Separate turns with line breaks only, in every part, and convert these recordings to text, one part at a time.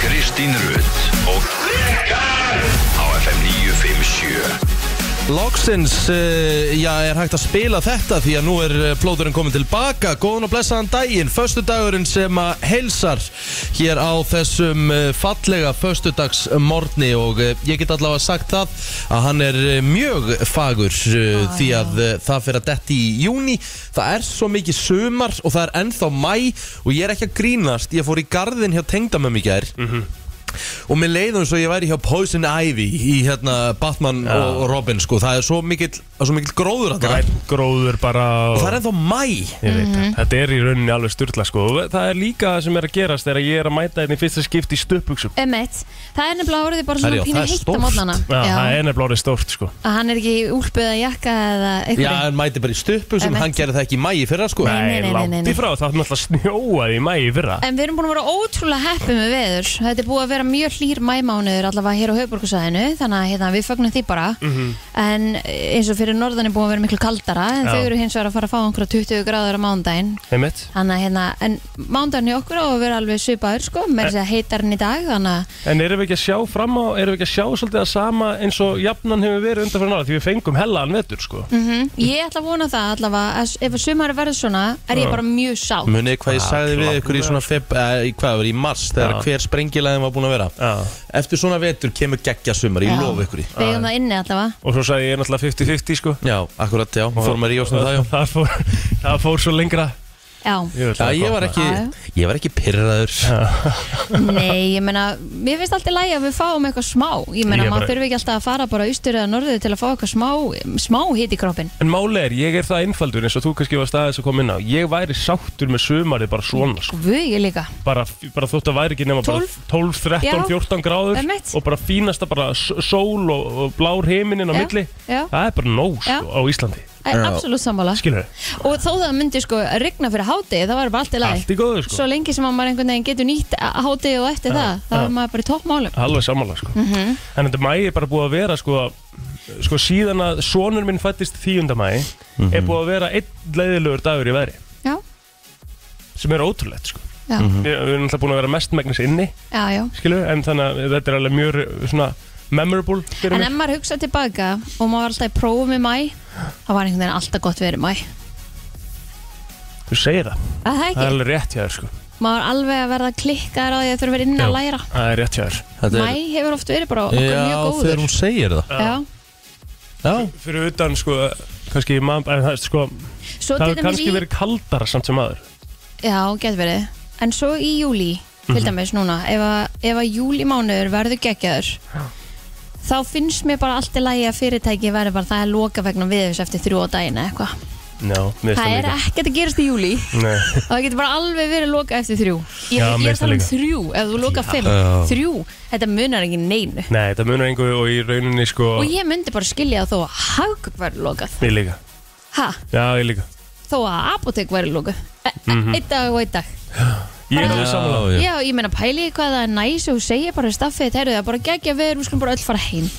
Kristín Rutt og Rikar á FM 957
Logsins, uh, já, er hægt að spila þetta því að nú er eh, plóðurinn komin tilbaka. Góðan og blessaðan daginn, föstudagurinn sem að heilsar hér á þessum eh, fallega föstudagsmorni og eh, ég get allavega sagt það að hann er eh, mjög fagur uh, því að uh, það fyrir að detti í júni. Það er svo mikið sumar og það er ennþá mæ og ég er ekki að grínast. Ég fór í garðin hjá tengdamömmi í gær og mér leiðum svo ég væri hjá Poison Ivy í hérna Batman og og Robin sko, það er svo mikill, það er svo mikill gróður að það
Grænn gróður bara
og það er ennþá mæ
Ég veit
Mhm.
það. Þetta er í rauninni alveg styrla sko. Og Það er líka það sem er að gerast þegar ég er að mæta hérna í fyrsta skipti í stöpuksum.
Emmett, það er nefnilega orðið bara
Herjá,
svona pínu
það er
heitt á
stórt.
mótnana
Já, það er nefnilega orðið stórt sko.
að hann er ekki í úlpu eða jakka eða
Já,
eitthvað
hann mæti bara í stuppu sem
Einmitt.
hann gerði það ekki í mæ í fyrra sko
Nei, nei, nei, nei, nei.
langt í frá. Það er náttúrulega snjóaði í mæi fyrra.
En við erum búin að vera ótrúlega heppið með veður Þetta er búið að vera mjög hlýr mæmánuður allavega hér á höfburkusæðinu þannig að hérna, við fagnum því bara
Mm.
Mhm.
en eins og fyrir norðan er búið að vera miklu kaldara en
Já.
þau eru hins vegar að fara að fá einhverja 20 gráður á mándaginn
Einmitt.
Þannig að hérna, en mándaginn í okkur á að vera alveg svipaður sko, með þess að heitar hann í dag þannig að
En erum við ekki að sjá fram á, erum við ekki að sjá svolítið að sama eins og jafnan hefur verið undanfæra nála því við fengum hellaðan vetur sko.
mhm, ég ætla að vona það allavega að s- ef að sumari verður svona er ég bara mjög sátt
Munið þið hvað ég sagði við ykkur í svona feb, eh, í hvað var í mars þegar
Ah, sko. Já.
hver sprengilæðin var búin að vera
Já.
Eftir svona vetur kemur geggja sumar, ég
Já.
lofa ykkur í
Við eigum það inni allavega
Og svo sagði ég náttúrulega 50-50 sko.
Já, akkurat, já, fór maður í ósnum um það já
Það fór, það fór svo lengra.
Já,
Ég veit
Já,
það
ég
gott,
var
maður.
ekki,
Já,
ég var ekki pyrraður
nei, ég meina Mér finnst alltaf lægi að við fáum eitthvað smá Ég meina,
Ég bara-
maður þurfi ekki alltaf að fara bara austur eða norður til að fá eitthvað smá, smá hit í kroppin
En máli er, ég er það einfaldur eins og þú kannski var staðis að koma inn á Ég væri sáttur með sumarið bara svona sko.
Guð, ég líka
bara, bara þótt að væri ekki nema bara
12?
12, 13,
Já.
14 gráður
Einmitt.
Og bara fínasta bara s- sól og, og blár heiminin á
Já,
milli
já.
Það er bara nóg
Já.
sko, á Íslandi
Æ,
Já.
Absolutt sammála
Skilur þau?
Og þó það myndi sko rigna fyrir háti Það var bara allt í lagi
Allt í góðu sko
Svo lengi sem að maður einhvern veginn getur nýtt háti og eftir það Það var maður bara í toppmálum Mhm.
Alveg sammála sko
Mm.
En þetta mæi er bara búið að vera sko Sko síðan að sonur minn fættist 10. mæi Er búið að vera einn leiðilegur dagur í veðri
Já,
Sem er ótrúlegt sko
já,
Mhm.
Við, við erum alltaf búin að vera mestmægnis inni
já, já
skilur, en þannig að þetta er alveg mjög svona memorable fyrir
En
mig.
ef maður hugsa tilbaka og maður var alltaf í prófum í mæ Það var einhvern veginn alltaf gott verið mæ
Þú segir það,
Að það
það er
ekki,
alveg rétt hjá þér sko.
maður er alveg að verða klikkaður á því að þurfa að vera inn að
Já,
læra
Það er rétt hjá þér.
Þetta
Mæ
er-
hefur oft verið bara okkur
Já,
mjög
þegar
góður
hún segir það
Já.
Já,
Fyrir utan sko, kannski mann, en það er sko,
Svo til
það hefur
dæmis
kannski
í
verið kaldara samt sem aður.
Já, getur verið En svo í júli,
Mhm.
til dæmis núna Ef að, ef að júlimánuður verður geggjaður Þá finnst mér bara allt í lagi að fyrirtæki verður bara það að loka vegna viðs eftir þrjú á daginn eða eitthvað
Já, mér finnst
Það er ekkert að gerast í júli
Nei,
og það getur bara alveg verið loka eftir þrjú Ég, ég
Já, mér
er
finnst það
þannig
líka.
þrjú, ef þú loka fimm
Já.
Þrjú, þetta munar ekki neinu
Nei það munar engu og í rauninni sko,
Og ég myndi bara skilja þó að hagkvöp verður lokað
ég líka.
Ha,
Já, ég líka.
þó að apotek verður lokað e Eitt dag og eitt dag
Ég er alveg samanlega.
já, já.
Já, ég meina pæli hvað það er næs og þú segir bara við staffið þetta, heyrðu það er bara geggja veður, við skulum bara öll fara heim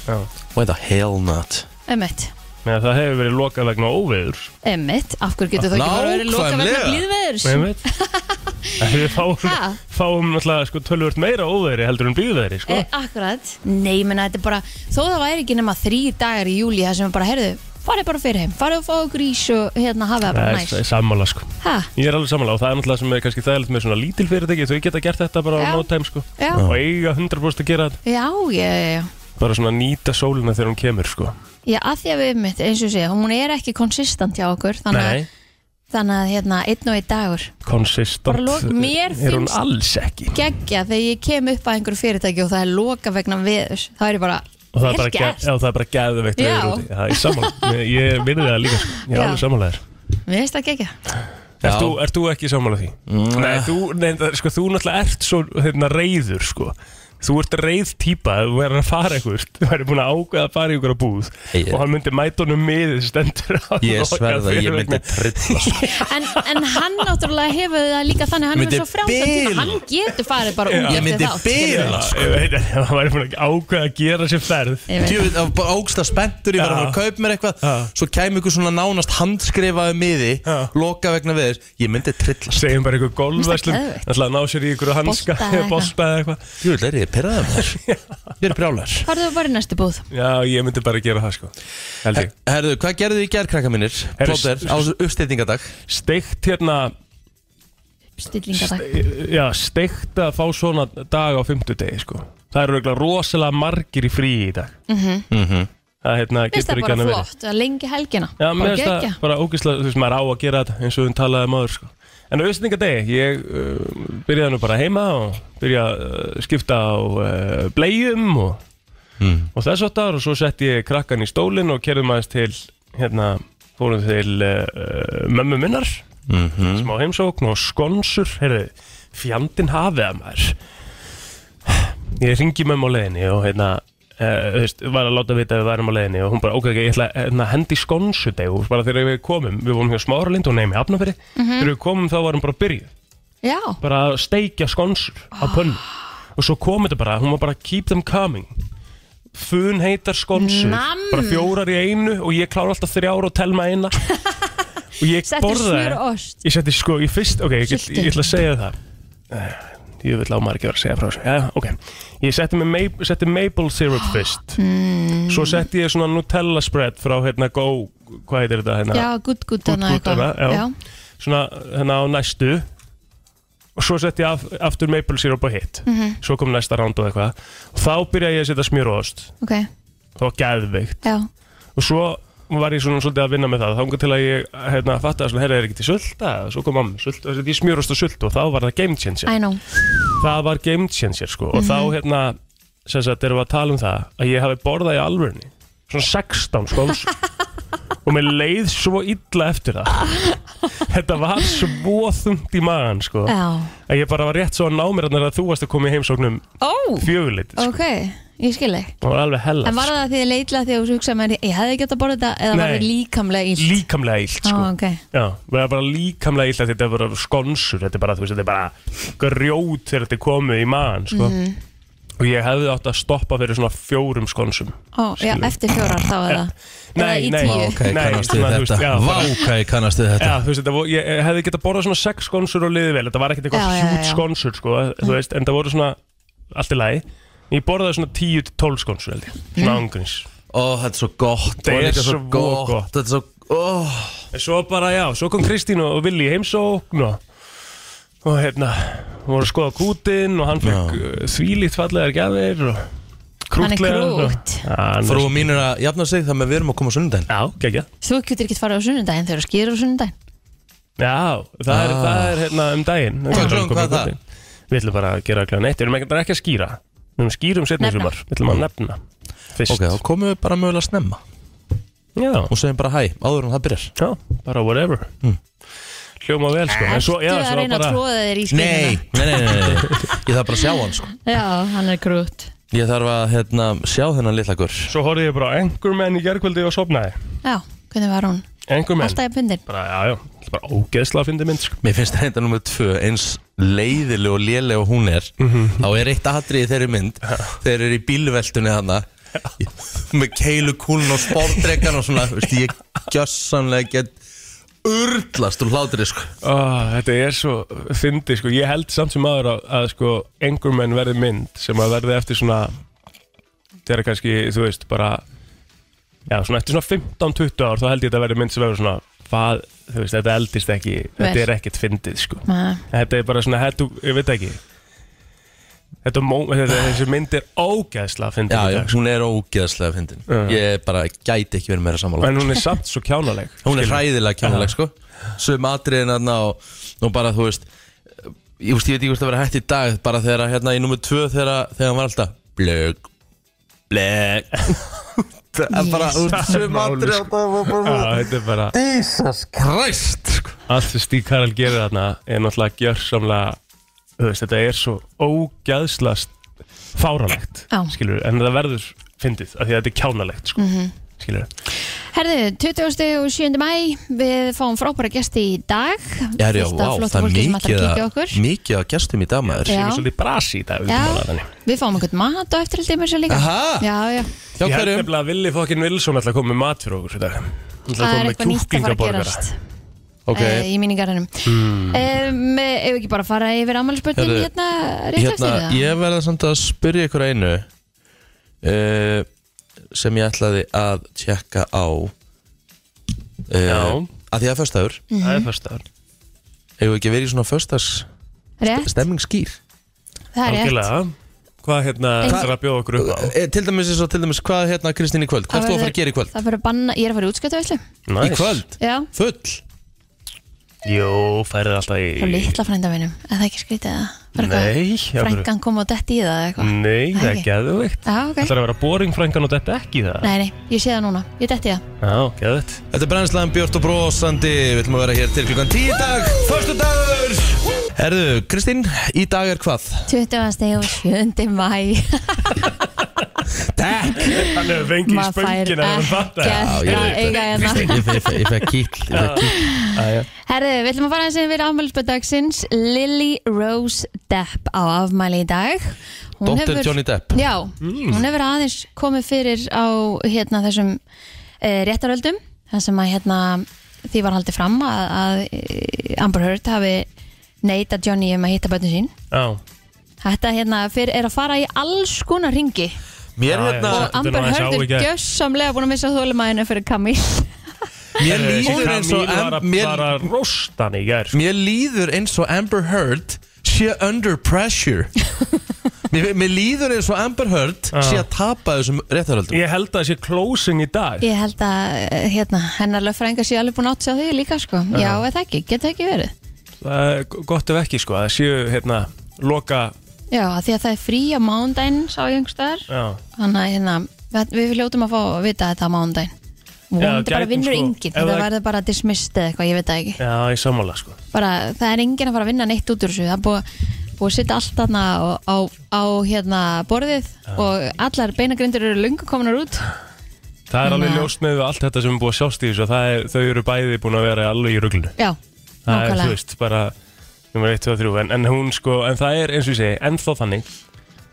Why the hell not
Ömmett,
Nei, það hefur verið lokað vegna óveður.
ömmett, af hverju getur það ekki bara verið loka vegna
Nákvæmlega.
blíðveðurs?
Nei, ég veit. En Við
Ha?
fáum, fáum náttúrulega sko tölvört meira óveðri heldur en býðveðri sko.
E, akkurat, nei, ég meina þetta er bara, þó það væri ekki nema þrý dagar í júli það sem er bara, heyrðu, farið bara fyrir heim, farið og fá okkur ís og hérna hafa það
Það
bara
er- það
næs
er sammála sko.
Ha,
Ég er alveg sammála og það er náttúrulega sem er kannski þægilegt með svona lítil fyrirtæki þau geta gert þetta bara
Já.
á no time sko
Já.
og eiga 100% að gera þetta
já, já, já, já.
bara svona nýta sólina þegar hún kemur sko
Já, að því að við mitt, eins og sé, hún er ekki konsistant hjá okkur, þannig, að- þannig að hérna, einn og einn dagur
konsistant
Bara lok- mér
eh, er hún
finnst-
alls ekki
geggja þegar ég kem upp að einhverju fyrirtæki og það er loka vegna veður þá er ég bara,
og það er bara,
vel
ge- já, það er bara geðveikt
Já.
veður úti. Já, ég er sammála, Ég- ég vinni það líka sko. ég er
Já.
alveg sammála þér
mér finnst það geggja
Já. Mm.
Ert þú, ert þú ekki sammála því? Nei, þú, nei, það- sko, þú náttúrulega ert svo hérna, reyður sko. Þú ert reyð típa ef Þú verður að fara eitthvað Þú verður búin að ákveða að fara í ykkur á búð
Ég-
Og hann myndi mæta honum miðið sem stendur á
Ég
lokað
sverða, ég
fyrir
myndi
vegna-
trilla sko.
en, en hann náttúrulega hefur það líka þannig hann
Myndi
er svo frjálsan
bila.
tíma, hann getur farið bara út
Ég
eftir
myndi sko.
þátt, skilurðu.
bila
Já, Ég veit, en hann væri búin að ákveða að gera sér ferð
Ég veit.
Djöfull, það var bara ógsta spenntur, ég var að fara að kaupa mér eitthvað
Já.
Svo kæmi ykkur svona nánast handskrifaði miði
Já.
Loka vegna við þér Ég myndi trillast
Segjum bara ykkur golfverslun
Mér finnst það geðveikt.
Það ætla að ná sér í ykkur hanska
Bolta eða eitthvað.
Bosta eða eitthvað
Jú, er ég ég pyrraði mér Ég er brjálar
Farðu bara í næstu búð
Já, ég myndi bara gera það sko Held ég
Herðu, hvað gerðu þið í gær, krakka mínir?
Herru,
Plóter, á þessu uppsteytingadag
Steikt hérna
Stillingadag
Já, steikt að fá svona dag á fimmtudegi sko Það eru eiginlega rosalega margir í frí í dag mm -hmm. Það hérna
Mér Mhm. finnst það
getur ekki
bara
hann að vera
flott að lengi helgina
Já, mér
Bara
finnst
gegja
það bara ógislega, þú veist, maður á að gera þetta eins og hún talaði um áður, sko. En á auðvitaðingadegi, ég uh, byrjaði nú bara heima og byrjaði að uh, skipta á uh, blegjum og, og þess aftar og svo setti ég krakkan í stólinn og kerðum aðeins til, hérna, fórum til uh, mömmu minnar,
Mm-hmm.
smá heimsókn og skonsur, heyrðu, fjandin hafið að maður. Ég ringi mömmu á leiðinni og, hérna, Uh, veist, var að láta vita að við værum á leiðinni og hún bara, ok, ok, ég ætla að hérna, hendi skonsudeg og bara þegar við komum, við vorum hjá smáralind og nefnum í afnafyrir, þegar við komum þá varum bara að byrja,
Mhm. Já, Ah.
bara að steikja skonsur á pönnu og svo kom þetta bara, hún var bara keep them coming fun heitar skonsur
Namm.
bara fjórar í einu og ég klára alltaf þrjára og telma eina og ég
settur
borðaði
smjör og ost
Ég setti sko, ég fyrst, ok, ég, get,
Sultu.
ég ætla að segja það Eh, Ég vil á maður ekki vera að segja frá þessu Já, ok Ég setti, með maple, setti maple syrup fyrst Hmm. Svo setti ég svona Nutella spread frá hérna Go, hvað heitir þetta hérna
Já, gutt gutt hana
Good, good,
eitthvað
hana, já.
Já,
Svona hérna á næstu Og svo setti ég af, aftur maple syrup á hitt
Mhm.
Svo kom næsta round og eitthvað Og þá byrjaði ég að setja smjúróst
ok,
Það var geðveikt
já
og svo var ég svona svolítið að vinna með það þá til að ég hérna fatta að hérna er ekki til sulta og svo kom mamma sult og ég smjúrast á sult og þá var það game changer
I know Mhm.
það var game changer sko og þá hérna sem sagt erum við að tala um það að ég hafi borðað í alvörni svona 16 skóls og mér leið svo illa eftir það þetta var svo þungt í magan sko
Já
að ég bara var rétt svo að ná mér þarna þegar þú varst að koma í heimsóknum
Ó,
fjögulit sko.
ok, ég skil þig
það var alveg hella
En var það því að leitla því að þú hugsaði með ég hefði gett að borða þetta eða var
Nei.
það líkamlega illt?
líkamlega illt sko
Ó, ok.
Já, það er bara líkamlega illa þetta er bara skonsur, þetta er bara, þú veist, þetta er bara grjót þegar þetta er komið í maðan, sko. Og ég hefði átt að stoppa fyrir svona fjórum skonsum.
Ó, já, eftir fjórar þá er það Eða í
Nei, nei,
tíu.
Vá, hvað ég
Nei,
kannast við
svona, þú veist,
þetta
já,
Vá,
bara-
hvað ég kannast við þetta
Já, þú veist, þetta voru, ég ég hefði getað borðað svona sex skonsur og liðið vel, þetta var ekkert eitthvað
Já, já,
hjút
já.
skonsur, sko, þú veist, en það voru svona, allt í lagi. Ég borðaði svona 10-12 skonsur, held ég, svona
Mhm.
ángurins.
Ó, þetta er svo gott
Þetta
og
er
líka
svo gott.
Þetta er svo, óh
En svo bara, já, svo kom Kristín og Vili í heimsókn og, og hérna, hún voru að skoða kútin og hann fekk uh, þvílíkt fallegar gjafir og
Hann er
krútlegar.
krútt.
Frú
Frú.
mín er að jafna sig þannig að við erum að koma á sunnudaginn
Já, gekkja.
Þú getur ekki farið á sunnudaginn þegar þú skýrir á sunnudaginn
Já, það er,
Ah.
það er hérna um daginn.
Hvað
Við
klukkan,
komum
hvað er
í kútinn. Við ætlum bara að gera kláðan eitt, við erum ekki, bara ekki að skýra. Við erum skýrum setna í
Nefna.
sumar, við ætlum að nefna. Mm. Fyrst.
Ok, þá komum við bara mögulega snemma
Já.
og segjum bara hæ, áður en það byrjar Hmm.
Já, bara whatever. Hljóma vel, sko. En svo, já,
Ertu að
svo
reyna að
bara,
tróða þér í
Nei,
skýrina?
nei, nei, nei, nei. Ég þarf bara að sjá hann sko.
Já, hann er krútt
Ég þarf að hérna, sjá þennan litla gur
svo horfði ég bara á Anchorman í gerkvöldi og sopnaði.
Já, hvernig var hún?
Anchorman.
Alltaf ég fyndin
bara, já, já, þetta er bara ógeðslega að fyndi mynd, sko.
Mér finnst reynda nummið tvö eins leiðileg og léleg og hún er
Mhm.
þá er eitt aðrið í þeirri mynd þeir eru í bílveltunni hana með keilu kúlun og sportrekkan og svona, veist, ég gjössanlega get urtlast og hlátur sko.
Ah, þetta er svo fyndi, sko. Ég held samt sem aður að, að sko, Anchorman verði mynd sem að verði eftir svona, þegar kannski, þú veist, bara, já, svona eftir svona 15-20 ár, þá held ég þetta verði mynd sem verður svona, hvað, þú veist, þetta eldist ekki, þetta er ekkert fyndið, sko. Þetta er bara svona, þetta, ég veit ekki, þetta, mó, þetta þessi mynd er ógeðslega að fyndi
Já, já,
þetta, sko.
hún er ógeðslega fyndin
Já.
Ég bara gæti ekki verið meira sammála
En hún er samt svo kjánaleg.
Hún er
skilur.
hræðilega kjánuleg sko Sum atriðin þarna og, og bara þú veist Ég, veist, ég veit ekki hvort það verið hægt í dag Bara þegar að, hérna í nummer tvö Þegar, að- þegar hann var alltaf Blögg Blögg Það er bara
Jesus.
út sum
Máli,
atriðin
sko. Já, þetta er bara
Jesus Christ sko.
allt sem Stík Karel gerir þarna er náttúrulega gjörsamlega þú veist, þetta er svo ógæðslast fáralegt,
Já.
skilur en það verður fyndið, af því að þetta er kjánalegt sko. mm -hmm. skilur,
Mhm. Herðu, 27. mæ Við fáum frábæra gesti í dag
Já, já,
Fullt af
vá,
flottu
það er
fólki sem ætlar
mikið
að kíkja á
að,
okkur.
mikið að gestum í dag maður
Já.
sem er svolítið brasi í dag við
Já.
erum að þannig.
Við fáum einhvern mat og eftirhaldi mér sér líka
Aha.
Já, já,
Hjá
ég held
hverjum?
nefnilega að Willi fokkin Wilson ætla að koma með mat fyrir okkur þetta
það er eitthvað nýtt að fara að gerast
Ok.
eh, í míningarunum mm. um, Ef ekki bara að fara yfir ammælisbörnin
Heyrðu,
hérna rétt eftir
Hérna,
það
ég verða samt að spyrja ykkur að einu uh, sem ég ætlaði að tjekka á
Já.
uh, að því að föstaður
Mhm.
Það er fyrstaður
hefur ekki verið í svona föstaðs
Rétt,
stemmingsskýr
það er rétt
Algjörlega Hvað hérna
Hva-
ætlar að bjóða okkur upp á?
Eh, til dæmis eins og til dæmis hvað hérna Kristín í kvöld
Það
hvað ertu að fara
verður-
að gera í kvöld?
Það fyrir að banna, ég er að fara í útskjötavæslu
í kvöld?
Já,
full?
Jú, færið alltaf
frá
í
litla frænda mínum En það er ekki skrítið að bara eitthvað
Nei, já, bara-
Frængan kom og detti í það eða
Mm.
eitthvað
Nei, það er
Ekki.
geðveikt
Já, ok
Það er að vera boring frængan og þetta ekki í það
Nei, nei, ég sé það núna, ég detti í það
Já, geðveikt
Þetta er brennslan Björn og Brósandi Við ætlum að vera hér til klukkan 10 í dag Förstu dagur Herðu, Kristín, í dag er hvað?
20. og 7. mæ
Hann
Takk
hefur fengið í
Maður fær
spöngina þegar hann
ekkert
fattar það.
að
Já, ég veit
eiga hérna
Ég fe- ég fekk kýll ég fekk kýll.
Herðu, við ætlum að fara aðeins yfir afmælisbadagsins Lily Rose Depp á afmæli í dag Hún
Dóttir Johnny Depp
Já,
Mm.
hún hefur aðeins komið fyrir á hérna þessum e, réttaröldum þar sem að hérna því var haldið fram að, að eh, Amber Heard hafi neita Johnny um að hitta börnum sín
Já,
Þetta hérna fyrir, er að fara í alls konar ringi
Mér
Já,
hérna,
já,
og
þetta er nú
Amber
aðeins
Heard er
áhyggja.
gjössamlega búin að missa þólumæðinu fyrir Camille
mér líður eins og
Camille Eh, var
Am-
að
mér,
bara rosta hann í gær sko.
mér líður eins og Amber Heard sé under pressure mér, mér líður eins og Amber Heard sé að tapa þessum réttaröldum
Ah. Ég held að það sé closing í dag
Ég held að eh, hérna, hennar lögfrænga sé alveg búin að átt sig á því líka sko. Já, eða ekki, getur það ekki verið
Það er gott ef ekki sko að Það séu hérna loka
Já, af því að það er frí á mándaginn sá ég yngstar
Já,
Þannig að hérna, við, við hljótum að fá að vita þetta á mándaginn Vonandi bara
gætum,
vinnur
sko.
enginn,
Ef
þetta
það-
verður bara dismissed eða eitthvað, ég veit það ekki
já ég sammála sko
bara, Það er enginn að fara að vinna neitt út úr þessu Það er búið, búið að setja allt þarna á, á, á hérna, borðið og allar beinagrindur eru lungu kominar út
Það er alveg
Þannig að-
ljóst með allt þetta sem er búið að sjást í þessu að það er, Þau eru bæði búin að vera alveg í ruglunu
Já,
Það er, þú
nákvæmlega
veist, bara Númer 1, 2, 3 en, en hún sko, en það er eins og ég segi Ennþá þannig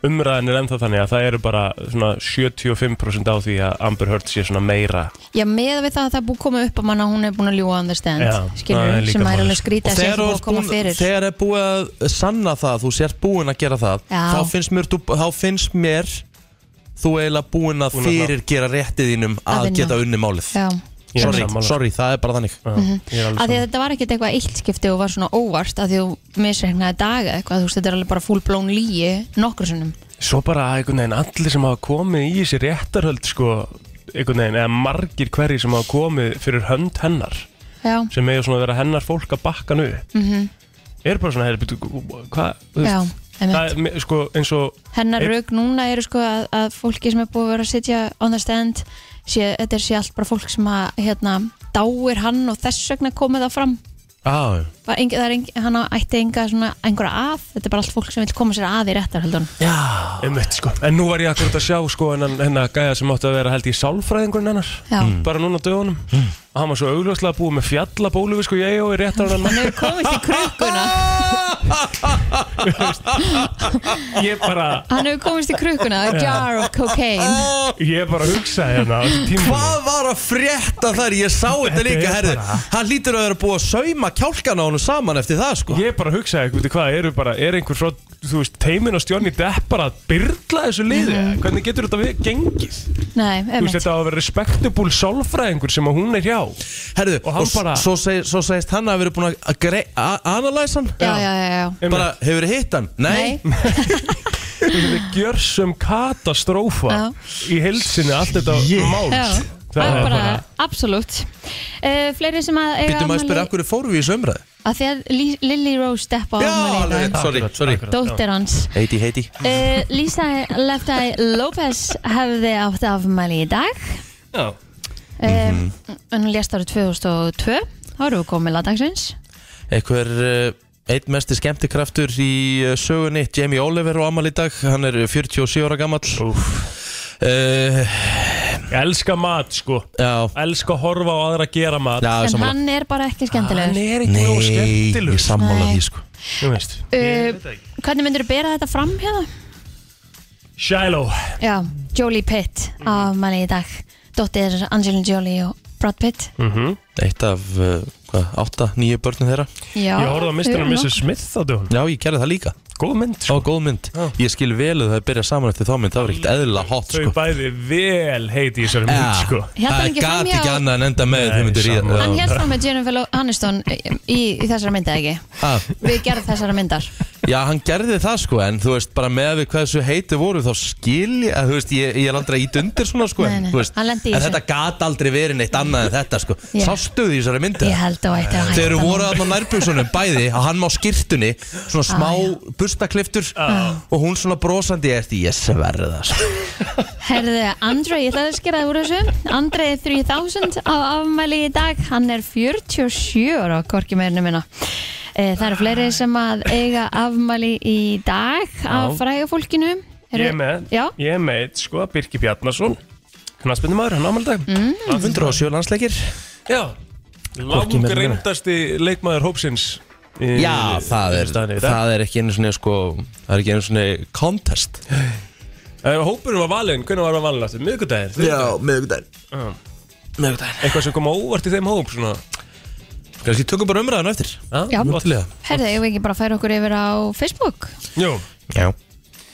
Umræðan er ennþá þannig að það eru bara svona 75% á því að Amber Heard sé svona meira
Já, með við það að það er búið að koma upp að manna að hún er búin að ljúa understand,
Já,
skilur,
það er líka
sem er
málið,
alveg
sko.
skrítið að sé ekki
þú
búið
ert
að koma
búin-
fyrir
þegar er búið að sanna það þú sért búin að gera það
Já.
þá finnst, mér, þú- þá finnst mér þú eiginlega búin að
Búin að ná.
fyrir gera réttið þínum
Að
að
vinna.
geta unni málið
Já, Mhm.
Ég er
sorry,
sammála.
sorry, það er bara þannig
Já, ég er alveg
af því að
sammála.
þetta var ekkert eitthvað eittskipti og var svona óvart af því að þú misreiknaði daga eitthvað, þú veist, þetta er alveg bara full blown líi nokkur sinnum
Svo bara að einhvern veginn allir sem hafa komið í þessi réttarhöld sko einhvern veginn, eða margir hverjir sem hafa komið fyrir hönd hennar
Já,
sem eiga svona að vera hennar fólk að bakka nú mm
Mhm.
er bara svona, hey, byrju, hvað
já,
þú veist,
einmitt
það er me- sko eins og
Hennar rauk núna eru sko að, að fólki sem er búið að vera að sitja understand sé, þetta er sé allt bara fólk sem að hérna, dáir hann og þess vegna komið það fram
ah,
Bara engi, það er engi, hann á- ætti enga svona, einhverja að, þetta er bara allt fólk sem vil koma sér að í réttarhaldun
einmitt, sko. en nú var ég akkurat að sjá sko hennan, hennan gæja sem átti að vera held í sálfræðingurinn hennar
Já. Mm.
bara núna á dögunum og hann var svo augljóslega búið með fjallabólu við sko ég og í
Hann
réttarhöld
hefur komist í krukkuna
ég bara,
Hann hefur komist í krukkuna A jar of cocaine
ég bara hugsaði hérna á þessum tíma
Hvað var að frétta þar? Ég sá þetta líka,
er
herðu
bara-
Hann lítur að vera búið að sauma kjálkan á honum saman eftir það, sko
Ég bara hugsaði, veitu hvað, eru bara, er einhver frá, þú veist, teiminn og stjónni depp bara að byrla þessu liði,
Mm.
hvernig getur þetta við gengið?
Nei,
Þú veist,
emitt
þetta á að vera respectable sálfræðingur sem að hún er hjá.
Herðu,
Og hann
og s-
bara-
svo, seg, svo segist hann að vera búin að- að grei- a- analysa hann
Já, já, já, já
Einmitt.
Bara, hefur hitt hann? Nei,
Nei,
Þú veist, þetta er gjörsum katastrófa
Já.
í heilsinni, allt þetta mál.
já Það er bara, absolutt uh, Fleiri sem að eiga
Býtum að
afmæli-
spyrja, af hverju fórum við í sömræði?
Að því að Lí- Lily Rose Depp á
Já,
afmæli í
alveg,
dag.
sorry, sorry
Dóttir hans
Heiti, heiti
uh, Lisa Left Eye Lopez hefði átt afmæli í dag
Já.
um,
Mhm.
En hún lést árið 2002 Þá erum við komið lagdagsins
Einhver, uh, einn mesti skemmtikraftur í uh, sögunni Jamie Oliver á amal í dag Hann er 47 ára gammal
Úf,
uh,
ég elska mat, sko.
Já,
Elska að horfa á aðra að gera mat.
já,
En
sammála
hann er bara ekki skemmtilegur
er ekki nógu
Nei, ég
skemmtilegur.
sammála
Nei.
því, sko
Þú veist.
Eh, Hvernig myndir þú bera þetta fram hérna?
Shiloh.
Já, Jolie Pitt
Mhm.
af manni í dag Dóttir Angelina Jolie og Brad Pitt
Eitt af, uh, hvað hvað, átta, nýju börnum þeirra
Já,
Ég horfði á Mr.
þau
and
eru
Mrs.
nokk-
Smith á dögun
Já, ég gerði það líka
Góð mynd
Það
sko.
var góð mynd
Já.
Ég skil vel að það byrja saman eftir þá mynd Það var ekkert eðla hot
Þau
sko.
bæði vel heiti í þessari mynd sko.
Hélt hann
Það
ekki
gat
framhjá-
ekki annað en enda með
Nei,
þau myndir í
sama.
Já.
Hann held fram með Jennifer Aniston í, í, í þessari myndi eða ekki
Ah,
Við gerðum þessari myndar
Já, hann gerði það sko En þú veist, bara með við hversu heiti voru Þá skil ég, að, þú veist, ég, ég er aldrei ít undir svona sko
Nei,
En,
nei,
þú veist,
hann
en
lenti í þessu.
þetta gat aldrei verið neitt annað en þetta sko
Já.
Sástu því þessari myndi
Ég held að ætti að hætta
Þeir eru
núna.
voru aðna nærbjörnsunum bæði að hann má skýrtunni svona smá ah, bustakliftur
Ah.
og hún svona brosandi er því ég sverða sko.
Herðu, Andrei, ég ætlaði að skera það úr þessu Andrei 3000 á afmæli í dag Hann er 47 ára, hvorki meirinu minna e, Það eru fleiri sem að eiga afmæli í dag af fræga fólkinu
Ég er með,
Já,
ég er með eitt, sko, Birki Bjarnason Knarsbyndu maður, hann ámaldag mm.
107 landsleikir
Já, langreindasti leikmaður hópsins í-
Já, það
í
er,
staðinni í dag.
það er ekki einu svona sko, það er ekki einu svona contest
Eh, Hópurinn var valinn, hvernig var hann valinn aftur? Miðgudaginn? Já, miðgudaginn Miðgudaginn Eitthvað sem kom á óvart í þeim hóp svona
Kanski tökum bara umræðan eftir
Já.
gott.
herðu, ég vil ekki bara færa okkur yfir á Facebook
Jú,
Já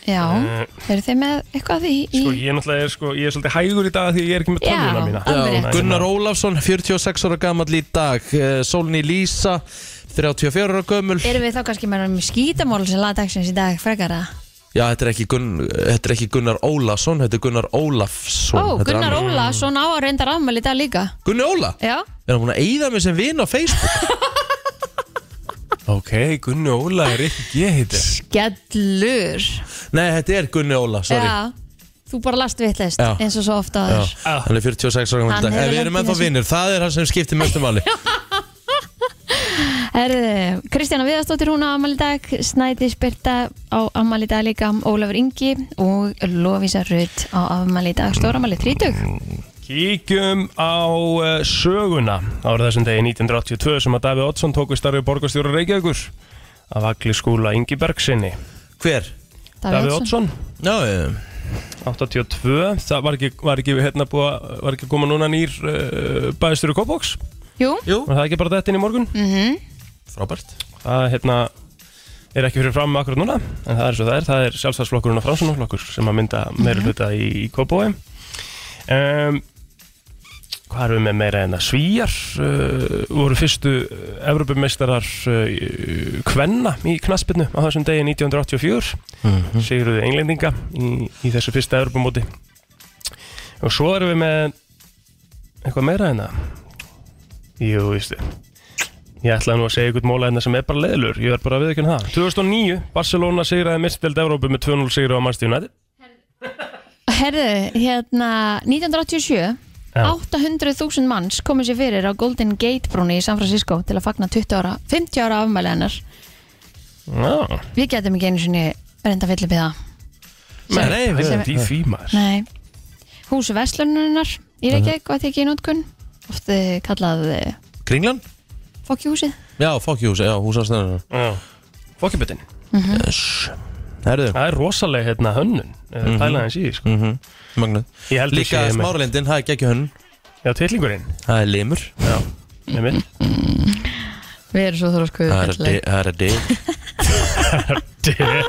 Já,
Eh.
eru þið með eitthvað í, í...
sko ég náttúrulega er sko, ég er svolítið hægur í dag því ég er ekki með
Já,
tölvuna mína
alveg rétt.
Gunnar Ólafsson, 46 ára gamall í dag Eh, Sólný Lísa, 34 ára gömul
Erum við þá kannski með um skítamál sem laði dagsins í dag frekar að?
Já, þetta er ekki, Gun, þetta er ekki Gunnar Ólafsson, þetta er Gunnar Ólafsson
Ó,
Þetta er
Gunnar
annar-
Óla, svona á að reynda rafmæli í dag líka
Gunnar Óla?
Já,
Er hann búin að eyða mig sem vin á Facebook?
Ok, Gunni Óla er ekki ég heiti
skellur
Nei, þetta er Gunnar Óla, sorry
Já, þú bara last vittlist
Já.
eins og svo ofta
Já,
aður
Ah.
hann er 46 ára gamall
Hann
í dag
hefur
En
lent
við erum
í
ennþá
þessu.
vinnir, það er hann sem skiptir mestum áli
Herðu, Kristjana Viðarsdóttir hún á afmæli í dag Snædís Birta á afmæli í dag líka Ólafur Ingi og Lovísa Rutt á afmæli í dag Stóramæli 30
Kíkjum á uh, söguna árið þessum degi 1982 sem að Davíð Oddsson tók við starfið borgarstjóra Reykjavíkur af agli skúla Ingi Bergsinni
Hver?
Davíð Oddsson,
Já, um
82 það var ekki, var ekki, hérna, búa, var ekki koma núna nýr uh, bæðstjóri Kópóks
Jú,
Jú,
var það ekki bara þetta inn í morgun
frábært
það hérna er ekki fyrir fram akkurat núna en það er svo það er, það er sjálfstæðsflokkurinn og framsunumflokkur sem að mynda meira hluta í, í Kópói um, hvað erum við með meira en að svíjar uh, voru fyrstu Evrópumeistarar uh, kvenna í knaspinu á þessum degi 1984 mm -hmm. sigurðu englendinga í, í þessu fyrsta Evrópumóti og svo erum við með eitthvað meira en að jú, vístu Ég ætlaði nú að segja ykkur móla hérna sem er bara leðlur, ég verð bara að viðkynna það. 2009, Barcelona sigraði mistdelt Evrópu með 2-0 sigra á Manchester United.
herðu, hérna 1987
Já.
800.000 manns komu sér fyrir á Golden Gate brúni í San Francisco til að fagna 20 ára, 50 ára afmæli hennar
Já,
Við getum ekki einu sinni reynda að fylla upp í það
það
Nei, nei, við-
er því því maður.
Nei, húsu verslunarinnar í
Mhm.
Reykjavík var tekið í nótkun oft eh, kallað eh,
Kringlan?
fokkjuhúsið
Já, fuck you, já, húsastæðan
Já, fokkjubutin.
Mhm.
Herðu, Mhm.
Það er rosalega hérna hönnun, mm -hmm. pælaði hans í, því, sko.
magnað
Ég held að sé
Líka
með-
smáralindin, það er geggju hönn
Já, tillingurinn.
Það er limur
Já, með minn.
Mm, Við erum svo þróskuðu
Það er að di- það er að dig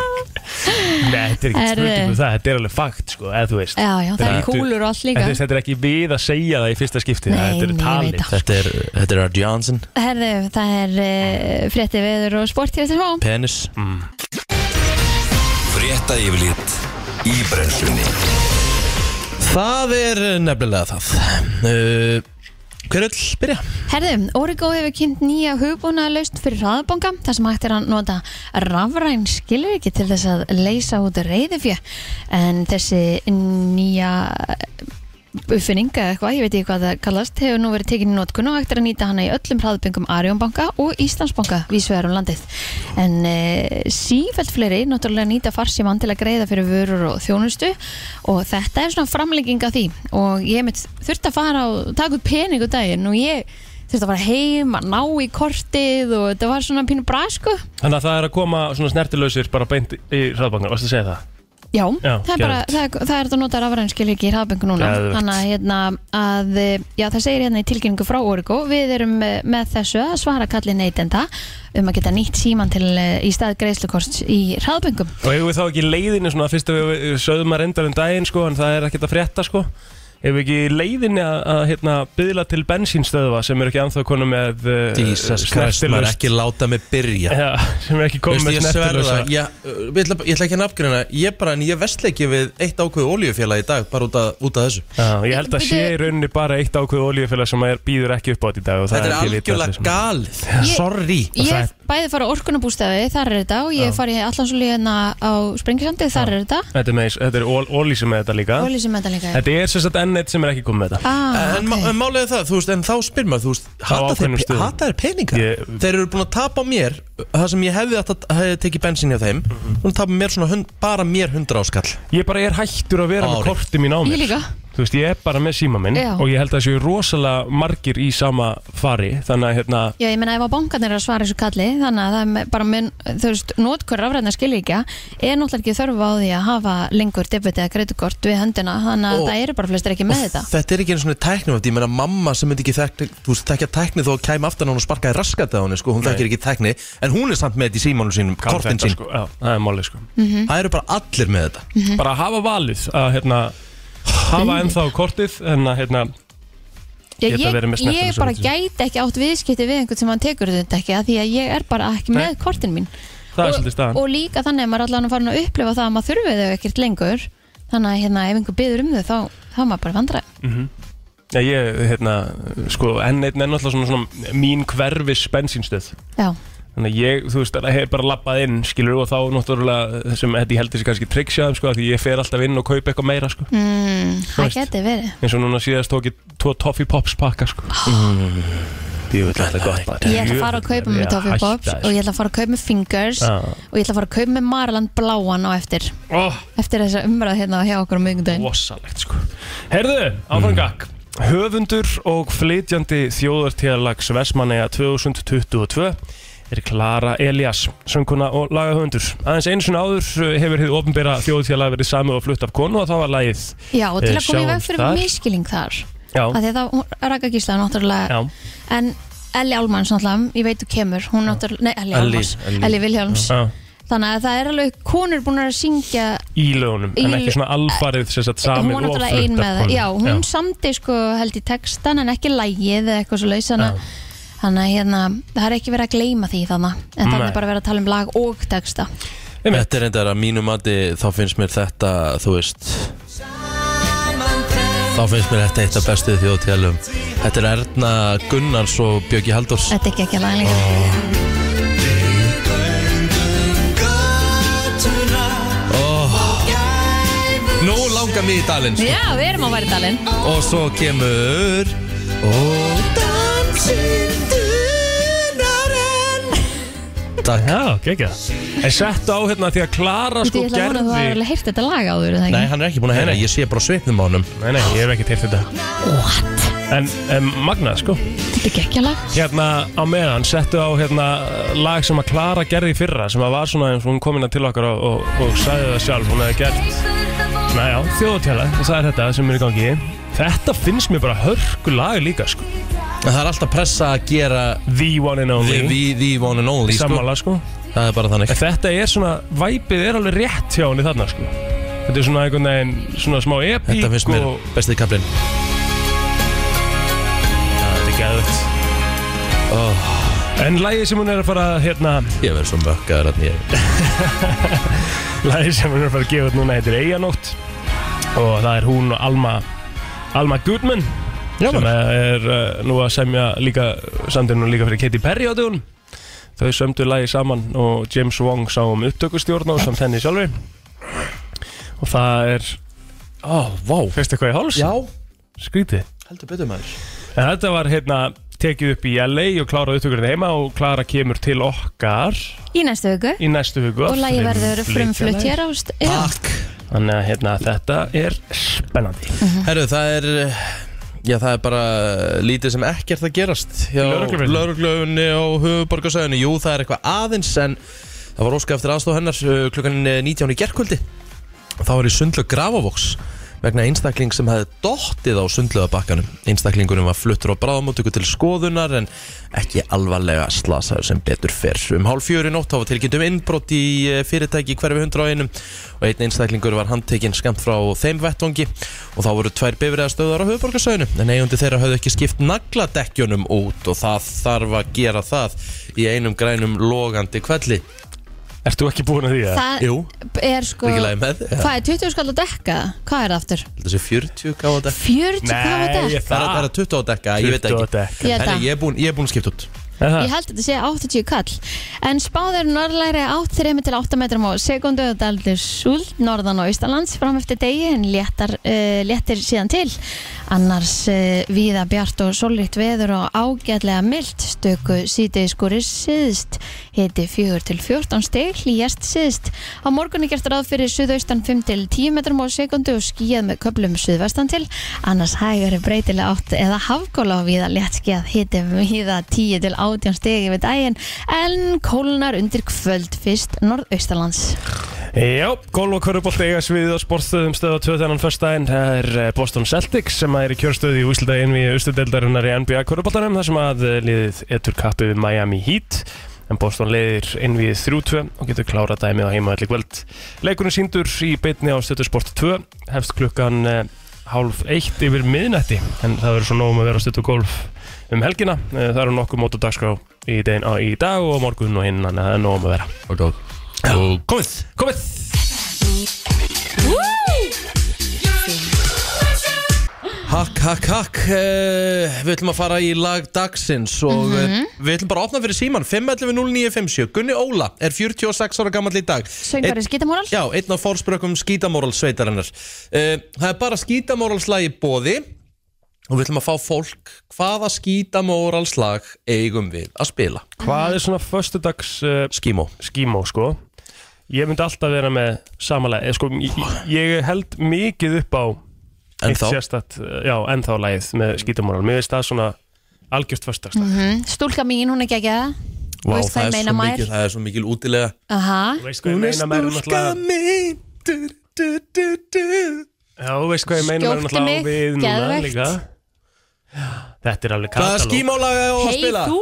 Nei, þetta er
Er-
ekki
eh,
spurningu það, þetta er alveg fakt, sko, eða þú veist.
Já, já, það er
Þetta er-
kúlur og allt
En
líka
þú veist, þetta er ekki við að segja það í fyrsta skipti,
Nei,
þetta er
nei, ég
talið.
veit það. sko.
Þetta er, þetta er að Johnson
Herðu, það er uh, frétti veður og sport hér eftir smá
Penis
Mm.
Frétta yfirlit í brennslunni
Það er nefnilega það uh, Hver öll byrja?
Herðu, Origo hefur kynnt nýja hugbúnaðalaust fyrir hraðabanga þar sem hægt er að nota rafræn skilriki til þess að leysa út reyðifjö en þessi nýja uppfinning eða eitthvað, ég veit ekki hvað það kallast hefur nú verið tekinni notkun og hægt er að nýta hana í öllum hraðböngum Arjónbanka og Íslandsbanka vísvegar um landið en e, sífælt fleiri náttúrulega nýta farsíman til að greiða fyrir vörur og þjónustu og þetta er svona framlegging af því og ég mitt þurfti að fara og taka upp pening úr daginn og ég þurfti að fara heim að ná í kortið og þetta var svona pínu bra sko
Þannig að það er að koma svona snertilausir bara beint í hraðbankan, varstu að segja það?
Já,
Já,
það, er bara,
geðveikt.
það, er, það er hægt að nota rafrænskilíki í hraðböngu núna
Geðveikt.
Þannig að, hérna, að eh, já, það segir hérna í tilkynningu frá Origo Við erum eh, með þessu að svara kalli neytenda um að geta nýtt síman til eh, í stað greiðslukorts í hraðböngum
Og hefur við þá ekki í leiðinni svona fyrst að við við sögðum að reyndar um daginn sko en það er ekkert að frétta sko Hefur við ekki í leiðinni að, að hérna, byðla til bensínstöðva sem eru ekki anþá konu með uh,
Jesus Christ, maður
snertilaust-
ekki láta mig byrja
Já, sem er ekki komið
Veistu,
með
ég sverða,
snertilösa
ég, uh, ég, ætla, ég ætla ekki að nafngrina Ég bara, en ég vestleiki við eitt ákveðu oljufélag í dag Bara út af, út af þessu
Já, ég held að sé í rauninni bara eitt ákveð olíufélag sem er, býður ekki upp á þetta í dag og það
Þetta er
ekki vitað allir sem-
algjörlega galið
Ég-
Sorry
Ég
það
hef bæði fara á orkunabústæði, þar er þetta og ég hef farið í allansúlíðina á Sprengisandi, þar er þetta
Þetta er, meins, þetta er ol, ólí sem er þetta líka
og lýsum þetta líka
Þetta er sem sagt enn eitt sem er ekki komið með þetta
Ah,
En okay.
ok.
málega það, þú veist, en þá spyr maður, þú veist, hata þeir,
ákveðnum stöðum.
hata þeir peninga?
Ég-
Þeir eru búin að tapa á mér, það sem ég hefði átt að hefði tekið bensin hjá þeim, mm -hmm. búin að tapa mér svona, hund, bara mér hundra áskall.
Mhm. Ég bara er hættur að vera
Ári.
með korti mín á mér
Ég líka.
Þú veist, ég er bara með síma minn
Já.
og ég held að það séu rosalega margir í sama fari þannig að hérna
Já, ég meina ef að bankarnir er að svara þessu kalli þannig að það er me- bara mun, þú veist, notkur rafræðna skilíkja er náttúrulega ekki þörf á því að hafa lengur debiti eða kreditkort við höndina þannig að
Og-
það eru bara flestir ekki með þetta
Þetta er ekki einu svona tæknumönd, ég meina mamma sem myndi ekki þekki, þú veist, þekkja tækni þó að kæma aftan á hún og sparkaði raskat á henni, sko, hún þekkir ekki tækni, en hún er samt með þetta í símánum sínum,
kann
kortin
þetta,
sín,
sko. Já, það er málið sko
Mhm.
það eru bara allir með þetta.
Bara hafa valið að hérna hafa ennþá kortið en að hérna
Já,
Geta verið með
ég,
snertilegu
ég bara
sjónvarpsins. gæti
gæti ekki átt viðskipti við einhvern sem hann tekur þetta ekki að því að ég er bara ekki
Nei.
með kortin mín
það er
og,
svolítið staðan
og líka þannig að maður er allan farin að upplifa það að maður þurfi þau ekkert lengur þannig að hérna, ef einhver byður um þau þá, þá er maður bara vandra
Mhm. Já, ég, hérna, sko, enn einn er náttúrulega svona, svona mín hverfis bensínstöð
Já,
Þannig að ég, þú veist, hef bara lappað inn, skilur, og þá náttúrulega, sem þetta ég heldur sér kannski triksjaðum, sko, af því ég fer alltaf inn og kaupa eitthvað meira, sko.
mm,
Þú
það
veist.
geti verið
Eins og núna síðast tók ég tvo Toffee Pops pakka, sko. Jú, þetta er gott, maður.
Ég ætla að fara að kaupa með Toffee Pops og ég ætla að fara að kaupa með Fingers
Já.
og ég ætla að fara að kaupa með Marland Bláan á eftir
Ó,
eftir þessa umræð hérna hjá okkur á miðgundaginn
rosalegt, sko. Herðu, áfram gakk. Mm. Höfundur og flytjandi þjóðartíðalags Vestmanneja 2022 er Klara Elias, sönguna og lagahöfundur. Aðeins eins og áður eh, hefur hið ofnbyrra þjóðtíðalag verið samið og flutt af konu og þá var lagið,
Já, og til
Eh,
að koma í veg
sjáumst
fyrir
þar.
miskiling þar
já,
að því að það raka gísla náttúrulega
já,
en Elli Álmanns náttúrulega, ég veit þú kemur hún náttúrulega, nei Elli
Ellie,
Álmanns,
Ellie.
Elli Vilhjálms
já.
þannig að það er alveg konur búin að syngja
í lögunum en
Í- Eh,
ekki svona alfarið sem
hún
sagt samið
var
og
náttúrulega
flutt
ein
af
með það
konum.
já, hún samdi sko held í textan en ekki lægið eða eitthvað svo laus þannig að- þannig að hérna, það er ekki verið að gleyma því þannig en þannig
Nei.
er bara verið að tala um lag og texta
Einmitt.
Þetta er endar að mínu mati, þá finnst mér þetta, þú veist Þá finnst mér þetta eitt af bestu þjóðtélum Þetta er Erna Gunnars og Björki Halldórs
þetta er ekki ekki lag líka
Nú langar mig í dalinn sko.
já, við erum á Væridalinn
Og svo kemur Og dansinn dunarinn Takk
Já, gekkja En sett á hérna því að Klara
Þú
sko
veit, ég ætla að vona að þú
gerði
hefur
Nei,
alveg heyrt þetta lag áður, er það
Nei,
ekki?
hann er ekki búin að heyra, ég sé bara svipnum á honum
nei, ég hef ekki til þetta What? En um, Magna sko
Þetta er ekki lag
Hérna á meðan settu á hérna lag sem að Klara gerði í fyrra sem að var svona eins og hún kom inn til okkar og, og, og sagði það sjálf hún hefði gert Næja, þjóðutjála og það er þetta sem er í gangi Þetta finnst mér bara hörku lag líka sko
En það er alltaf pressa að gera
The one and
The,
only
the, the one and only sko.
Sammála sko
Það er bara þannig
En þetta er svona, væpið er alveg rétt hjá henni þarna sko Þetta er svona einhvern veginn, svona smá epík
Þetta finnst mér
og...
bestið kaplinn
Þetta er gæðvögt En lagið sem hún er að fara, að, hérna,
Ég verður svo mökkaður að nýja
lagið sem hún er að fara að gefa út núna heitir Eyjanótt Og það er hún og Alma, Alma Goodman
Já,
Sem
maður.
er uh, nú að semja líka, samtir nú líka fyrir Katy Perry á dögun Þau sömdu lagið saman og James Wong sá um upptökustjórn og samt henni sjálfur Og það er,
Ó, vá
fyrst eitthvað í háls? Skrítið
heldur betur maður
En þetta var hérna tekið upp í LA og klárað upptökurinn heima og Klara kemur til okkar
Í næstu viku
í næstu hugu
Og lagi verður frumflutt hér á st- Já.
Takk
Þannig að hérna, þetta er spennandi
Herru, það er Já, það er bara lítið sem ekkert að gerast hjá
Lögreglunni?
lauruglöfunni og höfuborgarsæðinu Jú, það er eitthvað aðeins en það var óska eftir aðstof hennar uh, klukkan eh, 19 í gerkvöldi þá var ég sundlög Grafavox vegna einstakling sem hefði dottið á sundlögabakkanum. Einstaklingunum var fluttur á bráðamótöku til skoðunar en ekki alvarlega slasaður sem betur fyrr. Um hálf fjöri nótt þá var tilkynnt um innbrot í eh, fyrirtæki í hverfi hundra á einum og einn einstaklingur var handtekinn skamt frá þeim vettvangi og þá voru tvær bifræðastöðar á höfuborgarsöðinu en eigundi þeirra höfðu ekki skipt nagladekkjunum út og það þarf að gera það í einum grænum logandi kvelli.
Ert þú ekki búin að því? eða?
Það
Jú,
er sko
ekki lagi með. Ja.
Hvað er 20 skall að dekka? Hvað er það aftur?
Þessi 40 gáða dekk
40 hvað að
Nei,
dekka?
ég-
Það er, það er
það
að 20 á dekka, ég veit
20 á
ekki
dekka.
Ég held
Herri,
að.
ég er búinn búin skipt út
Er það?
Ég held að þetta sé 80 kall En spáður norðlæri átt 3-8 metrum á sekundu og daldur súld norðan og austalands fram eftir degi en léttar, uh, léttir síðan til annars uh, víða bjart og sólitt veður og ágætlega mild stöku síðdegisgúri síðst hiti 4-14 stig hlýjast síðst á morgunni gert ráð fyrir suðaustan 5-10 metrum á sekundu og skíðað með köplum suðvestan til annars hægari breytilega átt eða hafgóla og viða léttskjað hiti viða 10 til 18 stegi við daginn en kólnar undir kvöld fyrst norðaustalands
Já, golf og körubolt eiga sviðið á sportstöðum stöða 2 þennan föstudaginn það er eh, Boston Celtics sem er í kjörstöði í úsildaginn við austudeldarinnar í NBA köruboltanum þar sem að eh, liðið etur kappið við Miami Heat en Boston leiðir inn við 3-2 og getur klárað dæmið á heimavalli kvöld Leikurinn síndur í beitni á stöðu sport 2 hefst klukkan eh, hálf eitt yfir miðnætti en það verður svo nógum að vera á stöðu golf um helgina Eh, það eru nokkuð mót og dagskrá í, daginn, á, í dag og á morgun og hinn þannig að það er nógum að vera
Og góð Og komið
Komið!
Hakk, hakk, hakk uh, Við ætlum að fara í lag dagsins og mm
Mhm.
við ætlum bara að opna fyrir síman 511-0957 Gunni Óla er 46 ára gammal í dag
Söngvari
Einn-
Skítamórals?
Já, einn af fórspörkum skítamórals sveitarinnar uh, Það er bara skítamóralslagi bóði og við ætlum að fá fólk hvaða skítamóralslag eigum við að spila
Hvað er svona föstudags uh,
Skímó
skímó sko? Ég myndi alltaf vera með samalega eh, sko, ég, ég held mikið upp á
En
eitt sérstakt, eh, já, ennþá lagið með skítamóral Mér veist það svona algjörst föstudagst
mm, Stúlka mín, hún er ekki ekki það
Vá,
Veist hvað
það,
ég meina
er svo
mær?
mikil, það er svo mikil útilega
Aha,
Þú veist hvað ég meina með hún náttúrulega
mín du, du, du, du.
Já, þú veist hvað ég meina með hún
Skjóktu
náttúrulega á
mig,
við núna
geðveikt.
líka Þetta er alveg
Hvaða
katalóg
skímálaga á að
hei
spila?
þú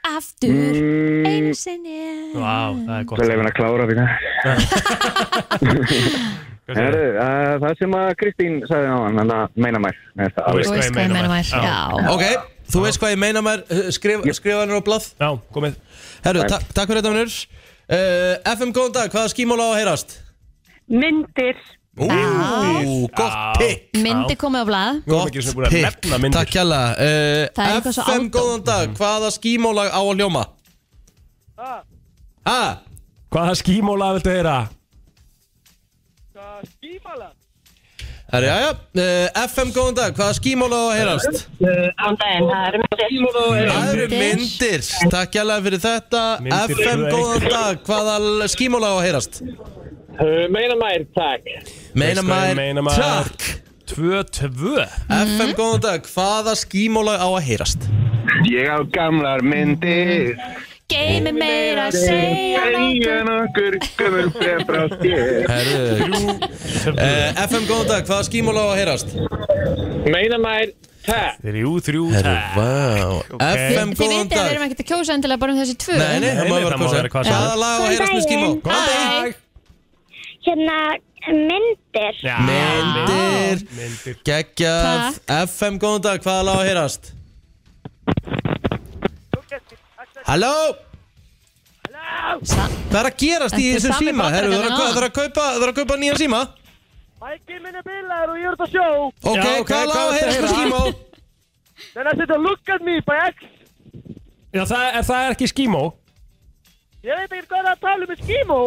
aftur
Mm.
einu sinni
Vá, það er
Svo
gott
leifin að klára því það.
Hvað segirðu?
Herru, uh, það sem að Kristín sagði á hann, þannig að meina mær. Mér finnst það
Þú
alveg-
Þú veist hvað ég meina mær
Já.
Já,
Ok, þú veist hvað ég meina mér skrif, Skrifanir og blað
Já, komið
Herru, ta takk fyrir þetta minnur uh, FM, góðan dag, hvaða skímálaga á að heyrast?
Myndir.
Ú, gott
Já.
pikk
myndi komið á blað
Nú erum
Gott
ekki svona búin að
pikk,
nefna myndir. Mhm.
takk hella
Það er
uh,
eitthvað svo
FM,
aldó.
góðan dag, hvaða skímálag á að hljóma? Ha?
Hvaða skímóla viltu heyra?
Herru, já, já, uh, FM, góðan dag, hvaða skímálag á að heyrast?
Eh,
Án daginn, það eru myndir.
Það eru myndir, takk hérlega fyrir þetta
Myndir
FM,
eru
góðan dag, hvaða skímála á að heyrast? Meina
Veist hvað ég
mær,
meina
takk
mær.
takk
2-2
FM, góðan dag, hvaða skímála á að heyrast?
Ég á gamlar myndir,
Geimi meira að segja nokkuð.
segja nokkur gömul bref frá þér.
Herru, eh, FM, góðan dag, hvaða skímála á að heyrast?
Þrjú, þrjú,
Herru,
takk
vá FM,
Þið vitið að
góðan
við
dag
erum ekkert að kjósa endilega bara um þessi tvö
Nei, nei,
Nei,
það má
nei,
vera
það má
hvað
vera hvað
sem
sem er.
er. Hvaða lag á að heyrast með skímó?
Góðan dag
hérna myndir
Já,
Myndir,
myndir
geggjað FM, góðan dag, hvaða lag á að heyrast? Halló?
Sa-
Hvað er að gerast í
Þetta er
þessum
sami
síma? Herru, það
brandarinn
er að,
en
það er að kaupa, það er að kaupa nýjan síma?
Mækki minn er bilaður og ég er út að sjó
Ok,
Já, ok,
hvað lág
hvað
að
er
heyrast með
þetta?
skímó?
Then I said look at me by X
Já, það er, það er ekki skímó
Ég veit ekki hvað það er að tala um í skímó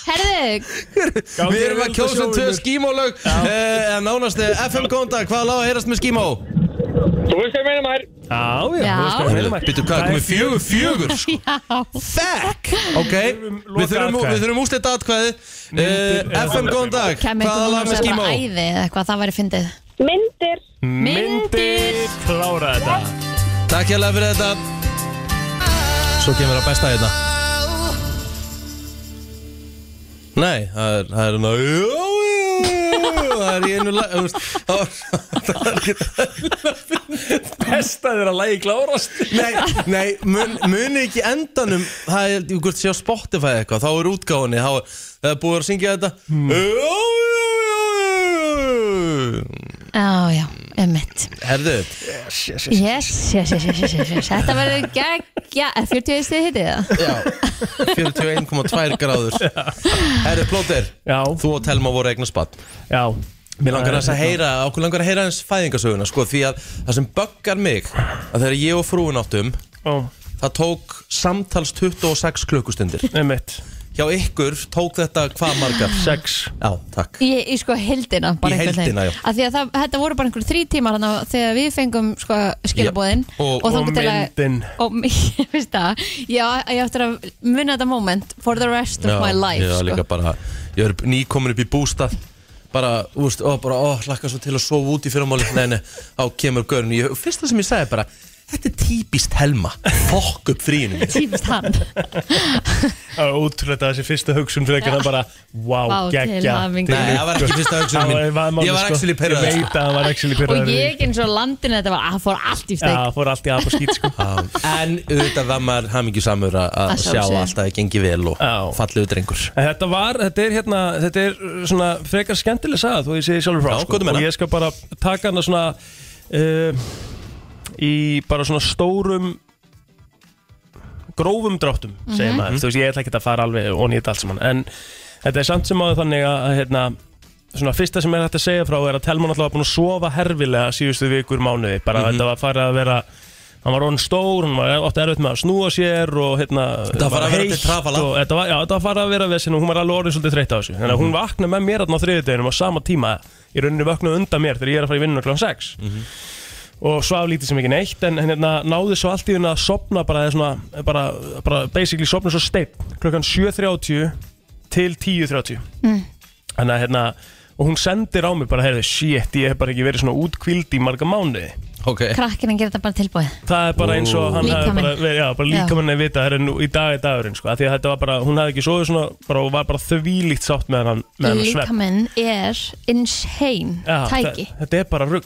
Herðu,
Við erum að kjósa um tvö skímólög uh, Nánast eh, FM góðan dag, hvað lág að heyrast með skímó?
Já, já,
Já.
þú veist hvað ég meina
Býttu hvað, komið fjögur, fjögur sko. Þekk Ok,
þurfum loka
við þurfum,
atkvæði.
við þurfum úslita atkvæði
Myndir
uh,
eða
FM góðan dag,
kemur ykkur
hvaða lág
núna
með
sem
skímó?
bara æði eða eitthvað, það væri fyndið.
myndir
Myndir Klára þetta
Takk hérlega fyrir þetta Svo kemur að besta hérna Nei, það er, það er ná, jú, jú, jú, það er í einu lag, þú veist, það var, það var ekki,
Best að þeirra lægi klárast
nei, nei, mun, muni ekki endanum, það er, ég hvort sé á Spotify eitthvað, þá er útgáfunni, þá er, það er búið að syngja þetta,
Hmm.
jú, jú, jú, jú,
Já, já, emmitt
herðu,
Yes, yes, yes, yes, yes, yes, yes. Þetta verður geggja 40 stið hitið það
já, 41,2 gráður, herðu, plóter,
Já,
þú og Telma voru eignar spatt.
já hérna.
Mér langar aðeins að heyra, okkur langar að heyra hans fæðingasöguna sko, því að það sem böggar mig að þegar ég og frúin áttum
Ó,
það tók samtals 26 klukkustundir
einmitt
hjá ykkur tók þetta hvað margar?
Sex
Já, takk
Ég, ég sko heldina bara
Í
einhvern
heildina, já.
veginn. Af því að það, þetta voru bara einhverjum þrý tímar hana, þegar við fengum sko, skilabóðin
Já, og-
Og
þangað til að-
myndin
og mér finnst það já, ég áttur að munna þetta moment for the rest of my life
Já, líka
sko.
bara, ég er nýkomin upp í bústað bara, þú veist, ó, bara, ó, hlakka svo til að sofa út í fyrramáli nei, nei, á kemur görn ég, fyrsta sem ég sagði bara, þetta er típist Helma fokk upp fríinu mín
tímist hann
Það var Ótrúlega þessi fyrsta hugsun fyrir ekki hann bara
Vá,
Wow,
til
geggja
hamingju.
Nei, það var ekki fyrsta hugsunin mín. Ég var actually pirraður. sko.
Ég veit að hann var actually
og
pyrraður
ég eins og landin þetta var, að fór allt í
Já,
steik
fór allt í aðfa skýt sko
en auðvitað var maður hamingjusamur að að
Að
sjá
sjálfsögðu.
allt að það gengi vel og
Já.
fallegur drengur
En þetta var, þetta er hérna, þetta er uh, svona frekar skemmtileg sagði þó ég segi sjálfur frá sko.
Já, gott um
og
hana.
ég skal bara taka hana svona uh, í bara svona stórum grófum dráttum, segir
Mhm.
maður, þú veist, ég ætla ekki að fara alveg og nýta allt saman, en þetta er samt sem áður þannig að, að, hérna, svona fyrsta sem er hægt að segja frá er að Telma náttúrulega var búin að sofa herfilega síðustu vikur mánuði, bara
Mhm.
þetta var farið að vera hann var orðin stór, hann var ofta erfitt með að snúa sér og hérna
Þetta var farið að vera
heitt
til trafala.
og Sko, þetta var, já, þetta var farið að vera vesinn og hún var alveg orðin svolítið þreytt á þessu þannig að hún vaknaði með mér þarna á þriðudeginum á sama tíma í rauninni vaknaði undan mér þegar ég er að fara í vinnuna kl. 6 og svaf lítið sem ekki neitt en hérna náði svo allt í hún að sopna bara, eða svona, bara, bara basically sopna svo steip klukkan 7.30 til 10.30 þannig að hérna og hún sendir á mig bara, heyrðu, shit, ég hef bara ekki verið svona útkvíld í marga mánuði
Ok,
krakkina gerir þetta bara tilbúið
það er bara eins og hann hafi
Líkaminn.
bara, verið- já, bara
Já.
líkaminn að vita það er nú í dag er dagurinn sko, af því að þetta var bara, hún hafði ekki sofið svona bara, og var bara þvílíkt sátt með hann, með hann svepp
líkaminn er insane tæki Mhm.
þa- þetta er bara rugg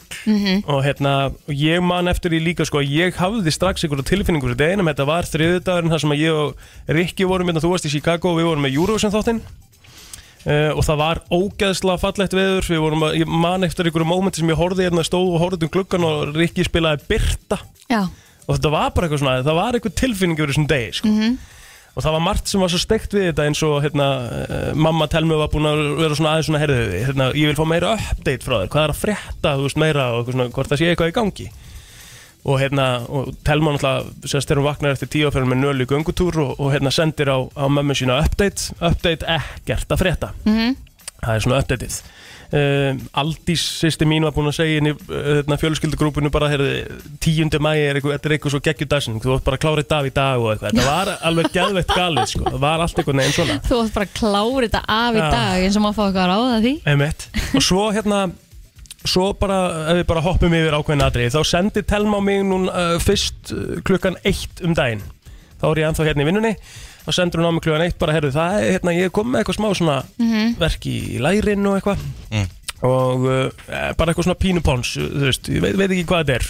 og hérna, og ég man eftir því líka sko, að ég hafði strax einhverja tilfinningur þetta einum, þetta var þriðudagurinn þar sem að ég og Rikki vorum hérna, þú varst í Chicago og við vorum með Eurovision þáttinn uh, og það var ógeðslega fallegt veður við vorum að, ég man eftir einhverju mómenti sem ég horfði hérna stóð og horfði um gluggan og Rikki spilaði Birta
já,
og þetta var bara eitthvað svona, það var eitthvað tilfinning yfir þessum degi, sko og það var margt sem var svo steikt við þetta eins og hérna, eh, mamma telmi var búin að vera svona aðeins svona herðið, hérna, ég vil fá meira update frá þér, hvað er að frétta, þú veist, meira og eitthvað svona, hvort það sé eitthvað í gangi og hérna, og telma náttúrulega sérst þegar hún vaknar eftir tíu og fyrir með nölu í göngutúr og, og hérna sendir á, á mömmu sína update, update ekkert að frétta það er svona uppdatið um, Aldís sýsti mín var búin að segja inn í uh, hérna, fjölskyldugrúpinu bara heyrði, 10. mæi er eitthvað, þetta er eitthvað svo geggjudasinn þú vart bara að klára þetta af í dag og eitthvað þetta var alveg geðveitt galið sko það var allt einhvern veginn svona
þú átt bara að klára þetta af í
Já.
dag eins og maður fá eitthvað að ráða því
Einmitt. og svo hérna svo bara, ef við bara hoppum yfir ákveðin atrið þá sendi Telma á mig núna uh, fyrst uh, klukkan eitt um daginn þá er ég ennþá hérna í vinnunni þá sendur hún á mig klukkan eitt bara, herru, það er hérna ég kom með eitthvað smá svona verk í lærin og eitthvað og uh, bara eitthvað svona pínupons þú veist, ég veit, veit ekki hvað þetta er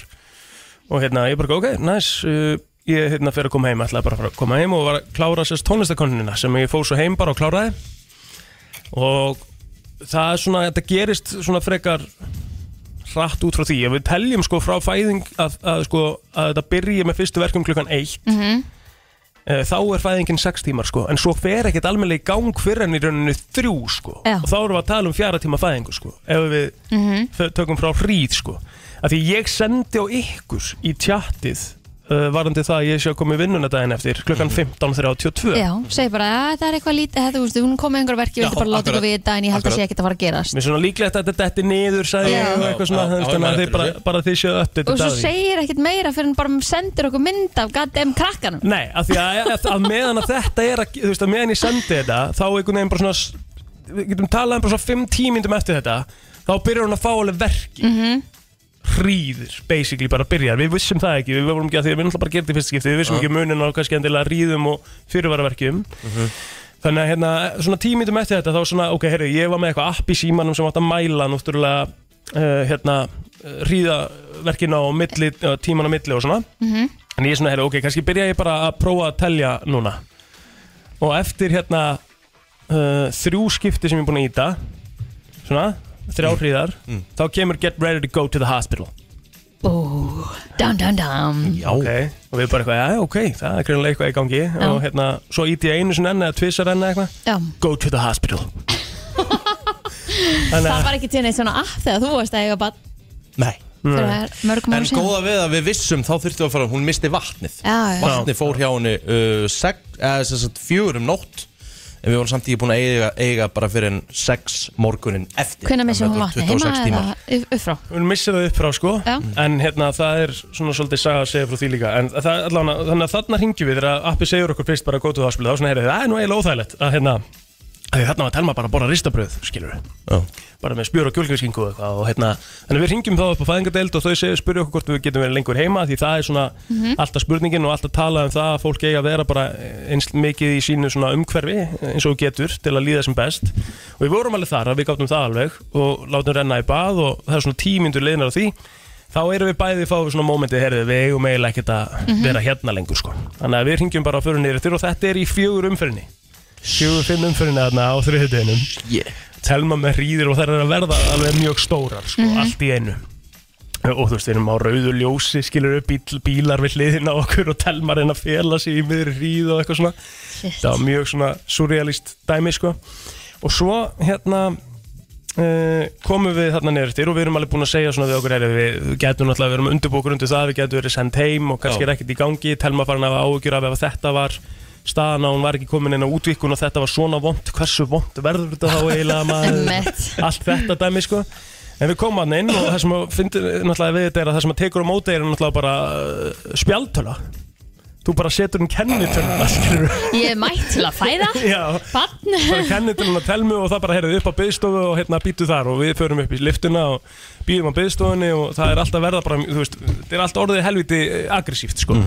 og hérna, ég bara, ok, næs uh, ég hérna fer að koma heim, ætlaði bara að fara að koma heim og var að klára sérst tónlistakonunina sem ég fór svo heim bara og kláraði og það er svona, þetta gerist svona frekar hratt út frá því ef við teljum sko frá fæðing að, að, sko, að þetta byrji með fyrstu verkum klukkan 1 eh, þá er fæðingin 6 tímar sko en svo fer ekkert almennilega í gang fyrir en í rauninu 3 sko
Já.
og þá erum við að tala um fjara tíma fæðingu sko ef við þau- tökum frá hríð sko að því ég sendi á ykkur í tjattið uh, varandi það að ég sé að koma í vinnuna daginn eftir klukkan 15.32
já, segi bara að það er eitthvað lítið þetta, þú veist, hún kom með einhver verki,
Já,
ég vildi bara láta
akkurat.
ykkur vita en ég held að
Akkurat.
sé ekkert að fara að gerast
Mér er svona líklegt að þetta er niður sagði
Já.
ég og eitthvað svona
Já, já,
þannig
já,
þannig að
maður
þið bara,
eftir þessu.
bara þið séu uppdætt
og svo segir ekkert meira fyrir hann bara sendir okkur mynd af goddamn krakkanum
Nei, af því að, að, að meðan að þetta er að, þú veist, að meðan ég sendi þetta þá einhvern veginn bara svona s- við getum talað um bara svona 5 tímindum eftir þetta þá byrjar hún að fá alveg verki mm
Mhm.
hríður, basically bara byrjar við vissum það ekki, við
Mhm.
vorum ekki að því að við náttúrulega bara gerði fyrst skipti við vissum ekki munina á kannski endilega ríðum og fyrirvaraverkjum Þannig að hérna, svona tímítum eftir þetta þá svona, ok, herri, ég var með eitthvað app í símanum sem átt að mæla náttúrulega uh, hérna, ríðaverkina á milli, uh, tíman á milli og svona
Mhm.
En ég er svona, herri, ok, kannski byrja ég bara að prófa að telja núna Og eftir hérna uh, þrjú skipti sem ég er búin að íta svona, þrjá hríðar þá kemur get ready to go to the hospital
Bú, dam, dam, dam
Já okay. Og við bara eitthvað, já, ok, það er greinlega eitthvað í gangi
Já.
Og hérna, svo íti ég einu sinni enn eða tvisar enn eða eitthvað
Já,
Go to the hospital Þannig
það
að,
var ekki til neitt svona app þegar þú varst að eiga bann
Nei
fyrir mörgum
En
ára síðan
góða við að við vissum þá þurftum við að fara Hún misti vatnið
Já, já.
Vatnið fór hjá henni uh, seg, eh, sem sagt, fjögur um nótt En við vorum samtíði búin að eiga, eiga bara fyrir en sex morgunin eftir
Hvenær missir hún
Þannig að
vatni?
þetta
Heima
var 26
eða
tímar.
upp- uppfrá?
hún missir það upp frá sko
Já.
En hérna, það er svona svolítið saga að segja frá því líka En það, allavega, þannig að þarna hringjum við Þegar appi segir okkur fyrst bara go to the hospital Þá svona, heyrðu, það er nú eiginlega óþægilegt Að hérna, að því þarna var telma bara að borða ristabröð, skilur
Já.
bara með spjör og kjölgjöskingu og eitthvað og hérna, þannig að við ringjum þá upp á fæðingadeild og þau segja, spyrja okkur hvort við getum verið lengur heima því það er svona alltaf spurningin og alltaf talað um það að fólk eigi að vera bara eins mikið í sínu svona umhverfi eins og þú getur til að líða sem best og við vorum alveg þar að við gáttum það alveg og látum renna í bað og það er svona tímyndur liðnar af því þá erum við bæði fáið svona mómentið, heyrðu, við eigum eiginlega ekkert að vera hérna lengur sko. Þannig að við ringjum bara á förunni yfir og þetta er í fjögur umfyrinni fjögur fimm umfyrinni þarna á þriðudeginum Telma með hríðir og þær er að verða alveg mjög stórar sko, allt í einu og þú veist, við erum á rauðu ljósi skilur upp bíl, bílar við hliðina á okkur og Telma reyna að fela sig í miður hríð og eitthvað svona það var mjög svona surrealist dæmi sko. og svo hérna uh, komum við þarna niður eftir og við erum alveg búin að segja svona við okkur er við getum náttúrulega, við erum undirbúkur undir það við getum verið sendt heim og kannski
Já.
er ekkert í gangi telma farin að áhugjur af ef þetta var staðan á hún var ekki komin inn á útvikun og þetta var svona vond, hversu vond verður þetta þá eiginlega maður
Einmitt.
allt þetta dæmi sko En við komum hann inn og það sem að fyndir náttúrulega við þetta er að það sem að tekur á móti er náttúrulega bara uh, spjaltöla. Þú bara setur um hún kennitöluna, skilur
Ég er mætt til að fæða
Já,
Bann
bara kennir til hann að telmu og það bara heyrðu upp á byðstofu og hérna býtu þar og við förum upp í liftuna og býðum á byðstofunni og það er alltaf verða bara, þú veist, það er alltaf orðið helviti aggressíft, sko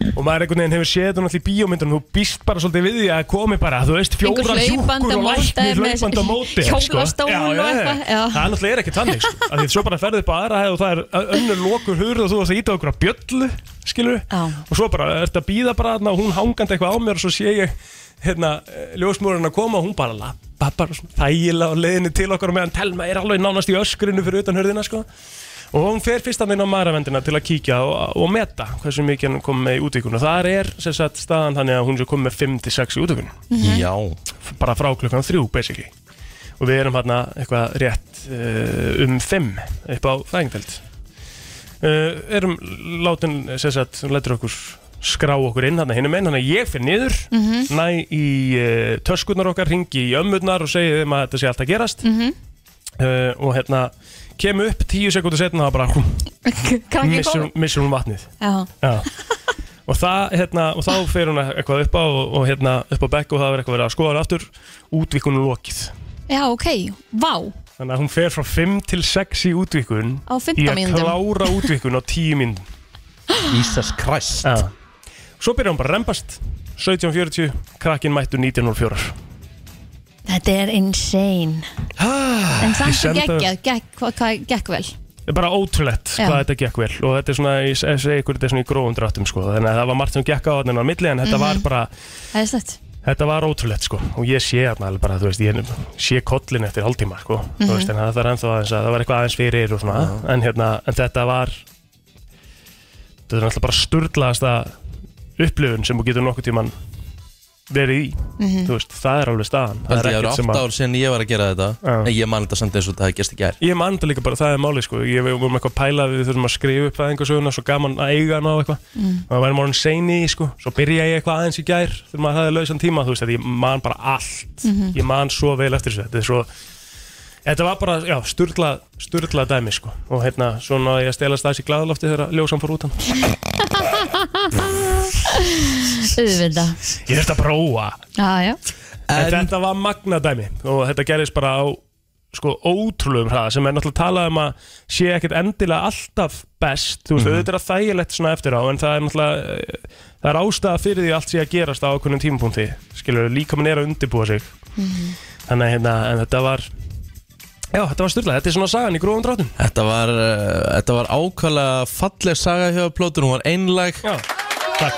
og maður einhvern veginn hefur séð þetta náttúrulega í bíómyndunum þú býst bara svolítið við því að komi bara, þú veist, fjóra
Einhver hlaupandi á
hjúkur og
móti
læknir
með
hlaupandi á móti sko.
hjólastól
Já,
og
já, já.
eitthvað, já.
Það náttúrulega er ekki þannig, sko, af því svo bara ferðu upp á aðra hæð og það er önnur lokur hurð og þú varst að íta okkur á bjöllu, skilur
Já.
og svo bara ertu að býða bara þarna og hún hangandi eitthvað á mér og svo sé ég hérna, ljósmúrun að koma og hún bara lappa bara svona þægilega á leiðinni til okkar og meðan Telma er alveg nánast í öskrinu fyrir utan hörðina sko og hún fer fyrst að minna á maravendina til að kíkja og, og meta hversu mikið hann kom með í útvíkun og þar er sem sagt staðan þannig að hún sé kom með 5-6 í útvíkun
Já
bara frá klukkan 3 basically og við erum hérna eitthvað rétt uh, um 5 upp á þægindeld uh, erum látin sem sagt, hún lætur okkur skrá okkur inn hérna hinum einn, þannig að ég fyrir niður
Mhm.
næ í uh, töskurnar okkar ringi í ömmurnar og segi þeim að þetta sé allt að gerast
Mhm.
uh, og hérna kem upp 10 sekundur setna og það bara hú,
Krakki
missir,
kom
hún- missir hún vatnið
Já,
Já. Og, það, hérna, og þá fer hún eitthvað upp á og, og hérna, upp á bekk og það er eitthvað verið að skoða hana aftur útvíkunum lokið
já ok, vá
þannig að hún fer frá 5 til 6 í útvíkun
Á 15
í að
mínútum.
klára útvíkun á 10 mínútum
Jesus Christ
svo byrjar hún bara að rembast 17.40, krakkin mættu 19.04
Þetta er insane En
ég
samt og
sendi-
geggjað, gekk, hvað, hvað gekk vel
Það er bara ótrúlegt
Já.
hvað þetta gekk vel og þetta er svona, ég segi ykkur, þetta er svona í grófum dráttum sko. þannig að það var margt sem gekk á þarna á milli en þetta var bara
Það er slett
Þetta var ótrúlegt sko og ég sé hérna alveg bara, þú veist, ég sé kollin eftir hálftíma sko, þú veist, en það var ennþá aðeins að það var eitthvað aðeins fyrir og svona, en hérna, en þetta var þetta er náttúrulega bara sturglaðasta upplifun sem þú getur nokkuð tíman verið í, þú veist, það er alveg staðan, það
Það
er
er
ekkert sem
8
að
ár síðan ég var að gera þetta
Já.
En ég man þetta samt eins og þetta hafi gerst í gær
Ég man þetta líka bara, það er málið sko Ég við vorum eitthvað að pæla að við þurfum að skrifa upp það söguna Svo gaman að eiga hana og eitthvað mm. Og það væri morgun seini í sko Svo byrja ég eitthvað aðeins í gær Þegar maður hafði lausan tíma Þú veist að ég man bara allt Ég man svo vel eftir þessu Þetta er svo Þetta var bara, já, sturla, sturla dæmi sko Og hérna, svona ég að stela stæðs í glaðalofti Þegar ljósan fór út hann
Auðvita
Ég þurfti að prófa
Já, já
En
En
þetta var magna dæmi og þetta gerðist bara á sko ótrúlegum hraða sem er náttúrulega talað um að sé ekkert endilega alltaf best þú veist,
Mhm.
auðvitað er það þægilegt svona eftir á en það er náttúrulega eh, það er ástæða fyrir því að allt sé að gerast á okkunnum tímapunkti skilur, líka mann er að undirbúa sig þannig að hérna, en þetta var já, þetta var styrla, þetta er svona sagan í grófum dráttum
Þetta var, uh, þetta var ákvæmlega falleg saga hjá plótur, hún var einlæg
já, takk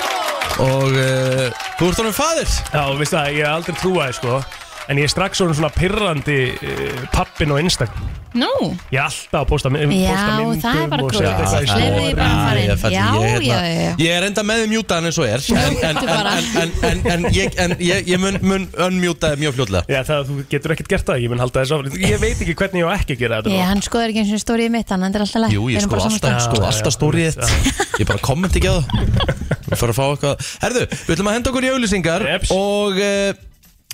og uh, þú ert honum fadir
Já, veist það, ég hef aldrei trúaði sko En ég er strax svona svona pirrandi uh, pappin og Instagram
Nú,
Ég er alltaf að posta, my-
Já,
posta myndum
það er bara
og
krútt. Já,
setja
það
eitthvað í
er-
story.
ég bara að fara inn.
Já, ég fell-
Já,
ég, hérna-
já, já, já.
ég er enda með þið mjútaðan eins og er en, en,
mjútu
en,
bara.
en, en, en, ég, en ég, ég mun, mun unmjúta þið mjög fljótlega
Já, það, þú getur ekkert gert það, ég mun halda þess áfram Ég veit ekki hvernig ég á ekki að gera þetta
ég,
nú.
hann skoður ekki eins og stórið mitt Þannig að þetta er alltaf læg
Jú, ég skoða
stað.
alltaf, skoða
Ah, Já,
alltaf
já,
stórið
já.
þitt Ég bara komment ekki á það Ég fyrir að fá eitthvað Herðu, við ætlum að henda okkur í auðlýsingar
Jeps.
Og uh,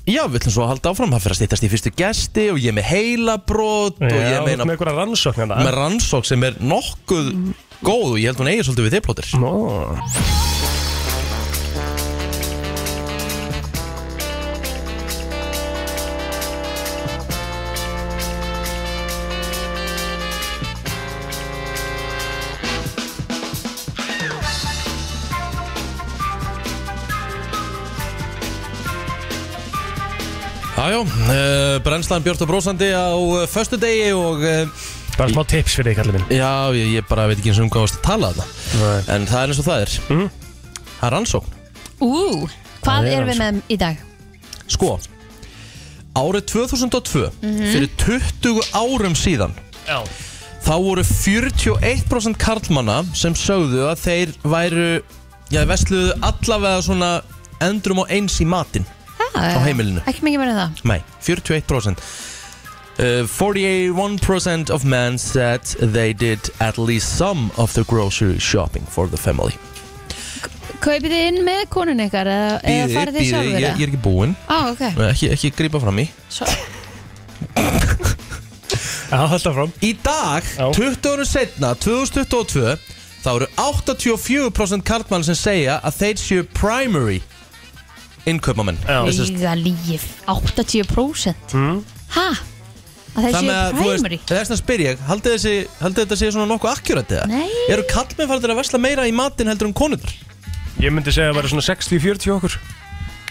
já, við ætlum svo að halda áfram Það fyrir að stýttast í fyrstu gesti Og ég er með heilabrót Og
Já,
ég er
þú ert
með
með
eina
einhverja rannsókn
með
hérna
rannsók sem er nokkuð góð og ég held hún eigi svolítið við þið plótir
Nó,
Jájá, uh, brennslan Björn og Brósandi á uh, föstu degi og uh,
bara smá tips fyrir þig, kallið minn
já, ég, ég bara veit ekki eins og um hvað varst að tala þetta
Nei. Mhm.
En það er eins og það er Það er rannsókn
Ú, hvað
Það er
erum við með í dag?
Sko, árið 2002, fyrir 20 árum síðan
Já,
Þá voru 41% karlmanna sem sögðu að þeir væru Já, vesluðu allavega svona endrum og eins í matinn á
Ha,
heimilinu
Eh, Ekki mikið meira en það
Nei, 41% Uh, 41% of men said they did at least some of the grocery shopping for the family
Kaupið þið inn með konun ykkar eða, eða
Bíðið,
farið þið
bíðið,
sjálfur
ég, ég er ekki búinn
Á, ok
ekki, ekki grípa fram í
Svo,
Já, halda fram
Í dag,
Já.
20 árum setna, 2022 þá eru 84% karlmann sem segja að þeir séu primary innkaupamenn
Já, Hmm?
Íða líf 80% Ha? Að það séu
Þannig að, þú
primary
veist, þess að spyrja ég, haldið þessi, haldið þetta sé svona nokkuð akkurat eða?
Nei.
Eru kallmenn farið að vesla meira í matinn heldur um en konundar?
ég myndi segja að vera svona 60-40 okkur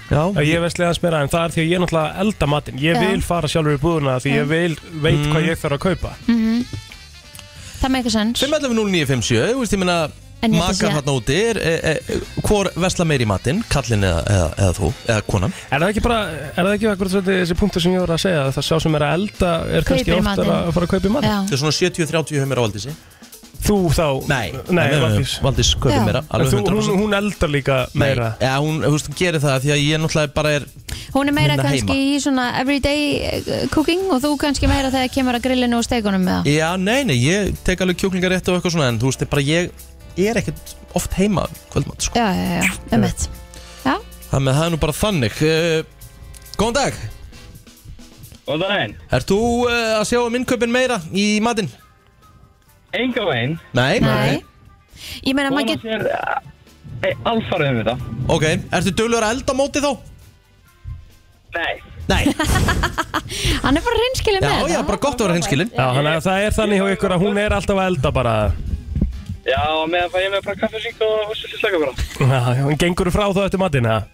Já,
Já, ég veist leiðans meira en það er því að ég er náttúrulega elda matinn Ég
Já.
vil fara sjálfur í búðuna því ég vil, veit
Mm.
hvað ég þarf að kaupa
Mhm. Það með eitthvað sens
511-0957, þú veist, ég meina
En ég ætla að
makar
segja-
hann úti, er, er, er, hvor vesla meir í matinn, kallinn eða, eða, eða þú, eða konan
Ah.
Er það ekki bara, er það ekki akkurat svolítið þessi punktur sem ég voru að segja að það sá sem er að elda er kannski
Kaupir
oftar
matinn.
að fara að kaupa í matinn?
Já,
Þetta er svona 70-30 höfum mér á Valdísi
Þú þá? nei, Valdís
Valdís kaupir
Já.
meira,
En
alveg
þú, hún,
100%
hún eldar líka
Nei,
meira
Já, hún, þú veist, hún gerir það því að ég náttúrulega bara er
hún er meira
Minna
kannski í svona everyday eh, cooking og þú kannski meira þegar kemur að grillinu og steikunum með það
Já, nei, nei, ég tek alveg kjúklingar rétt og eitthvað svona En þú veist, ég bara ég er ekkert oft heima kvöldmatt, sko
Já, já, já, já, um mitt Já,
Þannig að það er nú bara þannig uh, Góðan dag,
Og það er einn.
ert þú uh, að sjá um innkaupin meira í matinn?
Enga veginn.
Nei,
nei Ég meina, maður
Kona
get
sér eh, alfarið um þetta.
Ok, ertu dölur að elda á móti þá?
Nei.
Nei,
Hann er bara reynskilin
já,
með
já, bara gott að vera hinskilin
Já, þannig að það er þannig hjá ykkur að hún er alltaf að elda bara
Já, og meðan fæ ég með bara kaffesík og svolítið slaka bara.
Já, hún gengur frá þá eftir matinn, eða?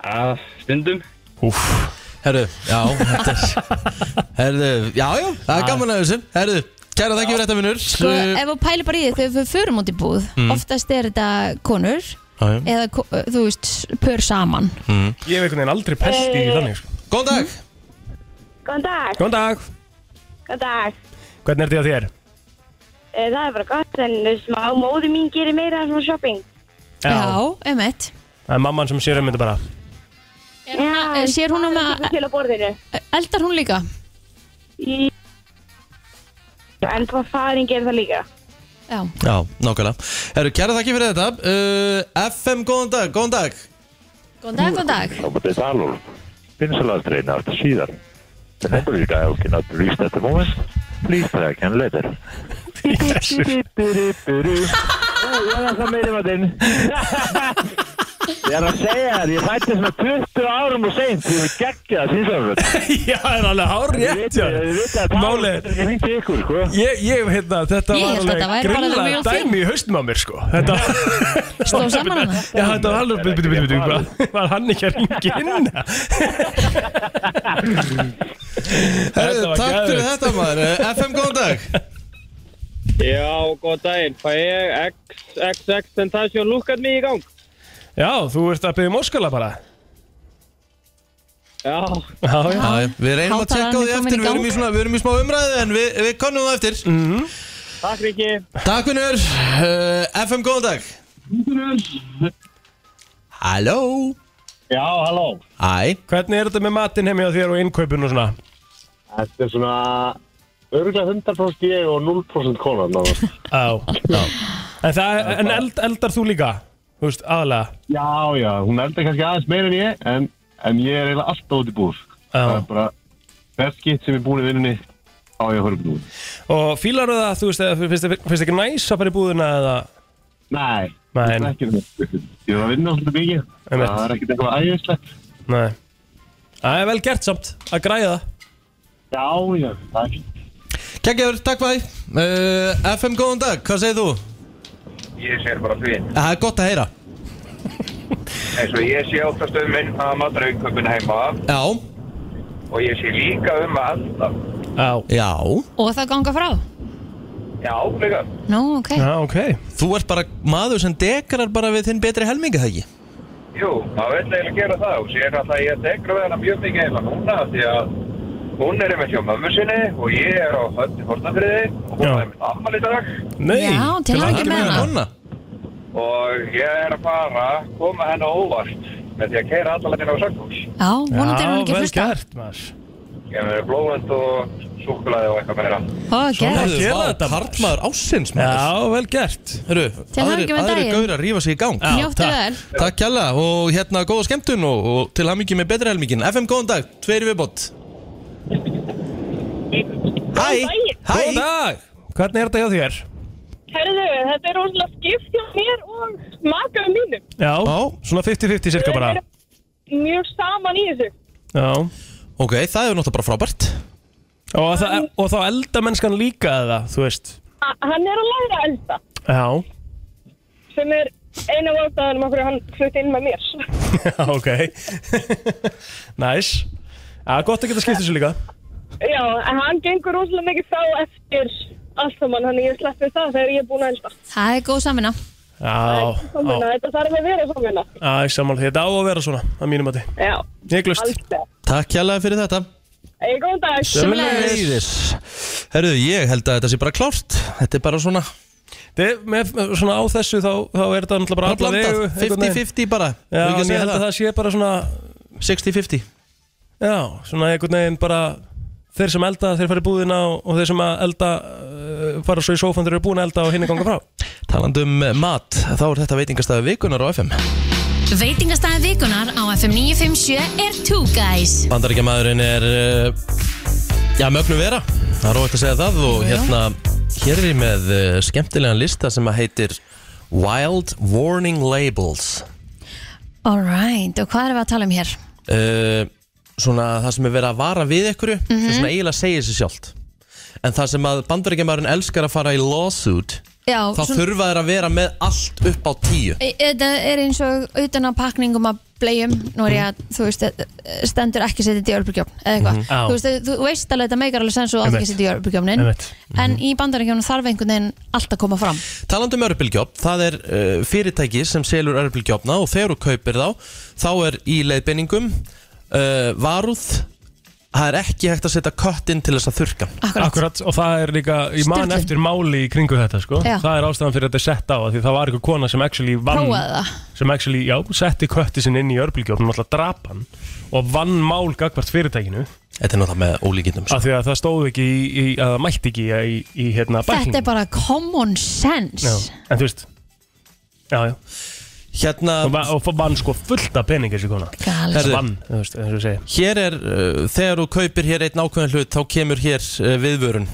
Já,
Ah.
stundum.
Úff
Herru, já, þetta er Herru, já, já, það er gaman að þessu Herru, kæra þekki fyrir þetta vinnur Eh,
Sko, ef þú pælir bara í því þegar við förum út í búð
Mm.
oftast er þetta konur
Góðan
eða, ko- eh, þú veist, pör saman
Ég hef einhvern veginn aldrei pest í
Eh.
þannig sko.
Mm. dag
Góðan dag.
Góðan dag,
Góðan dag.
hvernig er þetta hjá þér?
Eh, Það er bara gott en smá móði mín gerir meira en svona shopping.
Já, um mitt
Það er mamman sem sér um þetta bara
Já,
sér hún um
það
að E,
er til á borðinu.
eldar hún líka?
Í- En hvað farin gerir það líka?
Já,
Já, nákvæmlega Herru, kæra þekki fyrir þetta uh, FM, góðan dag, góðan dag
góðan dag, góðan dag
Nú maður þetta alveg pinnsalaðstreina aftur síðan. The number you dialed cannot be reached at the moment. Please try again later.
Jesus.
Bú, ég er alltaf meiri matinn. Ég er að segja þér, ég fætti svona 20 árum og seint Ég er geggjað að sínsafrönd
Já, það er alveg hár rétt
Ég veit að það
Málið
er ekki hringt í ykkur, sko
Ég, ég,
Ég
hérna, þetta var
hélt að þetta
alveg
væri bara
grilla
mjög fínt.
dæmi í haustum á mér, sko Þetta
Stóð saman hana?
Já, þetta var alveg, byrju, byrju, byrju, byrju Var hann ekki að ringi inn?
Herðu,
var
takk fyrir
geðveikt.
þetta maður Eh, FM, góðan dag
Já, góð daginn. Fæ ég XXX Tentacion Look at Me í gang?
Já, þú ert að byrja morskala bara
Já.
Já, já
Já, já, Við reynum að tjekka á því
Hátalarinn er
eftir,
komin í
við erum í,
gang.
svona, við erum í smá umræði en við, við konum það eftir
Mhm.
Takk, Riki.
Takk vinnur, uh, FM góðan dag Halló
Já, halló
Æ,
Hvernig er þetta með matinn heimja þér og innkaupin og svona?
Þetta er svona örgulega 100% ég og 0% konan náðast.
Já, já En, það, en eld, eldar þú líka? Þú veist, aðalega
Já, já, hún eldar kannski aðeins meira en ég en, en ég er eiginlega alltaf út í búð sko. Það er
Já
bara hvert skitt sem ég er búin í vinnunni á ég að höra upp nú
Og fílar það, þú veist, eða finnst þér- finnst þér ekki næs að fara í búðina eða
Nei,
Nei.
þetta er ekki neitt. Ég er að vinna svolítið mikið
Einmitt.
Það er ekkert eitthvað æðislegt
Nei Það er vel gert samt, að græða það
Já, já, það er
kekkjaður, takk bæ uh, FM góðan dag, hvað segir þú? Eh,
Ég sé bara fín.
Það er gott að heyra
Eins og ég sé oftast um minn að matarauköpun heima
Já,
og ég sé líka um að alltaf.
Já,
já,
Og það ganga frá?
Já, líka.
Nú, ok.
já ok
þú ert bara maður sem dekrar bara við þinn betri helminga það ekki
Jú, það vil eiginlega gera það og sér alltaf að ég tekur við hana mjög mikið eiginlega núna af því að hún er einmitt hjá mömmu sinni og ég er á höndi hortnafriði og hún
Já.
er einmitt ammali dag
Nei,
Já, til hamingju
hamingju
með
með
hana.
hana.
Konna,
og ég er að fara að koma henni á óvart með því að keira allalegin á Sökkús.
Já, vonandi er hún ekki
Já,
að
vel
hlusta.
gert, maður
Ég með blóðend og súkulaði og eitthvað meira.
Ó, gert.
Herðu,
gera
vá,
þetta, maður.
karlmaður ásins maður
Já, vel gert
Hörru,
Til hamingju
aðrir
með
aðrir
daginn.
gaurar rífa sig í gang
Já,
Njóttu
takk.
vel.
Takk kjalla og hérna góða skemmtun og, og til hamingi með betri helmingin FM góðan dag, tveir í viðbót Hæ, hæ
Góðan dag, hvernig er þetta hjá þér?
Herðu, þetta er rosalega skipt hjá mér og makaðu mínum.
Já,
Já.
svona 50-50 cirka bara
Mjög saman í þessu.
Já
Ok, það er náttúrulega bara frábært
Og, það, og þá eldamennskan líka eða, þú veist
A hann er að læra að elda,
Já,
sem er eina ástæðanum af hverju hann flutti inn með mér.
já, ok Næs Já, gott að geta skipt þessu líka
Já, en hann gengur rosalega mikið frá eftir allt saman, þannig ég sleppi það þegar ég er búin að elda.
Það er góð samvinna.
Já,
Samvinna, þetta þarf að vera samvinna.
já, ég sammála því. þetta á að vera svona, að mínum að þið
Já,
Ég glust,
alls það.
Takk kjalla fyrir þetta
Eða góðan dag.
Sömulegis Herruðu, ég held að þetta sé bara klárt Þetta er bara svona
Þið, með, með- svona á þessu þá, þá er þetta náttúrulega bara alla
blandað,
vegu, einhvern veginn.
50-50 bara
Já,
hérna- Þú
en
ekki að
ég
segja
held að
það?
það sé bara svona
60-50
Já, svona einhvern veginn bara Þeir sem elda, þeir fara í búðina og, og þeir sem að elda uh, fara svo í sófan þeir eru búin að elda og hinni ganga frá
Talandi um eh, mat, þá er þetta veitingastæði vikunar á FM
Veitingastæði vikunar á FM 957 er Two Guys
Bandaríkjamaðurinn er eh, Já, mögnu vera Það er óvægt að segja það og hérna Hér er ég með eh, skemmtilegan lista sem að heitir Wild Warning Labels
All right, og hvað erum við að tala um hér?
uh, Svona það sem er verið að vara við einhverju mm -hmm. Svona eiginlega segir sér sjálft En það sem að bandaríkjamaðurinn elskar að fara í lawsuit
Já,
Þá þurfa þeir að vera með allt upp á tíu
E- Þetta er eins og utan á pakningum að bleiðum nú er ég að, þú veist, eh, stendur ekki setið í örbyrgjófn eða
Mhm.
eitthvað
Já.
þú, veist, þú veist alveg þetta meikar alveg sens og átt
Einmitt.
ekki setið í örbyrgjófnin
Einmitt.
Mhm.
en í bandaríkjónu þarf einhvern veginn allt að koma fram
Talandi um örbylgjófn, það er uh, fyrirtæki sem selur örbylgjófna og þegar þú kaupir þá, þá er í leiðbeiningum uh, varúð það er ekki hægt að setja köttinn til þess að þurrka hann.
Akkurat,
Akkurat, og það er líka, ég man
Sturlun.
eftir máli í kringu þetta sko
Já.
Það er ástæðan fyrir að þetta er sett á af Því það var eitthvað kona sem actually vann
prófaði það
Sem actually, já, setti kötti sinn inn í örbylgjófnum Alltaf drap hann Og vann mál gagvart fyrirtækinu
Þetta er náttúrulega með ólíkindum sko.
Af því að það stóð ekki í, í að það mætti ekki í, í, í hérna
Þetta er
bæklingum.
bara common sense
Já, en þú veist Já, já,
Hérna,
og, va- og vann sko fullt af pening þessi kona
Gals.
Herðu.
Vann, þú veist, eins og ég segi
hér er uh, þegar þú kaupir hér einn ákveðin hlut þá kemur hér uh, viðvörun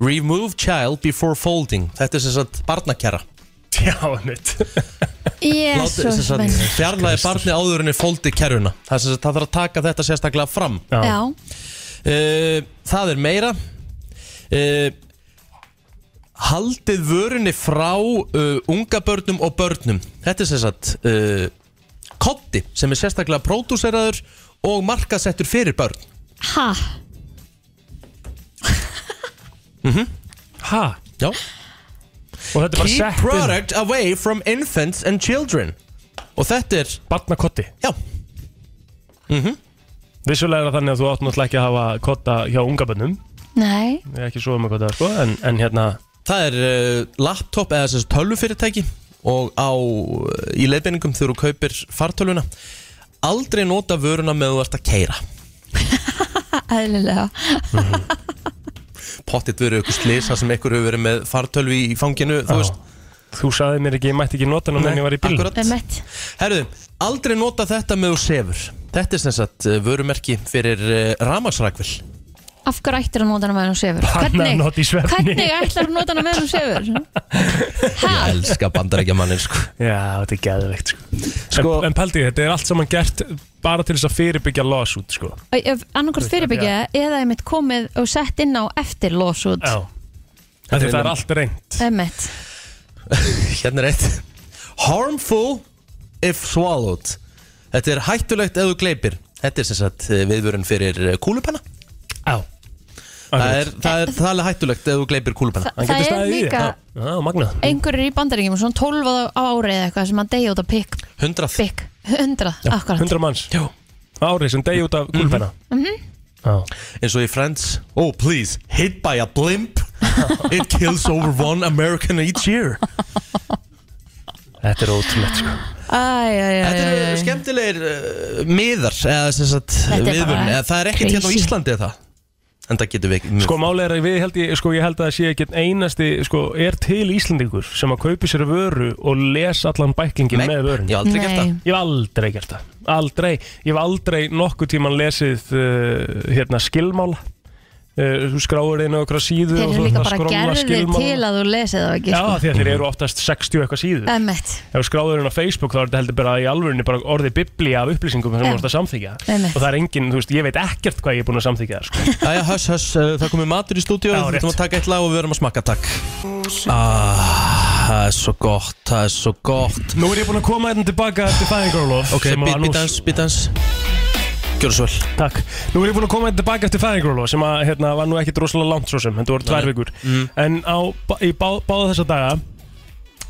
Remove child before folding Þetta er sem sagt barnakjara
Já, mitt
Jésús minn
Fjarlæði barni áður en er fóldi kerfuna Það, er sem sagt- það þarf að taka þetta sérstaklega fram
Já,
Eh, Það er meira uh, Haldið vörunni frá uh, unga börnum og börnum Þetta er sem sagt uh, Kotti sem er sérstaklega pródúseraður og markasettur fyrir börn
ha,
Ha?
Já
Og þetta er bara
Mhm. Keep
sett inn-
product away from infants and children Og þetta er
Barnakotti
Já Mhm.
Vissulega er það þannig að þú átt náttúrulega ekki að hafa kotta hjá unga bönnum
nei
Ég er ekki svo um að kotta sko En, en hérna
Það er uh, laptop eða þessi tölvufyrirtæki og á, uh, í leiðbeiningum þegar þú kaupir fartölvuna aldrei nota vöruna með þú ert að keira
eðlilega
Mhm.
pottitt verið ykkur slisa sem ykkur hefur verið með fartölvi í fanginu þú veist,
Þú sagði mér ekki, ég mætti ekki nota hann
Nei,
meðan ég var í bíl
akkurat.
Emmett,
herruðu, aldrei nota þetta með þú sefur þetta er sem sagt uh, vörumerki fyrir uh, ramagsrækvel
af hverju ættir að nota hana meðan hún sefur?
Banna að nota í svefni.
Hvernig ætlar að nota hana meðan hún sefur? Ha,
elska bandarækja mannin sko.
Já, þetta er geðveikt sko.
Sko-
En, en pældi ég, þetta er allt saman gert bara til þess að fyrirbyggja lawsuit sko.
annarkort fyrirbyggja eða einmitt komið og sett inn á eftir losút
Já Þetta er, það er allt reynd
Emmett,
hérna er eitt harmful if swallowed þetta er hættulegt ef þú gleipir þetta er sem sagt uh, viðvörun fyrir uh, kúlupenna
Já
það er, það er, það er alveg hættulegt ef þú gleipir kúlupenna
það er líka
Já, já magna
einhverjir í bandaríkjum, svona 12 á- á ári eða eitthvað sem að deyja út af pikk,
100
pikk 100, akkurat
100 manns Já Árið sem degi út af gulpenna mm
Mhm.
-hmm.
Mhm. eins og í Friends Oh please, hit by a blimp It kills over one American each year
Þetta er ótrúlegt sko.
Æ, æ, æ,
Þetta
æ,
eru
æ.
skemmtilegir uh, miðar eða sem sagt
Eh, Þetta er bara
viðvörun eða það er ekkert hérna á
crazy.
Íslandi eða það en það getur við ekki
sko máli er að við held ég sko, ég held að það sé ekki einasti sko, er til Íslandingur sem að kaupi sér vöru og les allan bæklingin
Nei,
með vörun
ég hef aldrei
Nei.
Ég hef aldrei gert
gert það
það, aldrei Ég hef aldrei nokkuð tíman lesið uh, hérna skilmál uh, Þú skráir inn á okkur síðu
Þeir
og
eru
þú
líka
ert að
bara
skrolla
gerðir
skilmál.
til að þú lesið þá ekki
Já,
sko.
því að þeir eru oftast 60 eitthvað síður
Emmett,
Ef þú skráður inn á Facebook þá er þetta heldur bara í alvörinni bara orðið biblía af upplýsingum sem
Já.
þú ert að samþykja
Einmitt.
og það er engin, þú veist, ég veit ekkert hvað ég er búin að samþykja þar, sko.
Jæja, höss, höss, uh, það komið matur í stúdíu
Já,
Við
rétt.
þurfum að taka eitt lag og við verum að smakka takk ah, Það er svo gott, það er svo gott
Nú er ég búin að koma hérna tilbaka til fæðingarólóf
Ok, bít, bítans, bítans Gjörðu svo vel
Takk. Nú er ég búin að koma hérna tilbaka eftir fæðingarólof sem að hérna, var nú ekkit rosalega langt svo sem, þetta voru tvær vikur.
Mm.
En á, í bá, báða þessa daga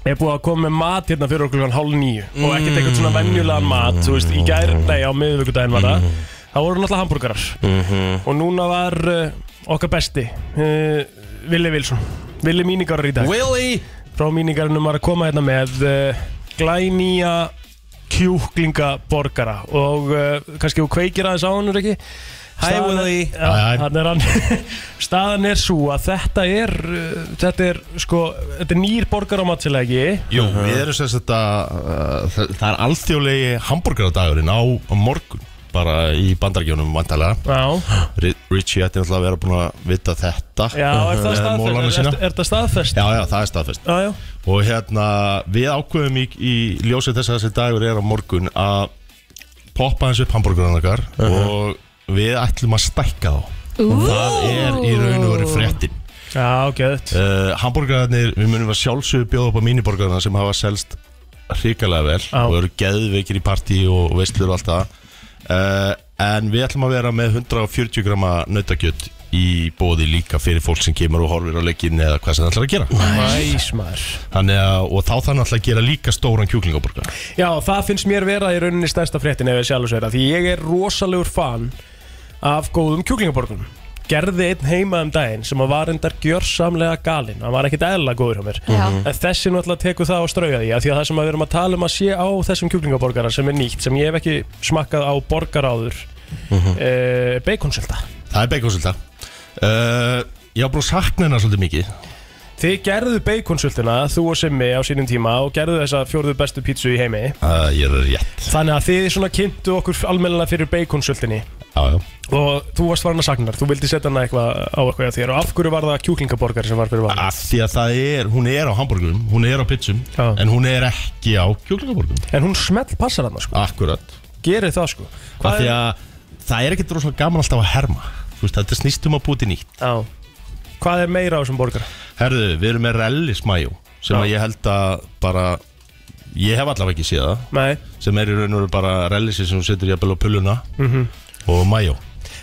er búið að koma með mat hérna fyrir okkur hálf nýju og
Mm.
ekkert eitthvað svona venjulegan mat, þú veist, í gær, nei á miðvikudaginn var
Mm.
það. Það voru náttúrulega hambúrgarar
Mhm.
og núna var uh, okkar besti, uh, Vili Vilsson, Vili Míningarar í dag.
Willy
Frá Míningarunum var að koma hérna með uh, glænýja kjúklingaborgara og uh, kannski þú kveikir aðeins á hann, er ekki?
Hæ
Staðan-
Willy
Já, hann er hann Staðan er svo að þetta er uh, Þetta er sko Þetta er nýr borgar á matselegi
Jú, við erum sem sagt að uh, það það er alþjóðlegi hambúrgaradagurinn á á morgun bara í bandarækjónum vantarlega
Já,
Richie ætti náttúrulega að vera búin að vita þetta
já er það
Með mólana
staðfest?
sína.
Er, er, er það staðfest?
Já, já, það er staðfest
Já, já,
Og hérna, við ákveðum í, í ljósið þess að þessi dagur er á morgun að poppa hans upp hambúrgarana okkar og við ætlum að stækka þá Það er í raun og veru fréttin
já, geðut
uh, Hamburgararnir, við munum að sjálfsögðu bjóða upp á míniborgarna sem hafa selst hrikalega vel
Já.
og eru geðveikir í partí og veistlur og allt það uh, en við ætlum að vera með 140 grama nautakjött í bóði líka fyrir fólk sem kemur og horfir á leikinn eða hvað sem það ætlar að gera
Næs maður
Þannig að, og þá þannig ætlar að gera líka stóran kjúklingaborgar
Já, það finnst mér vera í rauninni stærsta fréttin ef ég sjálf sveita Því ég er rosalegur fan af góðum kjúklingaborgum Gerði einn heima um daginn sem að var endar gjörsamlega galinn Hann var ekkit eðla góður hjá mér
Já.
En þessi náttúrulega tekur það og strauja því af Því að það sem að við erum að tala um að sé á þessum kjúklingaborgara sem er nýtt Sem ég hef ekki smakkað á borgaráður mm
Mhm.
-hmm. e, Baconsölda
Það er beikonsölda uh, Ég á bara sakna hennar svolítið mikið
Þið gerðu baconsöldina, þú og Simmi á sínum tíma Og gerðu þessa fjórðu bestu pítsu í heimi
uh, Ég er rétt
Þannig að þið svona kynntu okkur almennilega fyrir baconsöldinni
já.
og þú varst farin að sakna hennar, þú vildi setja hana eitthvað á eitthvað hjá þér og af hverju var það kjúklingaborgari sem var fyrir vann?
Af því að það er, hún er á hambúrgurum, hún er á pizzum En hún er ekki á kjúklingaborgum
En hún smell passar hann sko
Akkurat
Gerið það sko
Af því að það er ekkert rosalega gaman alltaf að herma Þú veist, þetta snýst um að búti nýtt
Já Hvað er meira á þessum borgar?
Herðu, við erum með rellismæjó Sem
Já.
að ég held að bara Ég hef allavega ekki séð það
Nei.
Sem er í raun og veru bara rellisi sem hún setur jafnvel á pulluna
Mhm.
Og mæjó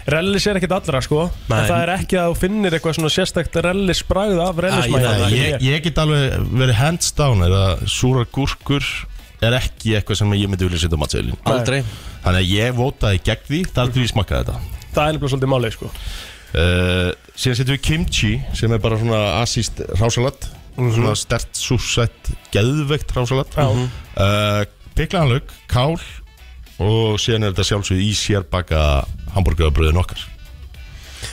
Rellis er ekkert allra sko
Nei.
En það er ekki að þú finnir eitthvað svona sérstakt rellis bragð af rellismæðan
Æ, ég, ég get alveg verið hands down er að súrar gúrkur er ekki eitthvað sem ég myndi vilja setja á matseðilinn
Aldrei.
Þannig að ég votaði gegn því þar til ég smakkaði þetta
Það er nefnilega svolítið málið sko
uh, Síðan setjum við kimchi sem er bara svona asíst rásalat svona stert súsætt geðveikt rásalat
Mhm. Já.
Mhm.
uh, Piklaðanlaug, kál og síðan er þetta sjálfsögð í sér baka hambúrgöðabröðin okkar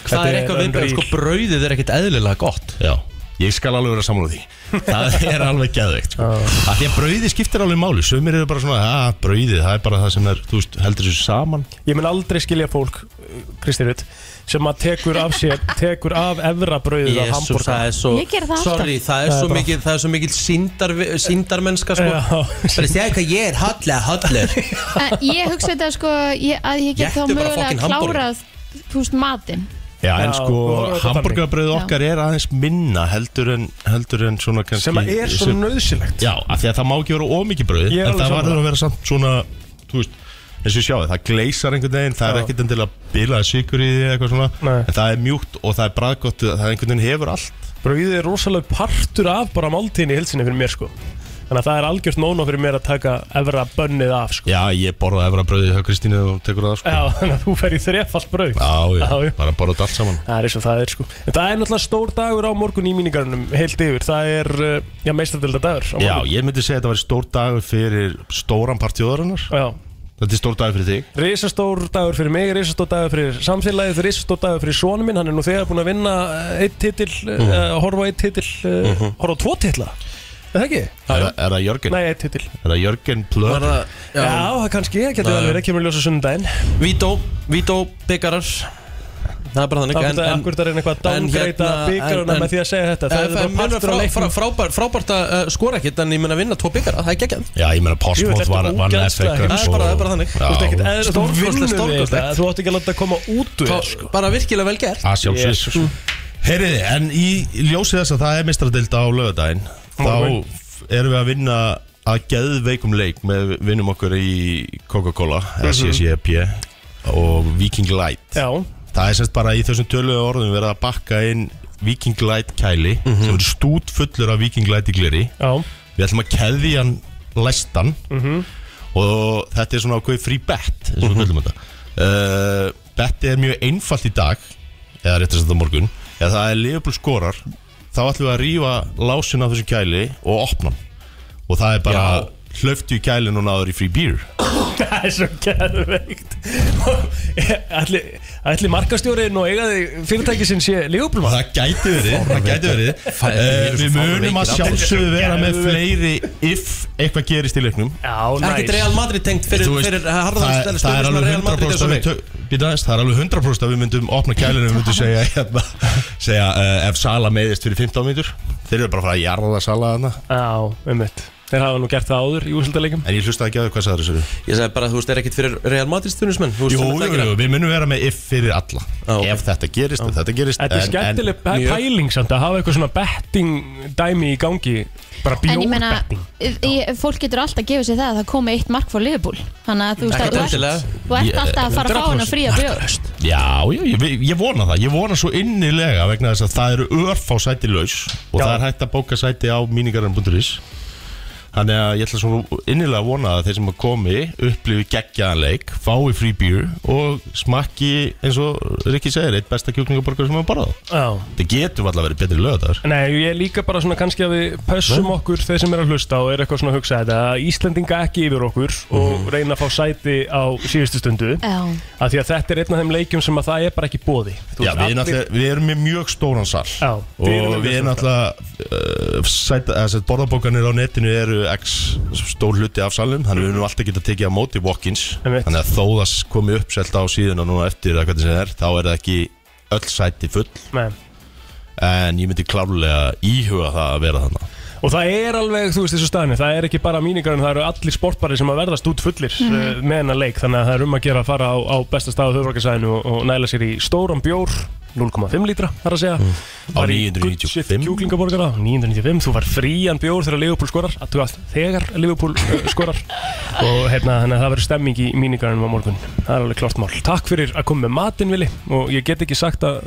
Það er eitthvað viðbjörn, sko brauðið er ekkert eðlilega gott
Já, ég skal alveg vera sammála því Það er alveg geðveikt sko. Af Því að brauðið skiptir alveg máli Sumir eru bara svona, að brauðið, það er bara það sem er Þú veist, heldur þessu saman
Ég mun aldrei skilja fólk, Kristi Rutt sem að tekur af sér, tekur af evra brauðið af
Jésu,
hambúrgar
það er svo
Ég geri það alltaf.
Sorry, það er
Það er
svo
bara-
mikil Það er svo mikil síndar, síndarmennska sko. Bara segja hvað ég er hallega hallega
Eh, Ég hugsa þetta sko ég, að ég get
Éttu
þá
bara
mögulega
fucking hamborgara.
klárað púst matinn
Já, en
Já,
sko,
þú horfir á þetta
hambúrgarbrauðið
þannig.
okkar er aðeins minna heldur en, heldur en svona kannski
sem að er svo
sem-
nöðsilegt
Já, af því að það má ekki vera ómikið brauð
Ég er
En
alveg
það
sammála.
varður að vera samt svona, þú veist eins og sjáðu, það gleysar einhvern veginn það
Já.
er ekkert endilega bilaði sykur í því eða eitthvað svona
Nei.
en það er mjúkt og það er bræðgott það einhvern veginn hefur allt
Brauðið er rosalega partur af bara máltíðin í hilsinni fyrir mér sko Þannig að það er algjört nóna fyrir mér að taka evra bönnið af sko
Já, ég borða efra brauðið hjá Kristínu og tekur það sko
Já, þannig að þú fer í þrefald brauð
Já, já,
Já, já.
bara borða þetta allt saman
Það er eins og það er sko En það er náttúrulega stór dagur á morgun í míningarunum heilt yfir Það er, uh, já, meistardölda dagur á
Já,
morgun
ég myndi segja að þetta var stór dagur fyrir stóran partjóðarinnar
Já,
Þetta er stór dagur fyrir þig
Risastór dagur fyrir mig, risastór dagur fyrir samfélagið, risastór dagur fyrir sonu minn, hann er nú þegar búinn að vinna eh, einn titill, mm. uh, horfa á einn titill, uh, horfa á tvo titla, er það ekki?
Er, það- er það Jörgen?
Nei, einn titill.
Er það Jörgen Plöður?
það-
Já, það kannski, það getur
Nei.
alveg verið, kemur í ljósa sunnudaginn.
Vító, Vító byggarar Það er bara þannig
Akkur það- akkur það er eitthvað að
hérna,
downgrada bikarana með því að segja þetta. Það er bara partur af leiknum.
leiknum Frábært frábær, að uh, skora ekkert en ég menna að vinna tvo byggara Það er geggjað
Já, ég meina
Jú,
Postmót
þetta
var,
er
var
ógeðslega
nefn
heitt.
Það er bara- það er bara þannig.
Þú veist ekkert
Já,
eðra
Stórkostlegt,
stórkostlegt, stórkostlegt.
stórkostlegt.
Þú átt ekki að láta það koma út úr þér, sko.
Bara virkilega vel gert
að sjálfsvís Heyriði, en í ljósið þess að það er mistradilda á lögadaginn
Morgun.
Þá erum við að vinna að geðveikum leik með vinnum okkur í Coca-Cola, SSJP E og Viking Light
Já,
Það er semst bara í þessum tölugu orðum verið að bakka inn Viking Light kæli sem er stút fullur af Viking Light í gleri
Mhm. já, Mhm.
Við ætlum að keðja hann læstan og þetta er svona ákveð frí bett eins og við kallum þetta uh, Betti er mjög einfalt í dag eða réttir sem þetta morgun eða það er Liverpool skorar þá ætlum við að rífa lásin af þessu kæli og opna hann og það er bara
Já.
hlauftu í kælinu og náður í free beer
það er svo gerðveikt. Ætli, ætli markastjóriðin og eigaði fyrirtækisinn sé lífbúlmann?
Og það gæti verið, það gæti verið
Fá-
Eh, Við munum að
Fárveikir allir.
sjálfsögðu vera með fleiri if eitthvað gerist í leiknum
Já,
Ekkert
næs.
Real Madrid tengt fyrir,
Þú veist,
fyrir
það,
harðan
það er
stöðismar
alveg
Real Madrid
100%
eins og
að við
mig
tök- Bíddu aðeins, það er alveg 100% að við myndum opna kælinu og við myndum segja, hérna, segja uh, ef Sala meiðist fyrir 15 mínútur þeir eru bara að fara að jarða Sala þarna
Já, ummitt Þeir hafa nú gert það áður í úrslutaleikum
en ég hlusta ekki á þau hvað sagður þessu
Ég sagði bara, þú veist, er ekkert fyrir Real Madrid stöðismenn
Jú, jú, jú, við munum vera með if fyrir alla
Já, ok.
ef þetta gerist, ef þetta gerist
Þetta er
en- en-
skemmtileg pæ-
mjög.
pæling samt að hafa eitthvað svona betting dæmi í gangi Bara
En ég meina,
bjórbetting
ég- fólk getur alltaf að gefa sér það að það komi eitt mark frá Liverpool Þannig að þú veist
Ekkert
að þú
endilega.
ert- þú ert
Ég-
alltaf að fara að fá hennar fría bjór
Já, já, ég, ég vona það, ég vona svo innilega vegna þess að það eru örf á sæti laus og
Já.
það er hægt að bóka sæti á míningarinn.is Þannig að ég ætla svo innilega að vona að þeir sem komi upplifi geggjaðan leik, fái free beer og smakki eins og Rikki segir, eitt besta kjúklingaborgar sem hafa borðað
Já
Það getur alltaf verið betri lögðar
Nei, ég er líka bara svona kannski að við pössum okkur þeir sem er að hlusta og er eitthvað svona að hugsa þetta að Íslendinga ekki yfir okkur
Mhm.
og reyna að fá sæti á síðustu stundu
Já,
af því að þetta er einn af þeim leikjum sem að það er bara ekki bóði
Já, við, allir... við erum með mjög stóran sal
Já,
og við eh, erum
allir
alltaf uh, sæta, borðabókanir á netinu eru eru x stór hluti af salnum þannig við erum alltaf geta tekið á móti walk-ins þannig að þó það komi uppselt á síðuna núna eftir eða hvernig sem það er þá er það ekki öll sæti full
Nei.
en ég myndi klárlega íhuga það að vera þannig
Og það er alveg, þú veist, þessu staðinu, það er ekki bara míningarinn, það eru allir sportbari sem að verðast út fullir mm.
Mhm.
með hennar leik, þannig að það er um að gera að fara á, á besta stað á höfvarkasæðinu og, og næla sér í stóran bjór, 0,5 lítra, þar að segja.
Á
Bara í
995
kjúklingaborgara, 995, þú fær frían bjór þegar Liverpool skorar, að þú veist, þegar Liverpool uh, skorar og hérna, þannig að það verður stemming í míningarinn á morgun, það er alveg klart mál. Takk fyrir að koma með matinn, Vili, og ég get ekki sagt að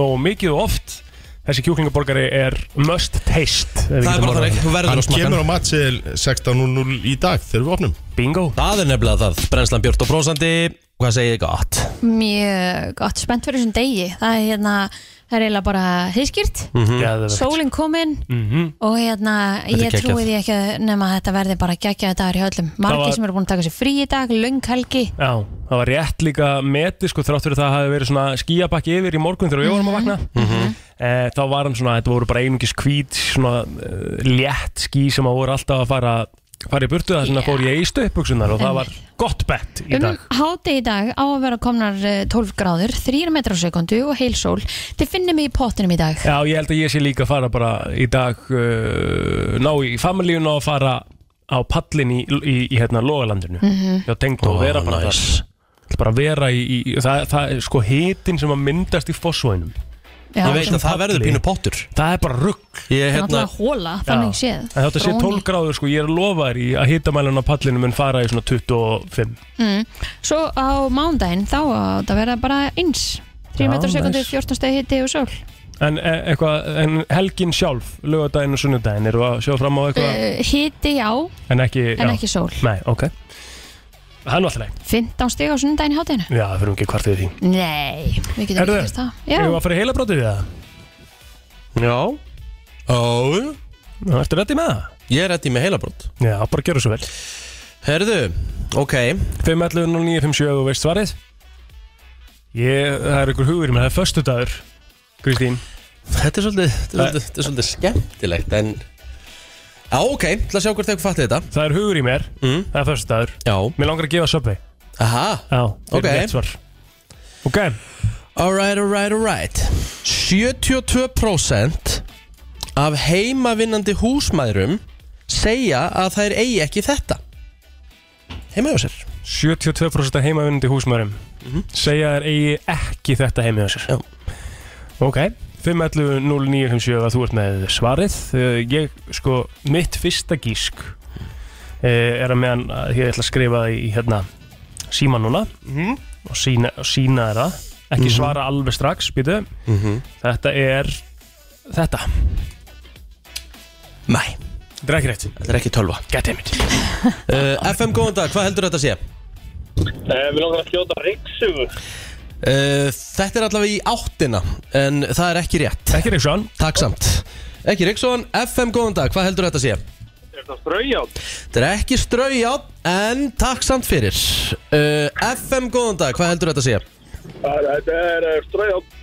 nóg mikið og oft Þessi kjúklingaborgari er must taste ef við getum orðað
Hann kemur á matseðil 16.00 í dag þegar við opnum
Bingo
Það er nefnilega það, brennslan Björn og Brósandi Hvað segir þið gott?
Mjög gott, spennt fyrir þessum degi Það er hérna, það er eiginlega bara heiskýrt
Mhm. Geðveikt.
Sólin komin
Mhm.
Og hérna,
Þetta er
ég
geggjað.
trúi því ekki að- nema að þetta verði bara geggjaði dagur hjá öllum Margir
var-
sem eru búin að taka sér frí í dag, löng helgi
Já, það var rétt líka meti sko þrátt fyrir það hafi verið svona skíabakki yfir í morgun þegar við vorum að vakna
Mhm.
mm þá var hann svona, þetta voru bara einungis hvít svona uh, létt skí sem að voru alltaf að fara fara í burtu þess vegna fór ég í stöpbuksunar og það var gott bett í dag
Um háti í dag á að vera komnar eh, 12 gráður, 3 metrar á sekundu og heil sól Þið finnum mig í pottinum í dag
Já, ég held að ég sé líka að fara bara í dag uh, ná í familíun og fara á pallin í, í, í hérna logalandinu
Mhm.
Já, tengd og
Ó,
vera bara
nice.
þar bara vera í, í það, það er sko hitin sem að myndast í fósvænum
Já,
Ég veit að það verður pínu pottur
Það er bara rugg
Ég,
Það er
hérna,
náttúrulega hóla, þannig séð
En þetta sé
Brún í
12 gráður sko, ég er lofaður í að hitamælun á pallinu mun fara í svona 25
Mm. Svo á mándaginn þá á þetta að vera bara eins 3
Já,
metrar sekundu,
nice.
14 stegi hitti og sól
En, e eitthvað, en helgin sjálf, lögadaginn og sunnudaginn, eru að sjá fram á eitthvað
uh, Hitti já,
En ekki,
en
já.
ekki sól.
Nei, ok Það er nú alltaf leið
15 stegi á sunnudaginn hátinu
Já, það fyrir ekki hvart við því
Nei, við getum
Herðu,
ekki gert það
Erum
Já,
við að fara í heila brotið við það? Já
Ó
Ná, ertu reddi með það?
Ég er reddi með heilabrót
Já, bara gera svo vel
Herðu, ok
511 og 957 og veist svarið Ég, það er ykkur hugur í mér, það er föstudagur Kristín
Þetta er svolítið, þetta er svolítið, þetta er svolítið skemmtilegt En Já, ok, til að sjá hvort þau fatti þetta
Það er hugur í mér,
mm.
það er föstudagur
Já
Mér langar að gefa söpvi
Aha
Já, það
Ok.
er rétt svar Ok
Alright, alright, alright 72% af heimavinnandi húsmæðrum segja að þær eigi ekki þetta Heima hjá sér Mhm.
72% af heimavinnandi húsmörum segja þær eigi ekki þetta heima hjá sér
Já.
ok 511-0957 að þú ert með svarið Eh, ég sko mitt fyrsta gísk eh, er að meðan að ég ætla að skrifa það í hérna síma núna
Mhm.
og sína, og sína er það ekki
Mhm.
svara alveg strax býtu
Mhm.
þetta er þetta
Nei
þetta er ekki rétt
Þetta er ekki tölva
Goddammit
uh, FM, góðan dag, hvað heldur þetta að sé?
Við Eh, langar að skjóta ríksugur
Uh, þetta er allavega í áttina En það er ekki rétt
Ekki Ríksson
Takk samt Ekki Ríksson, FM góðan dag, hvað heldur þetta að sé?
Er það straujátt?
Þetta er ekki strauja En takk samt fyrir uh, FM góðan dag, hvað heldur þetta að sé?
Þetta er
eh,
straujátt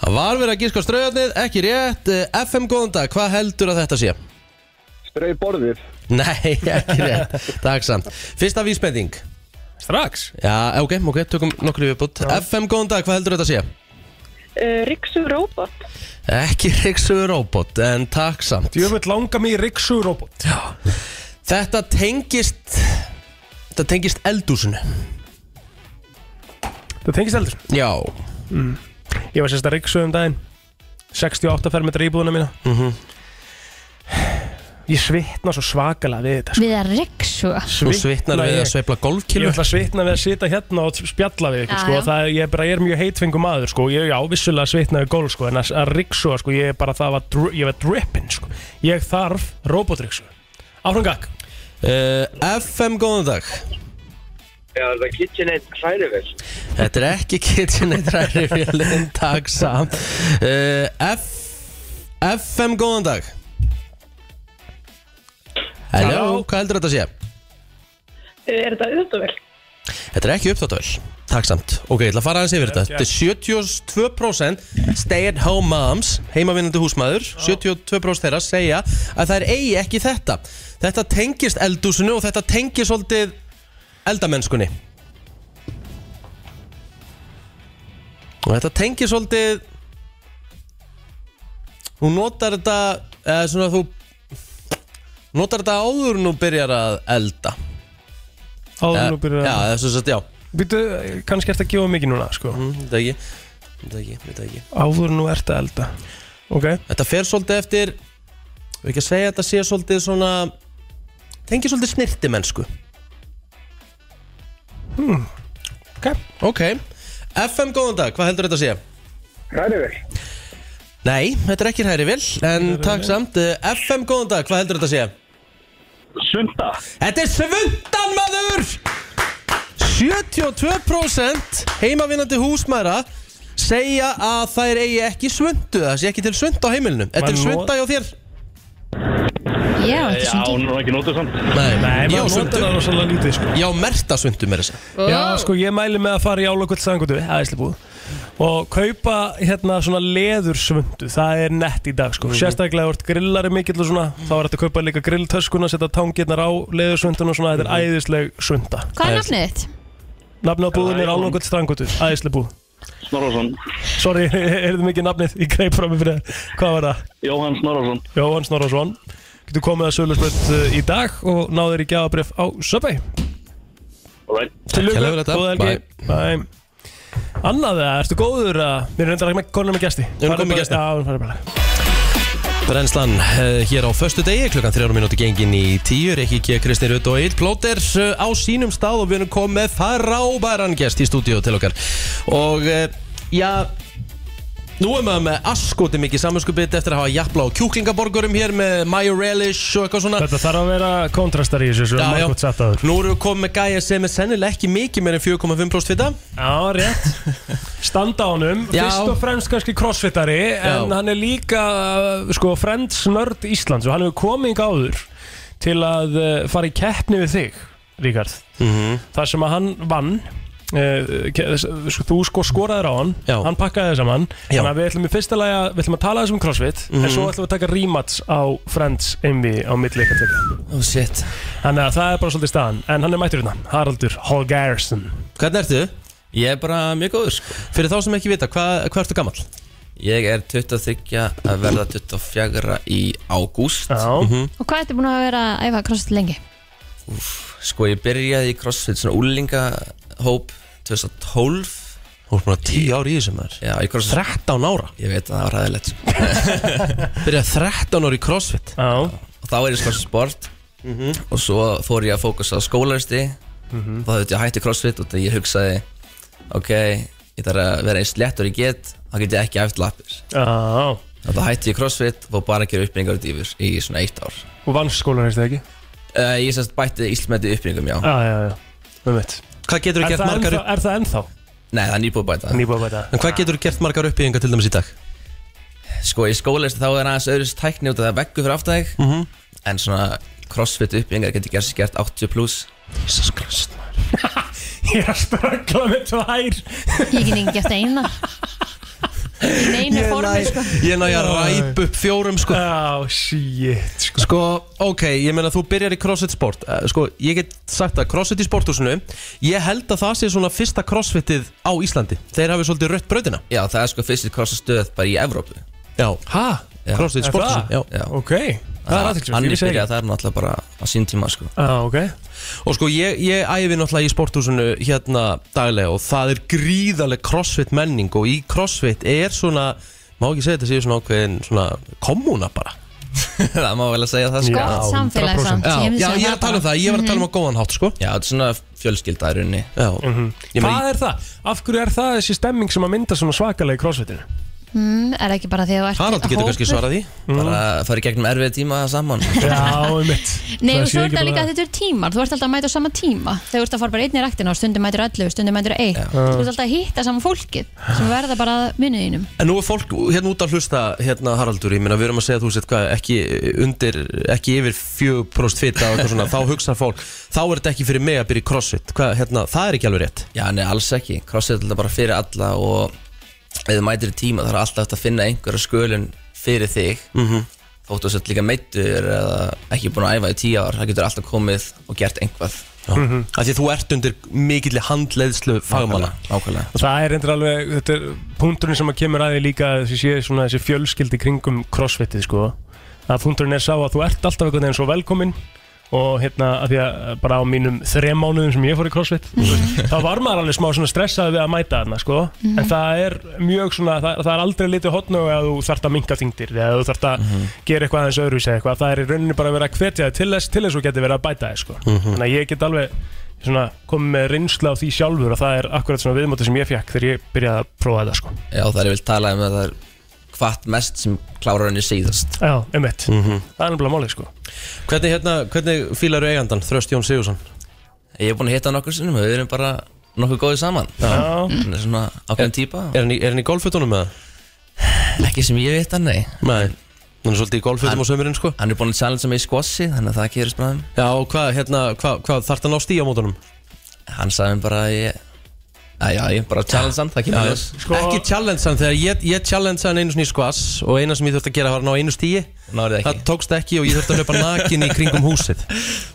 Það var verið að gíska á straujarnið, ekki rétt Uh, FM góðan dag, hvað heldur að þetta sé?
Strauborðið
Nei, ekki rétt Takk samt Fyrsta vísbending
strax
Já, ok, ok, tökum nokkur í viðbútt FM góðan dag, hvað heldur þetta að sé?
Ríksugur Eh, robot
Ekki Riksu robot, en takk samt
Ég vil langa mig í Riksu robot
Já. Þetta tengist Þetta tengist eldúsinu
það tengist eldur
Já
mm. Ég var sérst að ríksu um daginn 68 fermetra íbúðuna mína
Mhm.
-hmm. Ég svitna svo svakalega við þetta
við að riksu
Þú svitnar
ég.
við að sveifla
Ég
golfkilu
ætla að svitna við að sita hérna og spjalla við ykkur
Já,
sko.
já.
Það, ég, er bara, ég er mjög heitfengu maður sko. Ég er ávissulega að svitna við gólf sko. En að, að ríksu sko, Ég er bara það var, dr ég var drippin sko. Ég þarf robotríksu Áfram gag
uh, FM góðan dag
Já, það er KitchenAid hrærivel
Þetta er ekki KitchenAid ræðifjölin Takk samt uh, F FM góðan dag Hello,
Halló.
hvað heldur þetta að sé?
Er Eh, þetta auðvitaðvel?
Þetta er ekki uppdáttöl Takk samt Ok, ég ætla að fara aðeins yfir þetta Þetta er 72% stay at home moms Heimavinnandi húsmaður 72% þeirra segja að þær eigi ekki þetta Þetta tengist eldúsinu og þetta tengist svolítið eldamennskunni Og þetta tengist svolítið Þú notar þetta eða svona þú notar þetta áður en þú byrjar að elda
Áður en þú
Eh,
byrjar að
Já,
elda.
eða sem sagt, já
Býtu, kannski ert að gefa mikið núna, sko
Þetta ekki, þetta ekki, þetta ekki
Áður nú ert að elda Ok
Þetta fer svolítið eftir Við ekki að segja að þetta sé svolítið svona Tengir svolítið snirti mennsku
hmm.
Ok Ok FM góðan dag, hvað heldur þetta að sé? Hærivel Nei, þetta er ekki hærivel En takk samt Eh, FM góðan dag, hvað heldur þetta að sé? Sunda Þetta er svundan maður 72% heimavinnandi húsmæra segja að þær eigi ekki svundu Það sé ekki til svund á heimilinu Þetta er
Maður
svunda hjá þér
Já,
Eh,
ekki Já, sundur. hún er
ekki nótið samt Nei,
Nei,
ég á
maður
sundu
notar það rosalega lítið, sko
Já, merta sundu mér þess
Já, sko, ég mæli með að fara í álokvöld sangutu, aðeinslega búð og kaupa hérna svona leðursvundu það er nett í dag, sko
Mhm.
sérstaklega ef þú ert grillari mikill og svona þá er þetta að kaupa líka grilltöskuna, setja tangirnar á leðursvundun og svona, þetta er æðisleg svunda
Mhm. Hvað er nafnið þitt?
Nafnið á búðin er álokvöld strangutu, æðisleg búð Snorrason Sorry, heyrðu mikið nafnið, ég greip fram yfir það Hvað var það? Jóhann Snorrason Jóhann Snorrason Getur komið að sölusbrönd í dag og náður í gjafabref á Subway
Alright.
Til
Takk hérlega fyrir þetta.
lugu, góða helgi Bæ Annað það, ertu góður að Við erum reyndar ekki konum með gæsti
Við erum komin með gesti.
Já, við farum bara
Brennslan eh, hér á föstu degi, klukkan 3 minúti gengin í 10, Rikki G. Kristi Rutt og Eil Plóter eh, á sínum stað og við erum komið með farábæran gest í stúdíu til okkar og eh, já nú er maður með askoti mikið samanskupið eftir að hafa jafla á kjúklingaborgurum hér með mayo relish og eitthvað svona
Þetta þarf að vera kontrastar í þessu Svo
Já,
er
já.
margótt satt aður
Nú erum við komið með gæja sem er sennilega ekki mikið meir en 4,5% fita
Já, rétt Standa á honum
Já.
Fyrst og fremst kannski crossfitari En
Já.
hann er líka Sko, friends nörd Íslands Og hann hefur komið í gáður Til að eh, fara í keppni við þig Ríkard
Mhm.
Þar sem að hann vann eh, ke- þess- sko, Þú sko skoraðir á hann Já. Hann pakkaði þess að hann
Já.
Þannig að við ætlum í fyrsta lagi að Við ætlum að tala þessum um crossfit En
Mhm.
svo ætlum við að taka rematch á Friends Einvi á milli ykkar tekja
Oh shit
Þannig að það er bara svolítið staðan En hann er mættur hérna Haraldur Holgersen
Hvernig ertu?
Ég er bara mjög góður sko.
Fyrir þá sem ekki vita, hvað hva ertu gammal?
Ég er 23 að verða 24 í ágúst
Mhm.
Og hvað ertu búin að vera að æfa crossfit lengi?
Sko ég byrjaði í crossfit svona úlingahóp 2012
Þú er búin að 10 ári í þessum þar
Já, í crossfit
13 ára
Ég veit að það var sko. ræðilegt
Byrjaði 13 ári í crossfit
Já
Og þá er ég svona sport Og svo fór ég að fókusa á skólarsti
Mhm.
Þá þurfti ég að hætti crossfit og ég hugsaði Ok, ég þarf að vera eins léttur ég get Þá get ég ekki æft lappir
Já
Og þá hætti ég crossfit og fór bara að gera uppbyggingar og dýfur í svona eitt ár
Og vann skólan eða ekki?
Uh, ég semst bætti Íslandmæti uppbyggingum, já.
Já, já, já Með mitt
Hvað geturðu
Er
gert
það
margar
ennþá- Er það ennþá?
Nei, það er nýbúið að bæta.
Nýbúið að bæta.
En hvað getur þú gert margar uppbyggingar til dæmis í dag?
Sko, í skólaist þá er aðeins öðruðs tækni út af það er veggu fyrir aftæg
Mhm.
En svona crossfit uppbyggingar getur gerst gert 80 pluss
Jesus Christ
Ég er að ströggla með tvær
Ég get ekki gett eina Neinu formi sko
Ég næ að ræp upp fjórum sko
Já, shit sko.
sko, ok, ég meina þú byrjar í crossfit sport Eh, Sko, ég get sagt að crossfit í sporthúsinu Ég held að það sé svona fyrsta crossfitið á Íslandi Þeir hafi svolítið rött brautina
Já, það er sko fyrst crossfit stöð bara í Evrópu
Já, hæ? Crossfit
Er
sporthúsinu,
það?
já.
Já.
Ok, það er aðtilsum
Hann er byrjað þar náttúrulega bara á sín tíma, sko
Já, ok
Og sko, ég, ég æfi náttúrulega í sporthúsinu hérna daglega og það er gríðarleg crossfit menning og í crossfit er svona, má ekki segja þetta séu svona ákveðin svona kommuna bara
Það má vel að segja það, sko
Gott Já, samfélag 100%. samt, ég
Já,
myndi
já,
segja
ég
það
er að tala um
bara.
það, ég var að tala um
á góðan hátt, sko
Já, þetta er svona fjölskylda í rauninni
Já
mm
Mhm. Hvað er það? Af hverju er það þessi stemming sem að mynda svona svakalega í crossfitinu?
mm, Er ekki bara því að þú ert hópur?
því Bara að fara í gegnum erfið tíma saman Já,
um mitt
Nei, og svo er það líka að þetta eru tímar Þú ert alltaf að mæta á sama tíma Þegar þú ert að fara bara einn í ræktina og stundum mætur 11, stundum mætur 1 Þú ert alltaf að hitta saman fólkið sem verða bara að vinnu þínum
En nú er fólk hérna út að hlusta hérna Haraldur, ég meina við erum að segja þú sett hvað ekki undir, ekki yfir 4% fita og eitthvað svona, þá hugsa fólk þá er þetta ekki fyrir mig að byrja í crossfit hvað, hérna, það er ekki alveg rétt
Já, nei, alls ekki Crossfit er alltaf bara fyrir alla og ef þú mætir í tíma þá er alltaf hægt að finna einhverja skölun fyrir þig
Mhm.
þóttu að setja líka meittur eða ekki búin að æfa í tíu ár það getur alltaf komið og gert einhvað
Mhm.
Af því að þú ert undir mikill handleiðslu fagmanna
Nákvæmlega
Og Það er endur alveg, þetta er punkturinn sem að kemur aðið líka þessi sé svona þessi fjölskyldi kringum crossfitið sko að punkturinn er sá að þú ert alltaf einhvern veginn svo velkominn og hérna að því að bara á mínum þrem mánuðum sem ég fór í crossfit mm þá var maður alveg smá svona stressaði við að mæta þarna sko
Mhm.
en það er mjög svona, það, það er aldrei litið hotn og að þú þart að minka þingdir eða þú þart að gera eitthvað aðeins öðruvísi eða eitthvað það er í rauninni bara að vera að hvetja þig til þess til þess og geti verið að bæta þig sko
Mhm.
þannig að ég get alveg svona, komið með reynsla á því sjálfur og það er akkurat svona viðmóti sem ég fekk þegar ég byrjaði að prófa þetta sko.
Já, það er ég vil tala um að það er hvað mest sem klárar henni síðast
Já, einmitt,
Mhm.
það er nefnilega málið sko.
Hvernig, hérna, hvernig fílar þú eigandan, Þröst Jón Sigursson?
Ég er búin að hitta nokkur sinnum og við erum bara nokkuð góðið saman
Já.
Hann er svona ákveðin típa
Er hann í, er hann í golfutunum eða?
Ekki sem ég veit hann, nei
Nei, hann er svolítið í golfutum á sömurinn sko
Hann er búin að challengea mig í squashi, þannig að það gerist um. bráðum
Já, og hvað, hérna, hvað, hvað þarf það að ná stíja á mótunum?
Hann sagði mér bara að ég að já, ég bara challenge hann, það kemur þess
sko... Ekki challenge hann þegar ég, ég challenge hann einu sinni í squash og eina sem ég þurfti að gera var að ná einu stíi
Nárið
Það tókst ekki og ég þurfti að hlaupa nakin í kringum húsið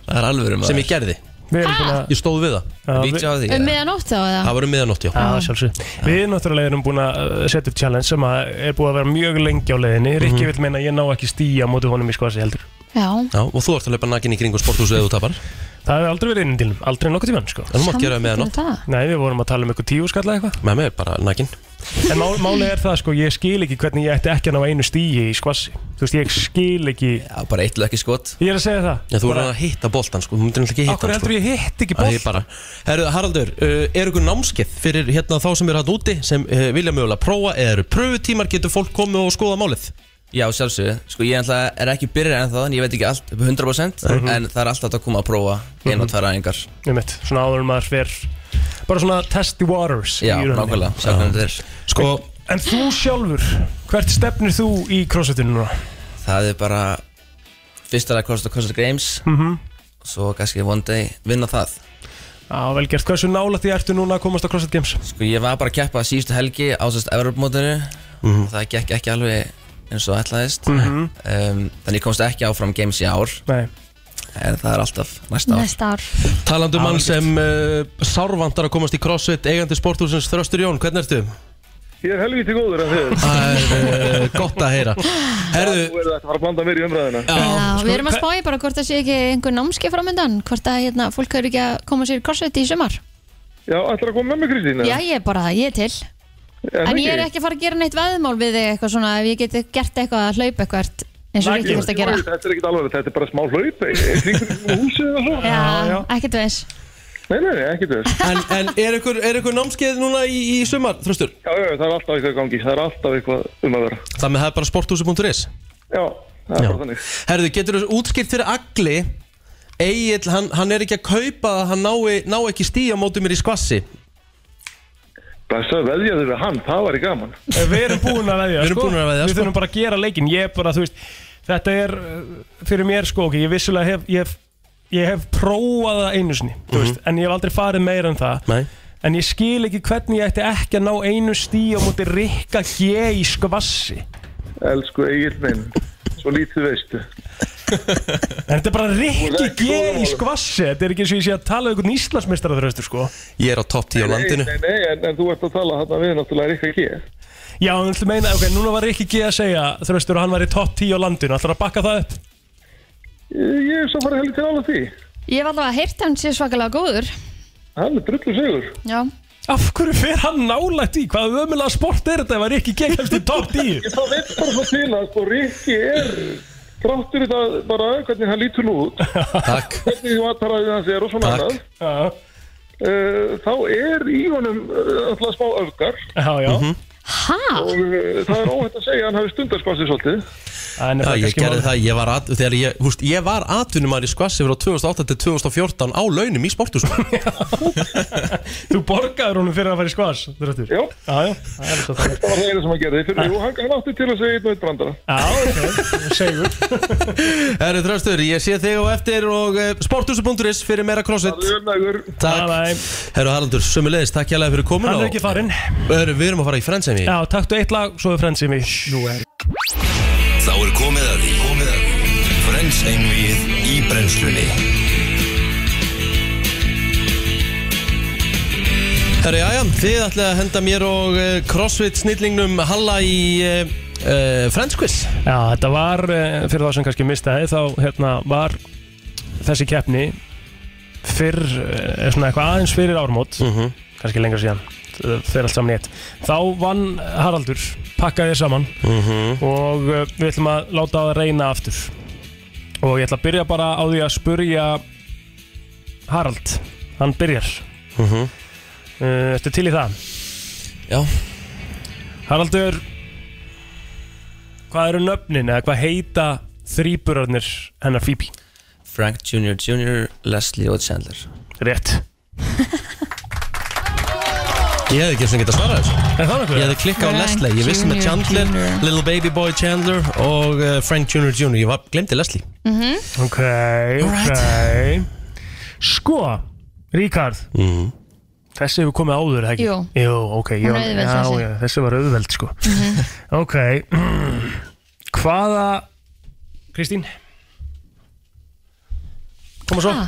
Það er alveg
Sem ég gerði Ég stóð við það
Vítja á
Um miðanótt þá eða?
Það var um miðanótt, já
Já, sjálfsög Við náttúrulega erum búin að uh, setja upp challenge sem að er búið að vera mjög lengi á leiðinni Rikki
Mhm.
vill meina að ég ná ekki stíja á móti honum í skoðasi heldur
Já,
Já, og þú ert að hlaupa nakin í kringum sporthúsið eða þú tapar
Það hefur aldrei verið inn til aldrei nokkuð tíman sko.
En þú mátt gera það um með nótt
það?
Nei, við vorum að tala um eitthvað tíu skalla eitthvað
Með mig, bara nakin
En mál, málið er það sko, ég skil ekki hvernig ég ætti ekki að ná einu stíi í skvassi Þú veist, ég skil ekki
Já, bara eitt lökki skot
Ég er að segja það
Já, þú verður að hitta boltan, sko, þú myndir náttúrulega ekki hitta
Akkur
hann, sko.
heldur ég hitt ekki
Það er
bolt
bara Herru, Haraldur, uh, er ykkur námskeið fyrir hérna þá sem eru hann úti sem uh, vilja mögulega prófa eða eru pröfutímar getur fólk komið og skoða málið
Já, sjálfsögðu, sko ég náttúrulega er ekki byrjar ennþá en ég veit ekki allt upp í 100%
Mhm.
en það er alltaf hægt að koma að prófa einu
Mhm.
og tvær æfingar
Einmitt, svona áður en maður fer Bara svona test the waters í
Já,
rauninni.
nákvæmlega, sjá hvernig þetta er
Sko,
En þú sjálfur, hvert stefnir þú í crossfitinu núna?
það er bara fyrsta að kosta CrossFit Games
Mhm.
svo kannski one day vinna það
Já, vel gert, hversu nála því ertu núna að komast á CrossFit Games?
Sko ég var bara að keppa síðustu helgi á sérst Evropamótinu
Mhm.
og það gekk ekki alveg eins og ætlaðist
Mhm.
um, þannig ég komst ekki áfram Games í ár
Nei.
en það er alltaf næsta ár
næsta ár
Talandi um mann sem uh, sárvandar að komast í crossfit eigandi sporthúsins Þröstur Jón, hvernig ertu?
Ég er helviti góður af þér
Það er uh, gott að heyra Herðu
Þú
Sko,
verður þetta að fara að blanda mér í umræðina
Já, sko, við erum að spája bara hvort það sé ekki einhver námski framöndan hvort að hérna, fólk er ekki að koma sér í korsveit í sumar
Já, ætlar að koma með mig Kristín?
Já, ég er bara, ég er til En ég er ekki að fara að gera neitt veðmál við þig eitthvað svona ef ég geti gert eitthvað að hlaupa eitthvað eins og Rikki þurft að gera
Þetta er ekkert alveg, þetta er bara smá hlaup eh, Kringum húsið og svo
Já, ekkert veins
Nei, nei, nei, ekkert þess
En, en er ykkur, er ykkur námskeið núna í, í sumar, Þröstur?
Já, já, það er alltaf eitthvað í gangi, það er alltaf eitthvað um að vera
Það með það er bara sporthúsi.is
Já, það er bara þannig
Herðu, getur þú útskipt fyrir agli Egil, hann, hann er ekki að kaupa að hann nái, ná ekki stíja mótið mér í skvassi
Blessa, veðjaðu við hann, það var í gaman
Við erum búin að veðja
Við erum
sko.
búin að veðja,
Við
sko.
þurfum bara að gera leikin Ég er bara, þú veist Þetta er uh, fyrir mér sko ok, Ég vissulega hef Ég hef, ég hef prófað það einu sinni þú veist, En ég hef aldrei farið meira en það
Mhm. Nei.
En ég skil ekki hvernig ég ætti ekki að ná einu stí á móti Rikka G í skvassi
Elsku Egil minn, svo lítið veistu
En þetta er bara Rikki G í skvassi Þetta er ekki eins og ég sé að tala um einhvern Íslandsmeistara þröstur sko
Ég er á topp 10 á landinu
Nei, nei, nei, en, en þú ert að tala hann að við náttúrulega er ekki að gera
Já, en ætlum meina, ok, núna var Rikki G að segja Þröstur að hann var í topp 10 á landinu Ætlar að bakka það upp?
Ég hef svo farið helviti alveg því
Ég hef allavega heyrt að hann sé svakalega góður
Hann er drullu sigur
Já,
Af hverju fer hann nálægt í? Hvað ömulega sport er þetta ef hann ekki kemst í topp 10?
Ég það veit bara svo til að sko Rikki er Tráttur í það bara hvernig hann lítur nú út
Takk
Hvernig mataræðið hans er og svona Eh,
Takk.
annað uh, Þá er í honum uh, alltaf smá öfgar
Mhm.
Já, já
Hæ?
Og eh, það er óhætt að segja að hann hafi stundarskvassið svolítið.
Já, ég gerði það, ég var, at, þegar ég, húst, ég var atvinnumæður í skvassi frá 2008 til 2014 á launum í sportusnum
Þú borgaður honum fyrir að fara í skvas Dröttur
Já
Já, já Það er svo það
Það var það eina sem hann gerði fyrir, jú, hann, hann átti til að segja einn og einn brandara.
Segur
Herri Þröstur, ég sé þig á eftir og uh, sportusu.is fyrir meira crossfit Takk Herru Haraldur, sömulegis, takk hjá fyrir komin
Hann er ekki farinn.
Við erum að fara í frendseimi
Já, takktu eitt lag, svo er frendsi mig Nú er
Þá er komið að því Komið að því Frens einvið í brennslunni
Herru, já, já, þið ætlaði að henda mér og uh, crossfit snillingnum Halla í uh, uh, frendskviss
Já, þetta var, eh, fyrir þá sem kannski mistaði þá hérna, var þessi keppni fyrr, eh, svona eitthvað aðeins fyrir ármót kannski lengra síðan eh, fyrir allt saman í eitt þá vann Haraldur, pakkaði saman
Mhm.
og eh, við ætlum að láta það reyna aftur og ég ætla að byrja bara á því að spurja Harald hann byrjar
Mhm.
Eh, Ertu til í það?
Já
Haraldur Hvað eru nöfnin eða hvað heita þrýburarnir hennar Phoebe?
Frank Jr. Jr., Leslie og Chandler
Rétt
Ég hefði ekki sem geta svarað þessu
Ég
hefði klikkað á Leslie, ég vissi með Chandler Little Baby Boy Chandler og uh, Frank Jr. Jr. Ég var, glemdi Leslie
Mhm.
Ok, ok Sko, Ríkard
mm.
Þessi hefur komið áður, er það ekki?
Jú.
Jú, ok
Hún er auðveld,
já,
þessi. Mhm.
já, þessi var auðveld, sko Ok Hvaða Kristín Koma svo
Ha?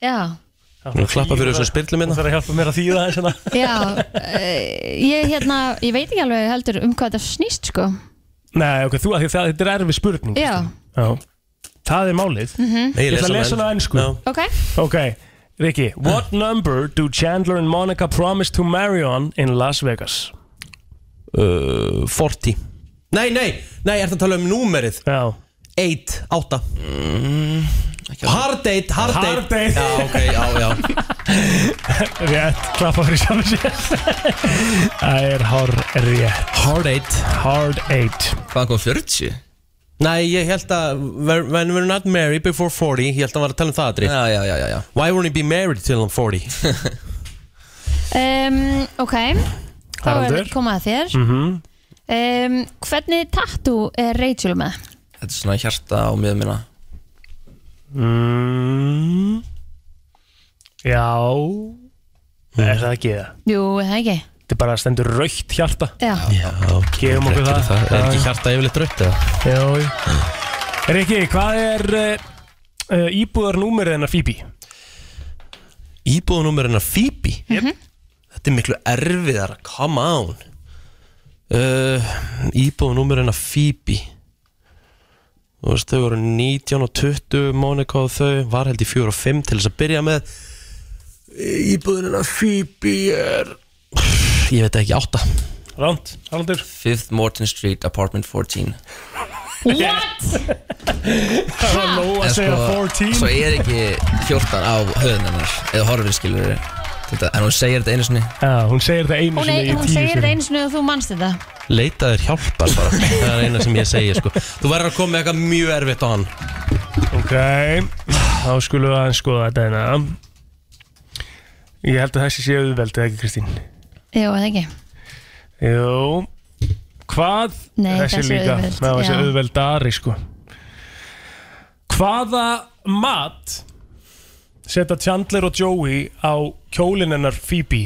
Já,
Hún er að klappa fyrir þessu hérna. spyrlu minna
Hún þarf að hjálpa mér að þýða hérna. þess að
já eh, Ég hérna, ég veit ekki alveg heldur um hvað þetta snýst sko
Nei, ok, þú, af því það, þetta er erfið spurning
Já,
Já. Það er málið
Mhm. Nei, ég
Ég ætla
les
að
hana
lesa hana á ennsku no.
ok
Ok, Rikki What number do Chandler and Monica promise to marry on in Las Vegas?
uh, 40 Nei, nei, nei, ég ætla að tala um númerið
Já
8, 8 Hard date, hard date
Hard date.
Já, ok, já, já
Rétt, klappa fyrir sjálf sér Það er hár rétt
Hard eight
Hard eight
Hvað kom 40?
Nei, ég held að we're- When we're not married before 40 Ég held að hann var að tala um það aðri
Já, já, já, já, já.
Why won't he be married till I'm 40?
um, Ok, þá
Haraldur.
er komað að
Mm.
þér
Mhm.
-hmm.
um, Hvernig tattoo er Rachel með?
Þetta er svona hjarta á miðum minna
mm. Já
Mm.
Er það ekki það?
Jú, er það ekki
Þetta er bara að stendur raukt hjarta
Já,
Já,
Gefum okkur það.
Er
Já,
ekki
já.
hjarta yfirleitt rautt eða?
Jó Rikki, hvað er uh, uh, íbúðarnúmerið hennar Phoebe?
Íbúðunúmer hennar Phoebe
yep.
Þetta er miklu erfiðara, come on uh, Íbúðunúmer hennar Phoebe Þú veist, þau voru 19 og 20 Monika og þau Var held í 4 og 5 til þess að byrja með Íbúðun hennar Phoebe er Ég veit ekki, 8
Ránt, Haraldur
Fifth Morton Street, apartment 14
What?
Það var nóg að
En sko,
segja 14
Svo er ekki 14 á höfðun hennar Eða horfið skilur þetta, En hún segir þetta einu sinni
Já, hún segir þetta einu
Hún, er, hún segir það einu sinni og þú manst þetta
Leitaður hjálpar bara Það er eina sem ég segi sko Þú verður að koma með eitthvað mjög erfitt á hann
Ok, þá skulum við aðeins skoða þetta hérna Ég held að þessi sé auðveld, eða ekki Kristín?
Jú, er það ekki
Jú Hvað?
Nei,
þessi
þessi er
líka,
auðveld,
Ná, þessi
já.
auðveld Ari, sko Hvaða mat setja Chandler og Joey á kjólinn hennar Phoebe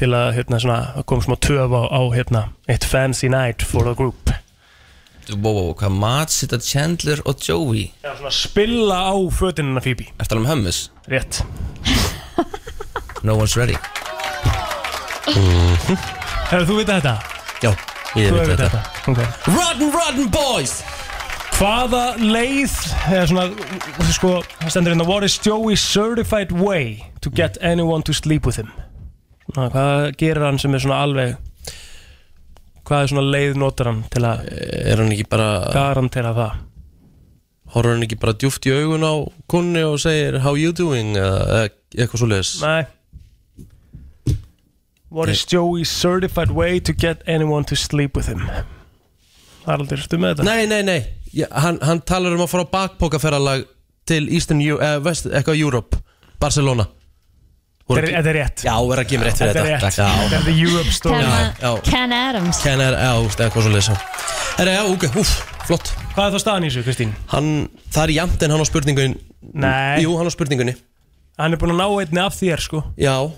til að, hérna, svona, að koma smá töf á, á hérna, eitt fancy night for the group
Wow, wow, hvað mat sita Chandler og Joey
Já, svona spilla á fötinn hennar Phoebe
Ertu alveg um hummus?
Rétt
No one's ready
Hefur þú vitað þetta?
Mhm.
ég
Já,
Mhm. Þú
veit
hefur
þetta.
Ok
Rotten, rotten boys
Hvaða leið eða svona, sko, það stendur hérna What is Joey's certified way to get anyone to sleep with him? Svona, hvað gerir hann sem er svona alveg Hvað er svona leið notar hann til að
Er hann ekki bara
garantera það?
Horfur hann ekki bara djúft í augun á kunni og segir How you doing? eða eða eitthvað svo leiðis
Nei What is Joey's certified way to get anyone to sleep with him? Haraldur, ertu með þetta?
Nei, nei, nei Já, hann, hann talar um að fara á bakpokaferralag til Eastern, Eu- eh, West, eitthvað Europe Barcelona Voru
Þetta er-
ekki-
þetta er rétt.
Já, verður að gefa mér rétt
Þetta
fyrir
er
þetta
rétt. Þetta er the Europe story.
Já, já.
Ken Adams
Ken er, já, úst, eitthvað svo leysa Herra, já, ok, úf, flott
Hvað er þá staðan í þessu, Kristín?
Hann, það er jæmt en hann á spurningunni
Nei.
Jú, hann á spurningunni
Hann er búin að ná einni af þér, sko
Já,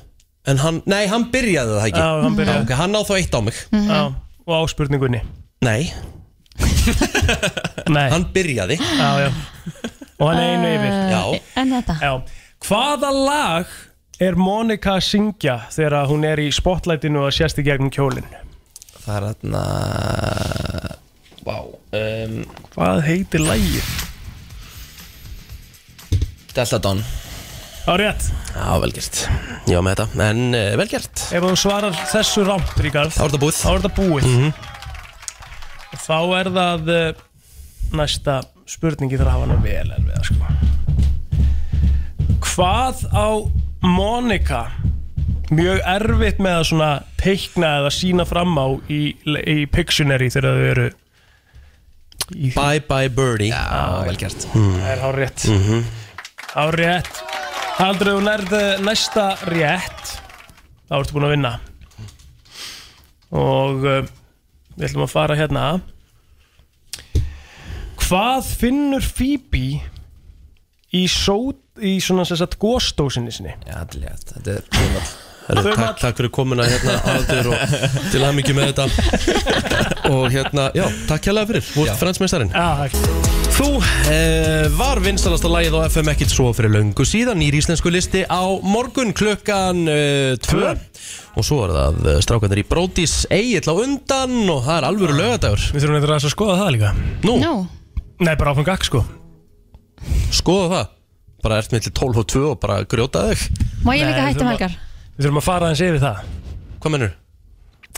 en hann, nei, hann byrjaði það ekki
Já, hann byrjaði.
Já, ok, Hann náð þá eitt á mig
Mhm. Já, og á spurningunni
Nei
Nei
Hann byrjaði
Já, já Og hann er einu yfir
Eh, En þetta
Já. Hvaða lag er Monika að syngja þegar hún er í spotlightinu og sérst í gegnum kjólinn?
Það er þarna Vá um,
Hvað heitir lagið?
Delta Dawn
Á rétt
Já, velgjert Já, með þetta, en uh, velgjert
Ef þú svarar þessu rámt, Ríkard Þá
er það
Þá er það
búið Mhm.
búið mm Þá er það eh, næsta spurningi þar að hafa hana vel en við sko. Hvað á Monika mjög erfitt með að svona teikna eða sína fram á í, í Pictionary þegar þau eru í...
Bye bye birdie
Já, vel
gert
Það er hár rétt mm
Mhm.
Mhm.
-hmm. Hár rétt Haldur þú nærð eh, næsta rétt Þá ertu búin að vinna Og uh, við ætlum að fara hérna Hvað finnur Phoebe í, só, í svona sem sagt gósdósinni sinni?
Já, allétt, þetta er þumall
Herru, takk, takk fyrir komuna hérna Aldur og til hamingju með þetta Og hérna, já, takk hérlega fyrir Þú ert fransmeistarinn
Já,
Þú eh, var vinsalasta lagið á FM ekkert svo fyrir löngu síðan Nýr íslensku listi á morgun klukkan 2 eh, tvö. Og svo er það eh, strákanir í Brótis Egil á undan og það er alvöru lögadagur
Við þurfum eitthvað að skoða það líka
Nú,
Nú,
Nei, bara áfram gakk sko
skoða það Bara ert millir 12 og 2 og bara grjóta þig
má ég
Nei,
líka hættum
þurfum að-
helgar?
Við þurfum að fara aðeins yfir það
Hvað mennur?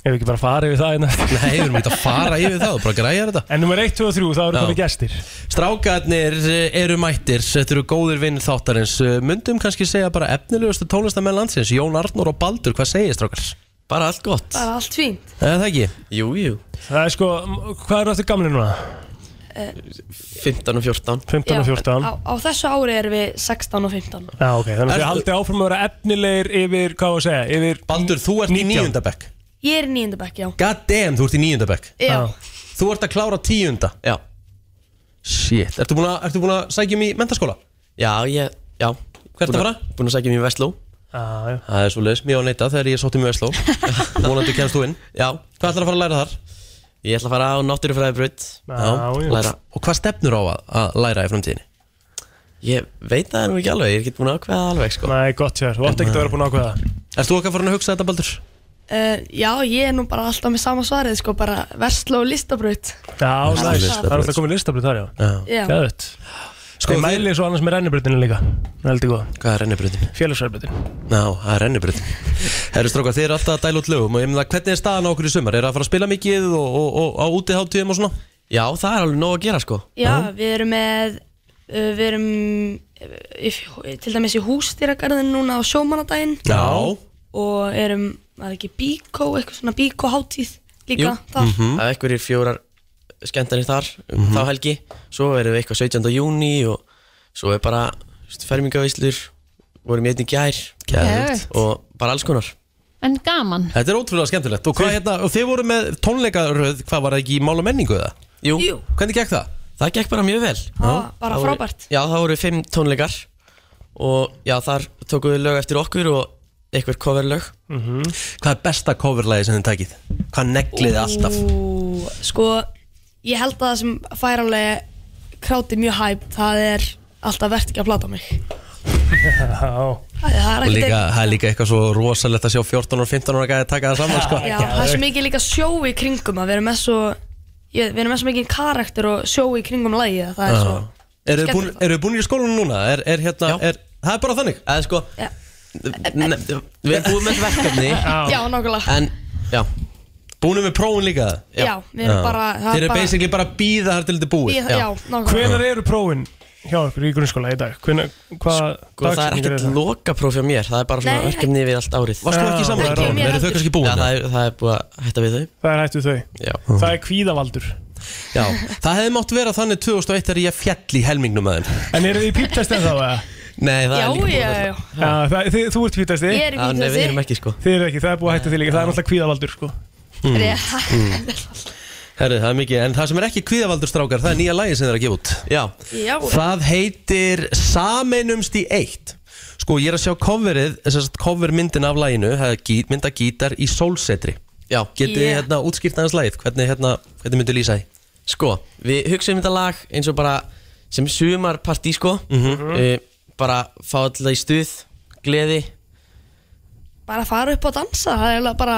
Ef við ekki bara fara yfir það hérna
Nei, við erum ekki að fara yfir það og bara græja þetta
En nummer 1, 2 og 3, þá eru
Já.
komið gestir
Strákarnir eh, eru mættir, þetta eru góðir vinn þáttarins Eh, Myndum kannski segja bara efnilegustu tónlistamenn landsins Jón Arnór og Baldur, hvað segir strákar?
Bara allt gott
Bara allt fínt
Eða það ekki?
Jú, jú
Það er sko, m- hvað eru aftur gamli núna?
15 og 14
15
Eh,
og
Já,
14
á, á þessu ári erum við 16 og 15
Já, ok, þannig að
Ertu-
þið haldið áfram að vera efnilegir yfir, hvað á að segja, yfir
Baldur, þú ert í níunda bekk
Ég er í nýjöndabæk, já
God damn, þú ert í níunda bekk
Já.
Þú ert að klára tíunda
Já
Shit, ertu búin að, ertu búin að sækja mig í mentaskóla?
Já, ég, já
Hvert að fara?
Búin að sækja mér í Vestló
Já, já
Það er svo leiðis, mjög að neyta þegar ég sótti mjög Vestló Vonandi kemst þú inn
Já
Hvað ætlar að fara að læra þar?
Ég ætla að fara á náttúrufræðibraut
já.
Læra
Og hvað stefnur á að, að læra í framtíðinni?
Ég veit það nú ekki alveg, ég er ekki búin að ákveða það alveg sko
Nei, gott sér, þú átt ekki að vera búin að ákveða
Erst þú okkar farin að hugsa þetta, Baldur?
uh, Já, ég er nú bara alltaf með sama svarið sko, bara Vestló og Listabraut
Já,
Næsta
næs,
listabraut.
það er alltaf komið listabrið þar, já
Já.
Gæðut Sko, ég mæli svo annars með rennibrutinu líka Heldig góð
Hvað er rennibrutin?
Félagsverðbrutin
Ná, það er rennibrutin Herru strókar, þið eru alltaf að dæla út lögum og ég meina, hvernig er staðan á okkur í sumar? Er það að fara að spila mikið og, og, og á útiháttíðum og svona?
Já, það er alveg nóg að gera sko
Já, við erum með uh, Við erum uh, í, Til dæmis í hústýragarðin núna á sjómanadaginn
Já.
Og erum, var ekki bíkó Eitthvað svona bíkó hátíð líka
Það
þar.
Mhm.
er einhverjir fjórar skemmtanir þar um þá helgi Svo erum við eitthvað 17. júni og svo er bara fermingavíslur vorum í einni gær
Geðveikt.
og bara alls konar
En gaman
Þetta er ótrúlega skemmtilegt og, hvað, hérna, og þið voru með tónleikaröð, hvað var það ekki í mál og menningu eða?
Jú.
Jú.
Hvernig gekk það?
Það gekk bara mjög vel
Það bara
voru-
frábært.
Já, það voru fimm tónleikar og já, þar tókum við lög eftir okkur og eitthvað coverlög
Mhm. Hvað er besta coverlagi sem þið takið? Hvað neglið þið alltaf?
Ú, Sko, ég held að það sem fær alveg kráti mjög hæp Það er alltaf vert ekki að plata mig
Já
Það það er
Og
ekkert
líka, það er líka eitthvað svo rosalegt að sjá 14 og 15 ára gæði taka það saman sko.
Já, það er svo mikið líka sjó í kringum að við erum með svo ég, við erum með svo mikið karakter og sjó í kringum lagið að það er svo
Eru þið búin, eru þið búin í skólanum núna? Er, er hérna, er, það er bara þannig?
Eða sko
Já.
ne- Við erum búin með þetta verkefni
Já, nákvæmlega
En, já
Búinu með prófin líka?
Já, við erum bara- það er
Þeir eru
bara-
basically bara að býða þar til þetta er búið
Bíða- já, nákvæmlega.
Hvenær eru prófin? hjá ykkur í grunnskóla í dag? Hvenær, hvað
Sko það er
dagsetning
ekkert
þetta?
lokapróf hjá mér, það er bara svona
Nei.
verkefni við allt árið
Varst þú ekki í samráði Ekki hjá áðan? mér Eru þau heldur. kannski búin?
Já, það er, það er búið að hætta við þau
Það er hættu þau
Já,
Það er kvíðavaldur
Já, það hefði mátt vera þannig 2001 þegar ég fjall í helmingnum með þeim
En eru þið í píptest en þá eða?
Nei,
Já, já, já.
Já, það, þið, þú ert fítasti
Ég er í Já, nei, fítasti. við erum
ekki sko
Þið eru ekki, það er búið að hætta því líka, það er náttúrulega kvíðavaldur sko
Herri, Hmm. það er mikið, en það sem er ekki kvíðavaldur strákar, það er nýja lagi sem þeir eru að gefa út Já.
Já.
Það heitir Sameinumst í eitt Sko, ég er að sjá coverið, eh, þess að cover myndin af laginu, það er gít, mynda gítar í sólsetri Já Getið þið
Yeah.
hérna útskýrt aðeins lagið, hvernig, hérna, hvernig myndu lýsa því?
Sko, við hugsaum þetta lag eins og bara sem sumarpartí sko
Mhm.
Eh, Bara fá alltaf í stuð, gleði
Bara fara upp og dansa, það er eiginlega bara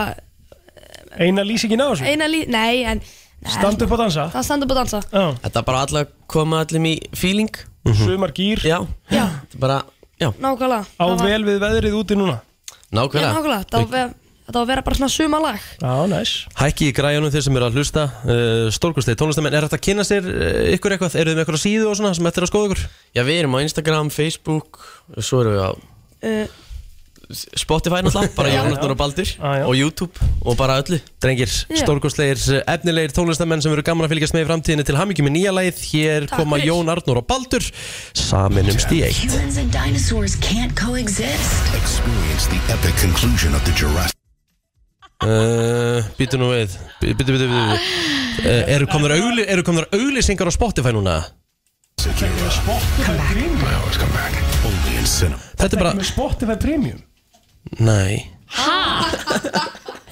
Eina lýsingin á þessu?
eina lí... Nei, en... nei.
Standa upp og dansa?
Það standa upp og dansa.
Já.
Þetta er bara alltaf koma allum í feeling
Mhm.
Sumar gýr
Já, já. bara, já,
Nákvæmlega.
Á
Það var-
vel við veðrið úti núna
Já,
nákvæmlega
nákvæmlega. Það á að vera- þetta á að vera bara svona sumalag.
Já, næs
Hækki í græjunum þeir sem eru að hlusta uh, Stórkustið, tónlistamenn, er þetta að kynna sér uh, ykkur eitthvað? Eru þið með eitthvað síðu og svona sem eftir að skoða ykkur?
Já, við erum á Instagram, Facebook og Svo erum við á
Uh,
Spotify náttúrulega, bara
Já.
Jónatnur og Baldur Og YouTube og bara öllu
Drengir,
Já.
stórkostlegir, eh, efnilegir tónlistamenn sem eru gaman að fylgjast með í framtíðinni til hamingjum með nýja lagið Hér koma Jón Arnór og Baldur samin um stíð
Humans and dinosaurs can't coexist.
Experience the epic conclusion of the Jurassic
uh, Býtu nú við, býtu, býtu, býtu, býtu. Uh, Eru komnar augli- eru komnar auglýsingar á Spotify núna?
Come back. I always come back. Only in cinema.
Þetta er bara,
Með Spotify Premium
nei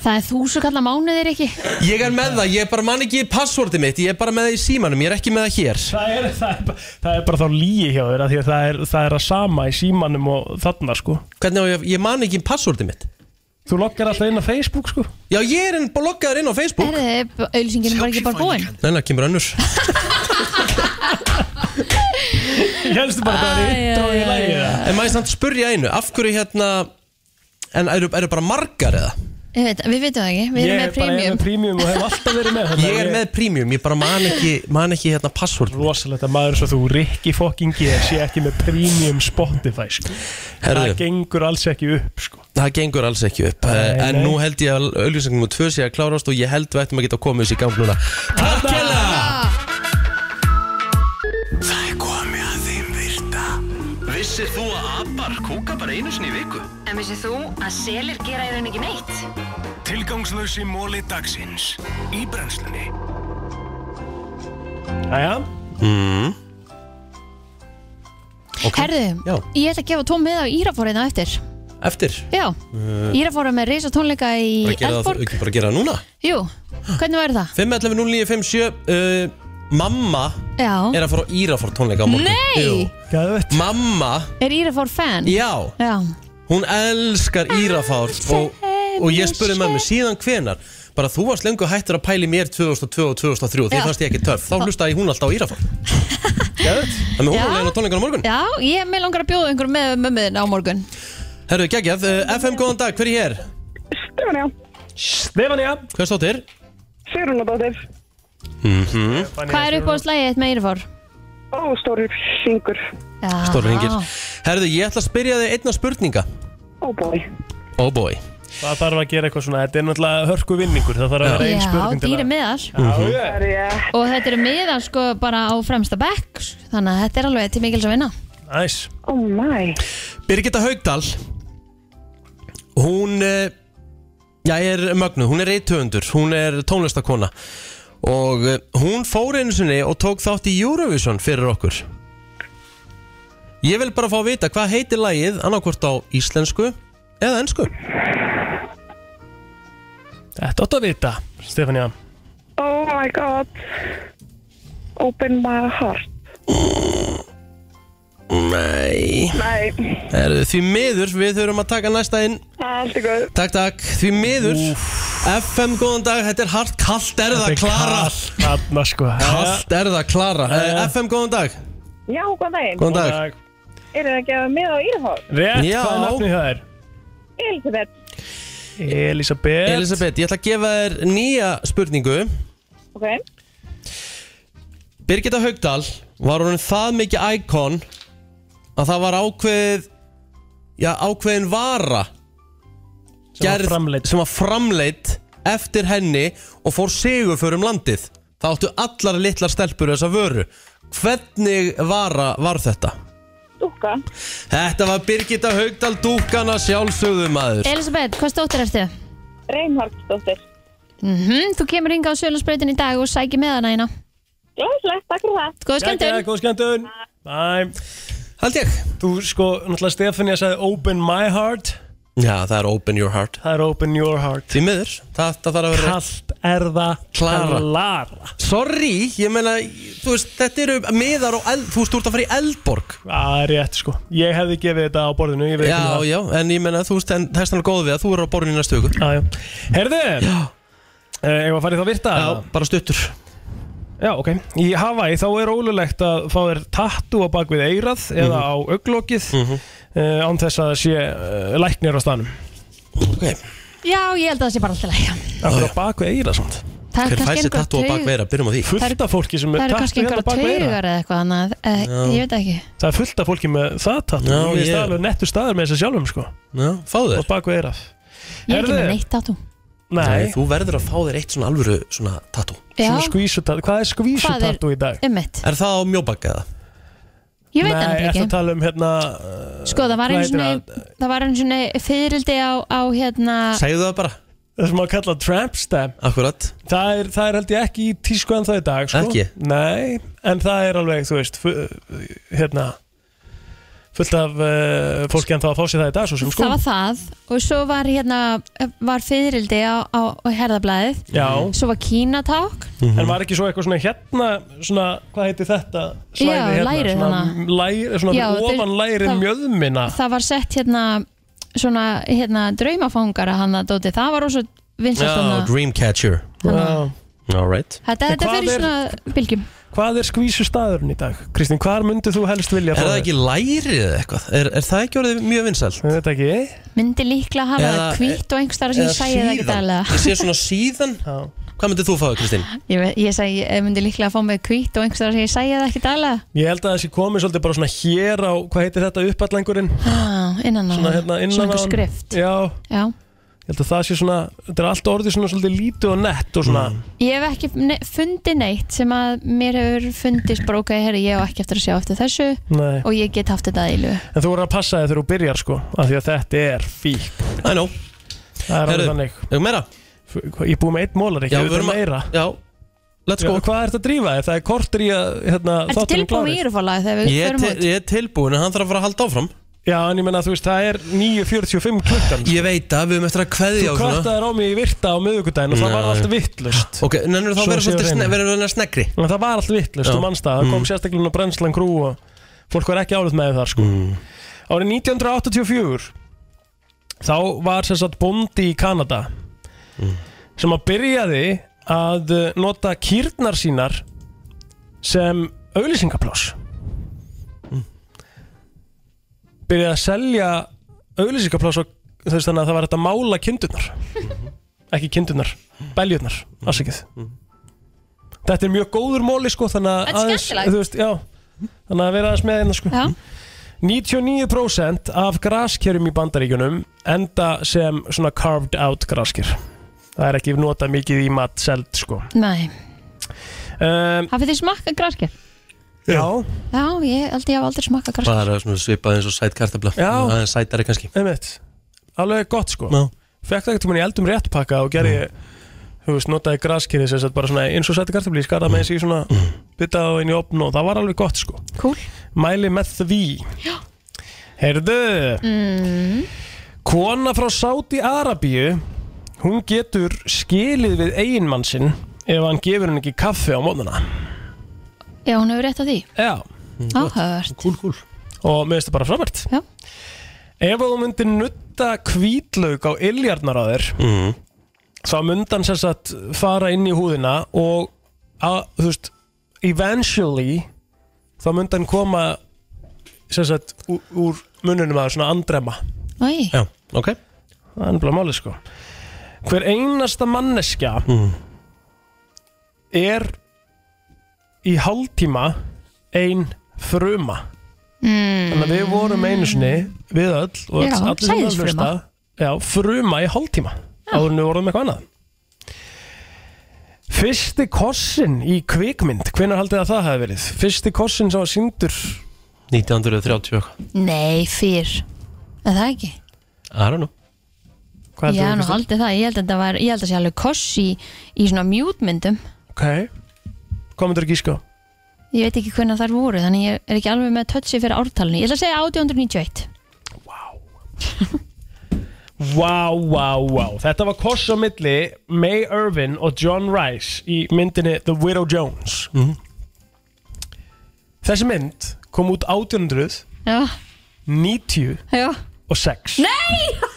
Það er þúsu kalla mánuðir ekki
Ég er með það, ég bara man ekki passvortið mitt Ég er bara með það í símanum, ég er ekki með það hér
Það er, það er, bara- það er bara þá líi hjá þér af því að það er, það er að sama í símanum og þarna sko
Hvernig á ég, ég man ekki passvortið mitt
Þú loggar alltaf inn á Facebook sko
Já, ég er inn, loggaður inn á Facebook
Herðu, auðlýsingin var ekki bara búin
Nei, það kemur önnur
Ég helstu bara að það er intro í lagi það
En maður samt spurja einu, af hverju hérna En eru, eru bara margar eða?
Ég veit, Við veitum það ekki, við erum með premium
premium og hef alltaf verið með þannig að
Ég er með premium, ég bara man ekki, man ekki hérna passvort
Rosalegt að maður svo þú Rikki fucking ég sé ekki með premium Spotify sko
Herðu.
Það gengur alls ekki upp sko
Það gengur alls ekki upp Eh,
Nei,
En
nei.
nú held ég að auðlýsingum og tvö sé að klárast Og ég held við ættum að geta komið þessi í gang núna Takk
hérna!
hella
Það er komið að þeim virta. Vissir þú að abar kúka bara einu sinni í viku?
En vissið þú að selir gera í raun ekki neitt?
Tilgangslösi móli dagsins. Í brennslunni.
Æja
mm.
Herðu,
Já.
ég ætla að gefa tóm með á Írafóriðna eftir
Eftir
Já,
uh,
Írafóra með reysa tónleika í
bara, gera það,
Eldborg
ekki bara gera það núna
Jú, hvernig verður það?
511 0957 uh, Mamma
Já,
er að fara á Írafór tónleika á morgun
Nei!
Gæðvett
Mamma,
er Írafór fan?
já
Já,
Hún elskar
Ah,
Írafár og, og ég spurði með mig síðan hvenar bara þú varst lengur hættur að pæli mér 2002 og 2003 og því
Já.
fannst ég ekki töff þá hlustaði hún alltaf á Írafár Þannig
Já.
hún er leiðin á tónleikunum morgun
já ég með langar að bjóða einhver með mömmuðin á morgun
Herru, geggjað, uh, FM góðan dag, hver er hér?
Stefania
Stefania
Hver stóttir?
Sérunadóttir
Mm -hmm.
Hvað er upp á slægið með Írafór?
Ó, stórir syngur
Stóri ringir Herru, ég ætla að spyrja þig einna spurninga
Ó, bói
Oh boy
Það þarf að gera eitthvað svona, þetta er náttúrulega hörku vinningur Það þarf að vera einn
Já,
spurning til
dýri
að
miðar
Já, já.
Og þetta eru miðar sko bara á fremsta bekk Þannig að þetta er alveg til mikils að vinna
Næs
Oh my
Birgitta Haugdal Hún uh, Já, er mögnu, hún er reithöfundur Hún er tónlistakona Og uh, hún fór einu sinni og tók þátt í Eurovision fyrir okkur Ég vil bara fá að vita hvað heitir lagið annarkvort á íslensku eða ennsku
Þetta átt að vita, Stefania
Oh my god Open my heart
Nei
Nei,
er, Því miður, við þurfum að taka næsta inn
allt er góð
Takk, takk, því miður FM, góðan dag, þetta er hart kallt er það Klara
Þarna sko
Kallt er það Klara Eh, FM, góðan dag
Já, góðan daginn
Góðan dag. Góðan
Eru þið að gefa með á Írafár?
Rétt,
Já.
hvað er nafnið það er?
Elisabeth
Elisabeth
Elisabeth, ég ætla að gefa þér nýja spurningu
Ok
Birgitta Haugdal var hún það mikið íkon að það var ákveðið já, ákveðin vara
Sem var
framleitt sem var framleitt eftir henni og fór sigur fyrir um landið það áttu allar litlar stelpur þessa vöru hvernig vara var þetta?
Dúkka
Þetta var Birgitta Haugdal dúkana sjálfsögðum maður
Elisabeth, hvað stóttir ertu?
Reinhardsdóttir
Mm Þú kemur yngi á Sjölandsbreytin í dag og sækir með hana eina
Glæsilegt, takk fyrir það
Góða skemmtun
Góð skemmtun Bæm
Hald ég
Þú sko, náttúrulega Stefania sagði open my heart
Já, það er open your heart
Það er open your heart
Því miður, það, það þarf að vera
Kallt er það
Klara
Klara
Sorry, ég meina, þú veist, þetta eru miðar og eld, þú veist, þú ert að fara í eldborg
Það er rétt sko Ég hefði gefið þetta á borðinu ég veit ekki um
Já,
það.
já, en ég meina, þú veist, en þess vegna er góð við að þú eru á borðinu í næstu viku
Já, já Herðu Eh, Ef að farið þá virta Já,
bara stuttur
Já, ok Í Hawaii þá er ólulegt að fá þér tattu á bak við eirað
Mhm.
Eða á auglokið mm Án þess að það sé uh, læknir á stanum
Já, ég held að það sé bara alltaf lækja
Það er á bak við eirað samt
Það er Hver kannski fær sér einhver tattoo á bak við eyrað?
byrjum á því
Fullt af fólki sem
Það
er
eru
tattu
kannski
hérna á
einhverja
bak við eirað
taugar eða eitthvað annað eh,
Já.
Ég veit ekki
Það er fullt af fólki með það tattu
Já,
Ég veist
ég-
það alveg nettur staður með þess að sjálfum sko
Já, fáðu
Og bak við eirað
Ég er ekki
Herðu.
með neitt tattoo
Nei.
Þú verður að fá þér eitt svona alvöru, svona tattoo
Já. Svona
skvísutattu, hvað er
Hvað er-
skvísutattu í dag?
Einmitt.
Er það á mjóbakka eða?
Ég veit það
Nei,
ekki.
ertu að tala um hérna
Sko, það var einu sinni, það var einu sinni fyrildi á, á hérna
Segðu það bara
Það sem að kalla tramp stamp
Akkurat
það er, það er held ég ekki í tísku en það í dag sko.
Ekki?
Nei, en það er alveg, þú veist fu- Hérna Fullt af uh, fólki en það að fá sér það í dag svo sem sko
Það var það og svo var hérna var fyrildi á, á, á herðablaðið
Já.
Svo var kínaták
En var ekki svo eitthvað svona hérna svona, hvað heiti þetta svæði
Já,
hérna,
lærið
svona,
hana.
læri, svona
Já, þeir-
ofan læri
það-
mjöðmina
Það var sett hérna svona hérna draumafangara hann að dóti það var ósvo vinsast
Já,
hann
Dreamcatcher
Já.
All right
Þetta,
En
þetta
hvað
fer í
er-
svona bylgjum
Hvað er skvísu staðurinn í dag? Kristín, hvað myndir þú helst vilja
Er það ekki lærið eða eitthvað? Er, er það ekki orðið mjög vinsælt?
Ég veit ekki
Myndi líklega hafa
Eða-
það hvítt og einhverstara sem ég sæði það ekki
Ég sé
dælega
svona síðan Hvað myndir þú fáið, Kristín?
Ég, ve- ég, segi, ég myndi líklega fá mig hvítt og einhverstara sem ég sæði það ekki dælega
Ég held að þessi komið svolítið bara svona hér á, hvað heitir þetta, uppallengurinn
ah, Innan á
Svona hérna innan
Svona einhver
á-
skrift
Já,
Já
ég held að það sé svona, þetta er allt orðið svona svolítið lítið og nett og svona
Ég hef ekki ne- fundið neitt sem að mér hefur fundist bara ok, herri, ég á ekki eftir að sjá eftir þessu
Nei.
og ég get haft þetta í lög.
En þú voru að passa þig þegar þú byrjar sko, af því að þetta er fík
I know
Það er
Herðu,
alveg þannig
Ég meira
Ég búið með eitt mólar ekki,
Já,
við
við erum
erum
að-
meira
Já, let's go.
Hvað ert að drífa þig? Það er kortur í að, hérna,
Ertu
þátturinn
tilbúin í
klárist.
írufalagi þegar við
Ég,
förum
til,
út?
ég er tilbúin en hann þarf að fara að halda áfram
Já, en ég menna, þú veist, það er 9.45 klukkan sko.
Ég veit að við höfum eftir að kveðja
Þú
og svona.
kvartaðir á mig í virta á miðvikudaginn og það var
Nei.
allt vittlust
Ok, nennir þá
Svo
verður
séu
svolítið
hreinu.
sne, verður verður snegri
En það var allt vittlust
Já.
og mannstað, það kom
Mm.
sérstaklega nú brennslan krú og fólk var ekki álið með þar sko.
Mm.
Árið 1984 þá var sem sagt bóndi í Kanada
Mm.
sem að byrjaði að uh, nota kýrnar sínar sem auðlýsingapláss
Mm.
byrjaði að selja auðlýsingapláss og þess þannig að það var hægt að mála kindurnar ekki kindurnar, beljurnar afsakið þetta er mjög góður móli sko þannig
Þetta er
að aðeins,
skemmtilegt.
þú veist, já, þannig að vera aðeins með hérna sko
Já.
99% af graskerum í bandaríkjunum enda sem svona carved out grasker það er ekki nota mikið í mat seld sko
Nei,
um,
hafið þið smakkað graskir?
já,
Já, ég held ég hafa aldrei smakkað graskir.
Bara svona svipað eins og sæt kartabla
Já.
Það er sætari kannski
einmitt alveg gott sko já. fekk það ekkert um í eldum réttpakka og gerði þú veist, notaði graskeri sem sagt bara svona eins og sætti kartabli, skarða með þessi í svona bytta á inn í opn og það var alveg gott sko
cool.
mæli með því já. heyrðu
Mm.
Kona frá Sáti Arabíu hún getur skilið við eiginmann sinn ef hann gefur henni ekki kaffi á móðuna
Já, hún hefur rétt að því.
Já.
Áhört.
Kúl, kúl.
og mér finnst það bara frábært
Já.
Ef að þú myndir nutta kvítlaug á iljarnar á þér
mm.
þá myndi hann sem sagt fara inn í húðina og að, þú veist eventually þá myndi hann koma sem sagt úr, úr mununum að svona andrema
Æ,
Já, ok
Það er bara málið sko Hver einasta manneskja
Mhm.
er í hálftíma ein fruma Þannig að við vorum einu sinni við öll og
Mm. Já,
öll, allir sem
sæðisfruma.
við hlusta Já, fruma í hálftíma áður en við vorum eitthvað annað Fyrsti kossin í kvikmynd hvenær haldið að það hafi verið? Fyrsti kossin sem var sýndur
1930 og
Nei, fyrr Er það ekki?
eitthvað I don't know
Ég hef nú haldið það, ég held að það var, ég held að sé alveg koss í, í svona mjútmyndum
Ok, hvað myndur ekki sko?
Ég veit ekki hvernig þær voru, þannig ég er ekki alveg með tötsi fyrir ártalinu Ég ætla að segja 1891
Vá, vá, vá Þetta var koss á milli May Irvin og John Rice í myndinni The Widow Jones
Mhm.
Þessi mynd kom út 1800
Já,
90
já
og 6 Nei!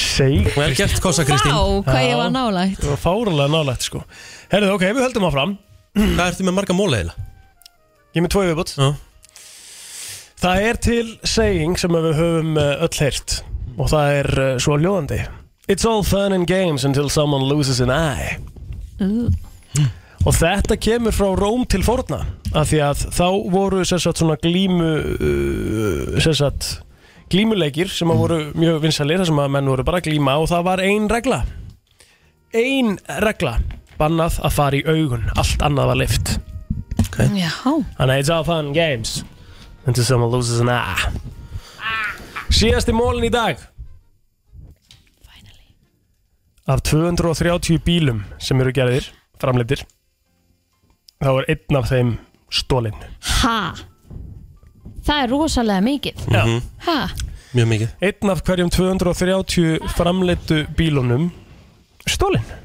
Seik
Vel gert, Kossa Kristín.
Vá, hvað ég var nálægt.
Það var fárulega nálægt sko Herðu, ok, við höldum áfram Hvað ertu með marga móla eða? Ég er með tvo yfirbútt Já Það er til saying sem við höfum eh, öll heyrt og það er eh, svo ljóðandi It's all fun and games until someone loses an eye og þetta kemur frá Róm til forna af því að þá voru sem sagt, svona glímu uh, sem sagt, glímuleikir sem að voru mjög vinsalir þar sem að menn voru bara að glíma og það var ein regla ein regla bannað að fara í augun allt annað var lift okay.
Já
Þannig að it's all fun games until someone loses an eye Síðasti mólin í dag Af 230 bílum sem eru gerðir, framleittir þá er einn af þeim stólinn
Ha Það er rosalega mikið
Mhm,
Já.
Ha
Mjög mikið Einn af hverjum 230 framleittu bílunum stólinn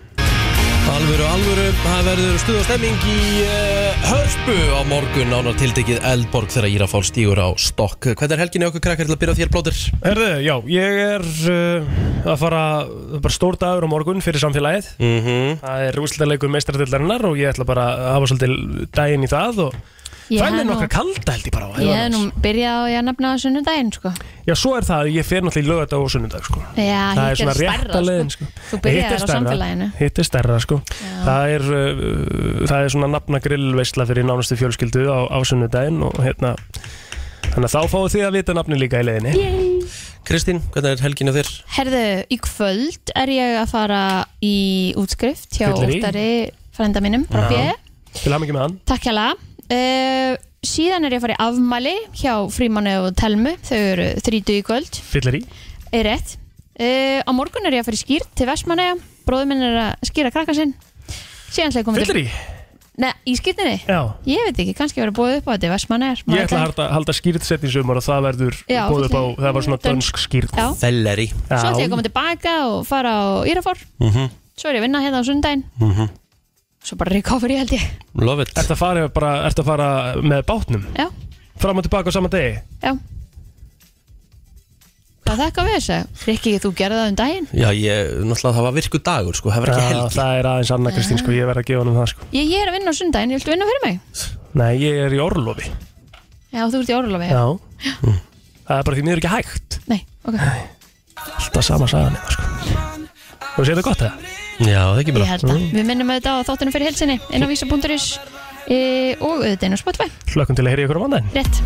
Alvöru, alvöru, það verður stuð og stemming í uh, Hörpu á morgun ánar tiltekið Eldborg þegar Írafál stígur á stokk. Hvernig er helginni okkur krakkar til að byrja á þér blóður?
Herðu, já, ég er uh, að fara, það er bara stór dagur á morgun fyrir samfélagið
Mhm.
-hmm. Það er úslitaleikur meistradildarinnar og ég ætla bara að hafa svolítið daginn í það og
Ég
fæ mér
hef nú-
nokkra kalda held ég bara á
Ég hef nú byrjað á ég að nafna á sunnudaginn sko.
Já, svo er það, að ég fer náttúrulega í lögata og sunnudag sko.
Já,
Það
hitt
er
er
svona
stærra,
rétta
sko.
leiðin sko.
Þú byrjar
Hitt er
á
stærra,
samfélaginu.
Hitt er stærra sko það er, uh, það er svona nafna grillveisla fyrir nánustu fjölskyldu á, á sunnudaginn og hérna Þannig að þá fáið þið að vita nafni líka í leiðinni
Kristín, hvernig er helgin á þér?
Herðu, í kvöld er ég að fara í útskrift hjá
Fyllir í.
Óttari frænda mínum, bara
Já.
bjöði
Til hafa mikið með hann
Takk hjá uh, Síðan er ég að fara í afmæli hjá Frímanni og Telmu, þau eru þrítu í kvöld
Fyllir í
Er rétt uh, Á morgun er ég að fara í skýr til Vestmannaja Bróður minn er að skýra krakka sinn Síðan ætla ég að koma
Fyllir í?
Nei, í skýrtinni?
Já.
Ég veit ekki, kannski verið búið upp á þetta í Vestmannaja
Ég ætla að halda, halda skýrtsett í sumar og það verður
Já,
búið upp á,
fullt í-
það var svona
dönsk.
dönsk skýrt
Já.
Felleri
Svo ætla ég að koma tilbaka og fara á Írafór
Mhm,
Svo er ég að vinna hérna á sundaginn Svo bara recovery held ég
Love it Ertu að fara, bara, ertu að fara með bátnum?
Já.
Fram og tilbaka á sama degi?
Já Hvað þekka við þessu? Rikki, þú gerði það um daginn
Já, ég, náttúrulega það var virku dagur sko, það var ekki
Já,
helgi
Það er aðeins annað Kristín sko, ég verð að gefa hann um það sko
ég, ég er að vinna á sundaginn, ég viltu vinna fyrir mig
Nei, ég er í orlofi
Já, þú ert í orðlofi
Já Mm. Það er bara því miður ekki hægt
Nei, ok
Alltaf sama sagan eða sko Þú séð það gott Mm. það?
Já, það ekki
Ég held það Við minnum auðvitað á þáttunum fyrir helsini inn á vísa.is e, og auðvitað inn á Spotify
Hlökkum til að heyra í ykkur á mandaginn
Rétt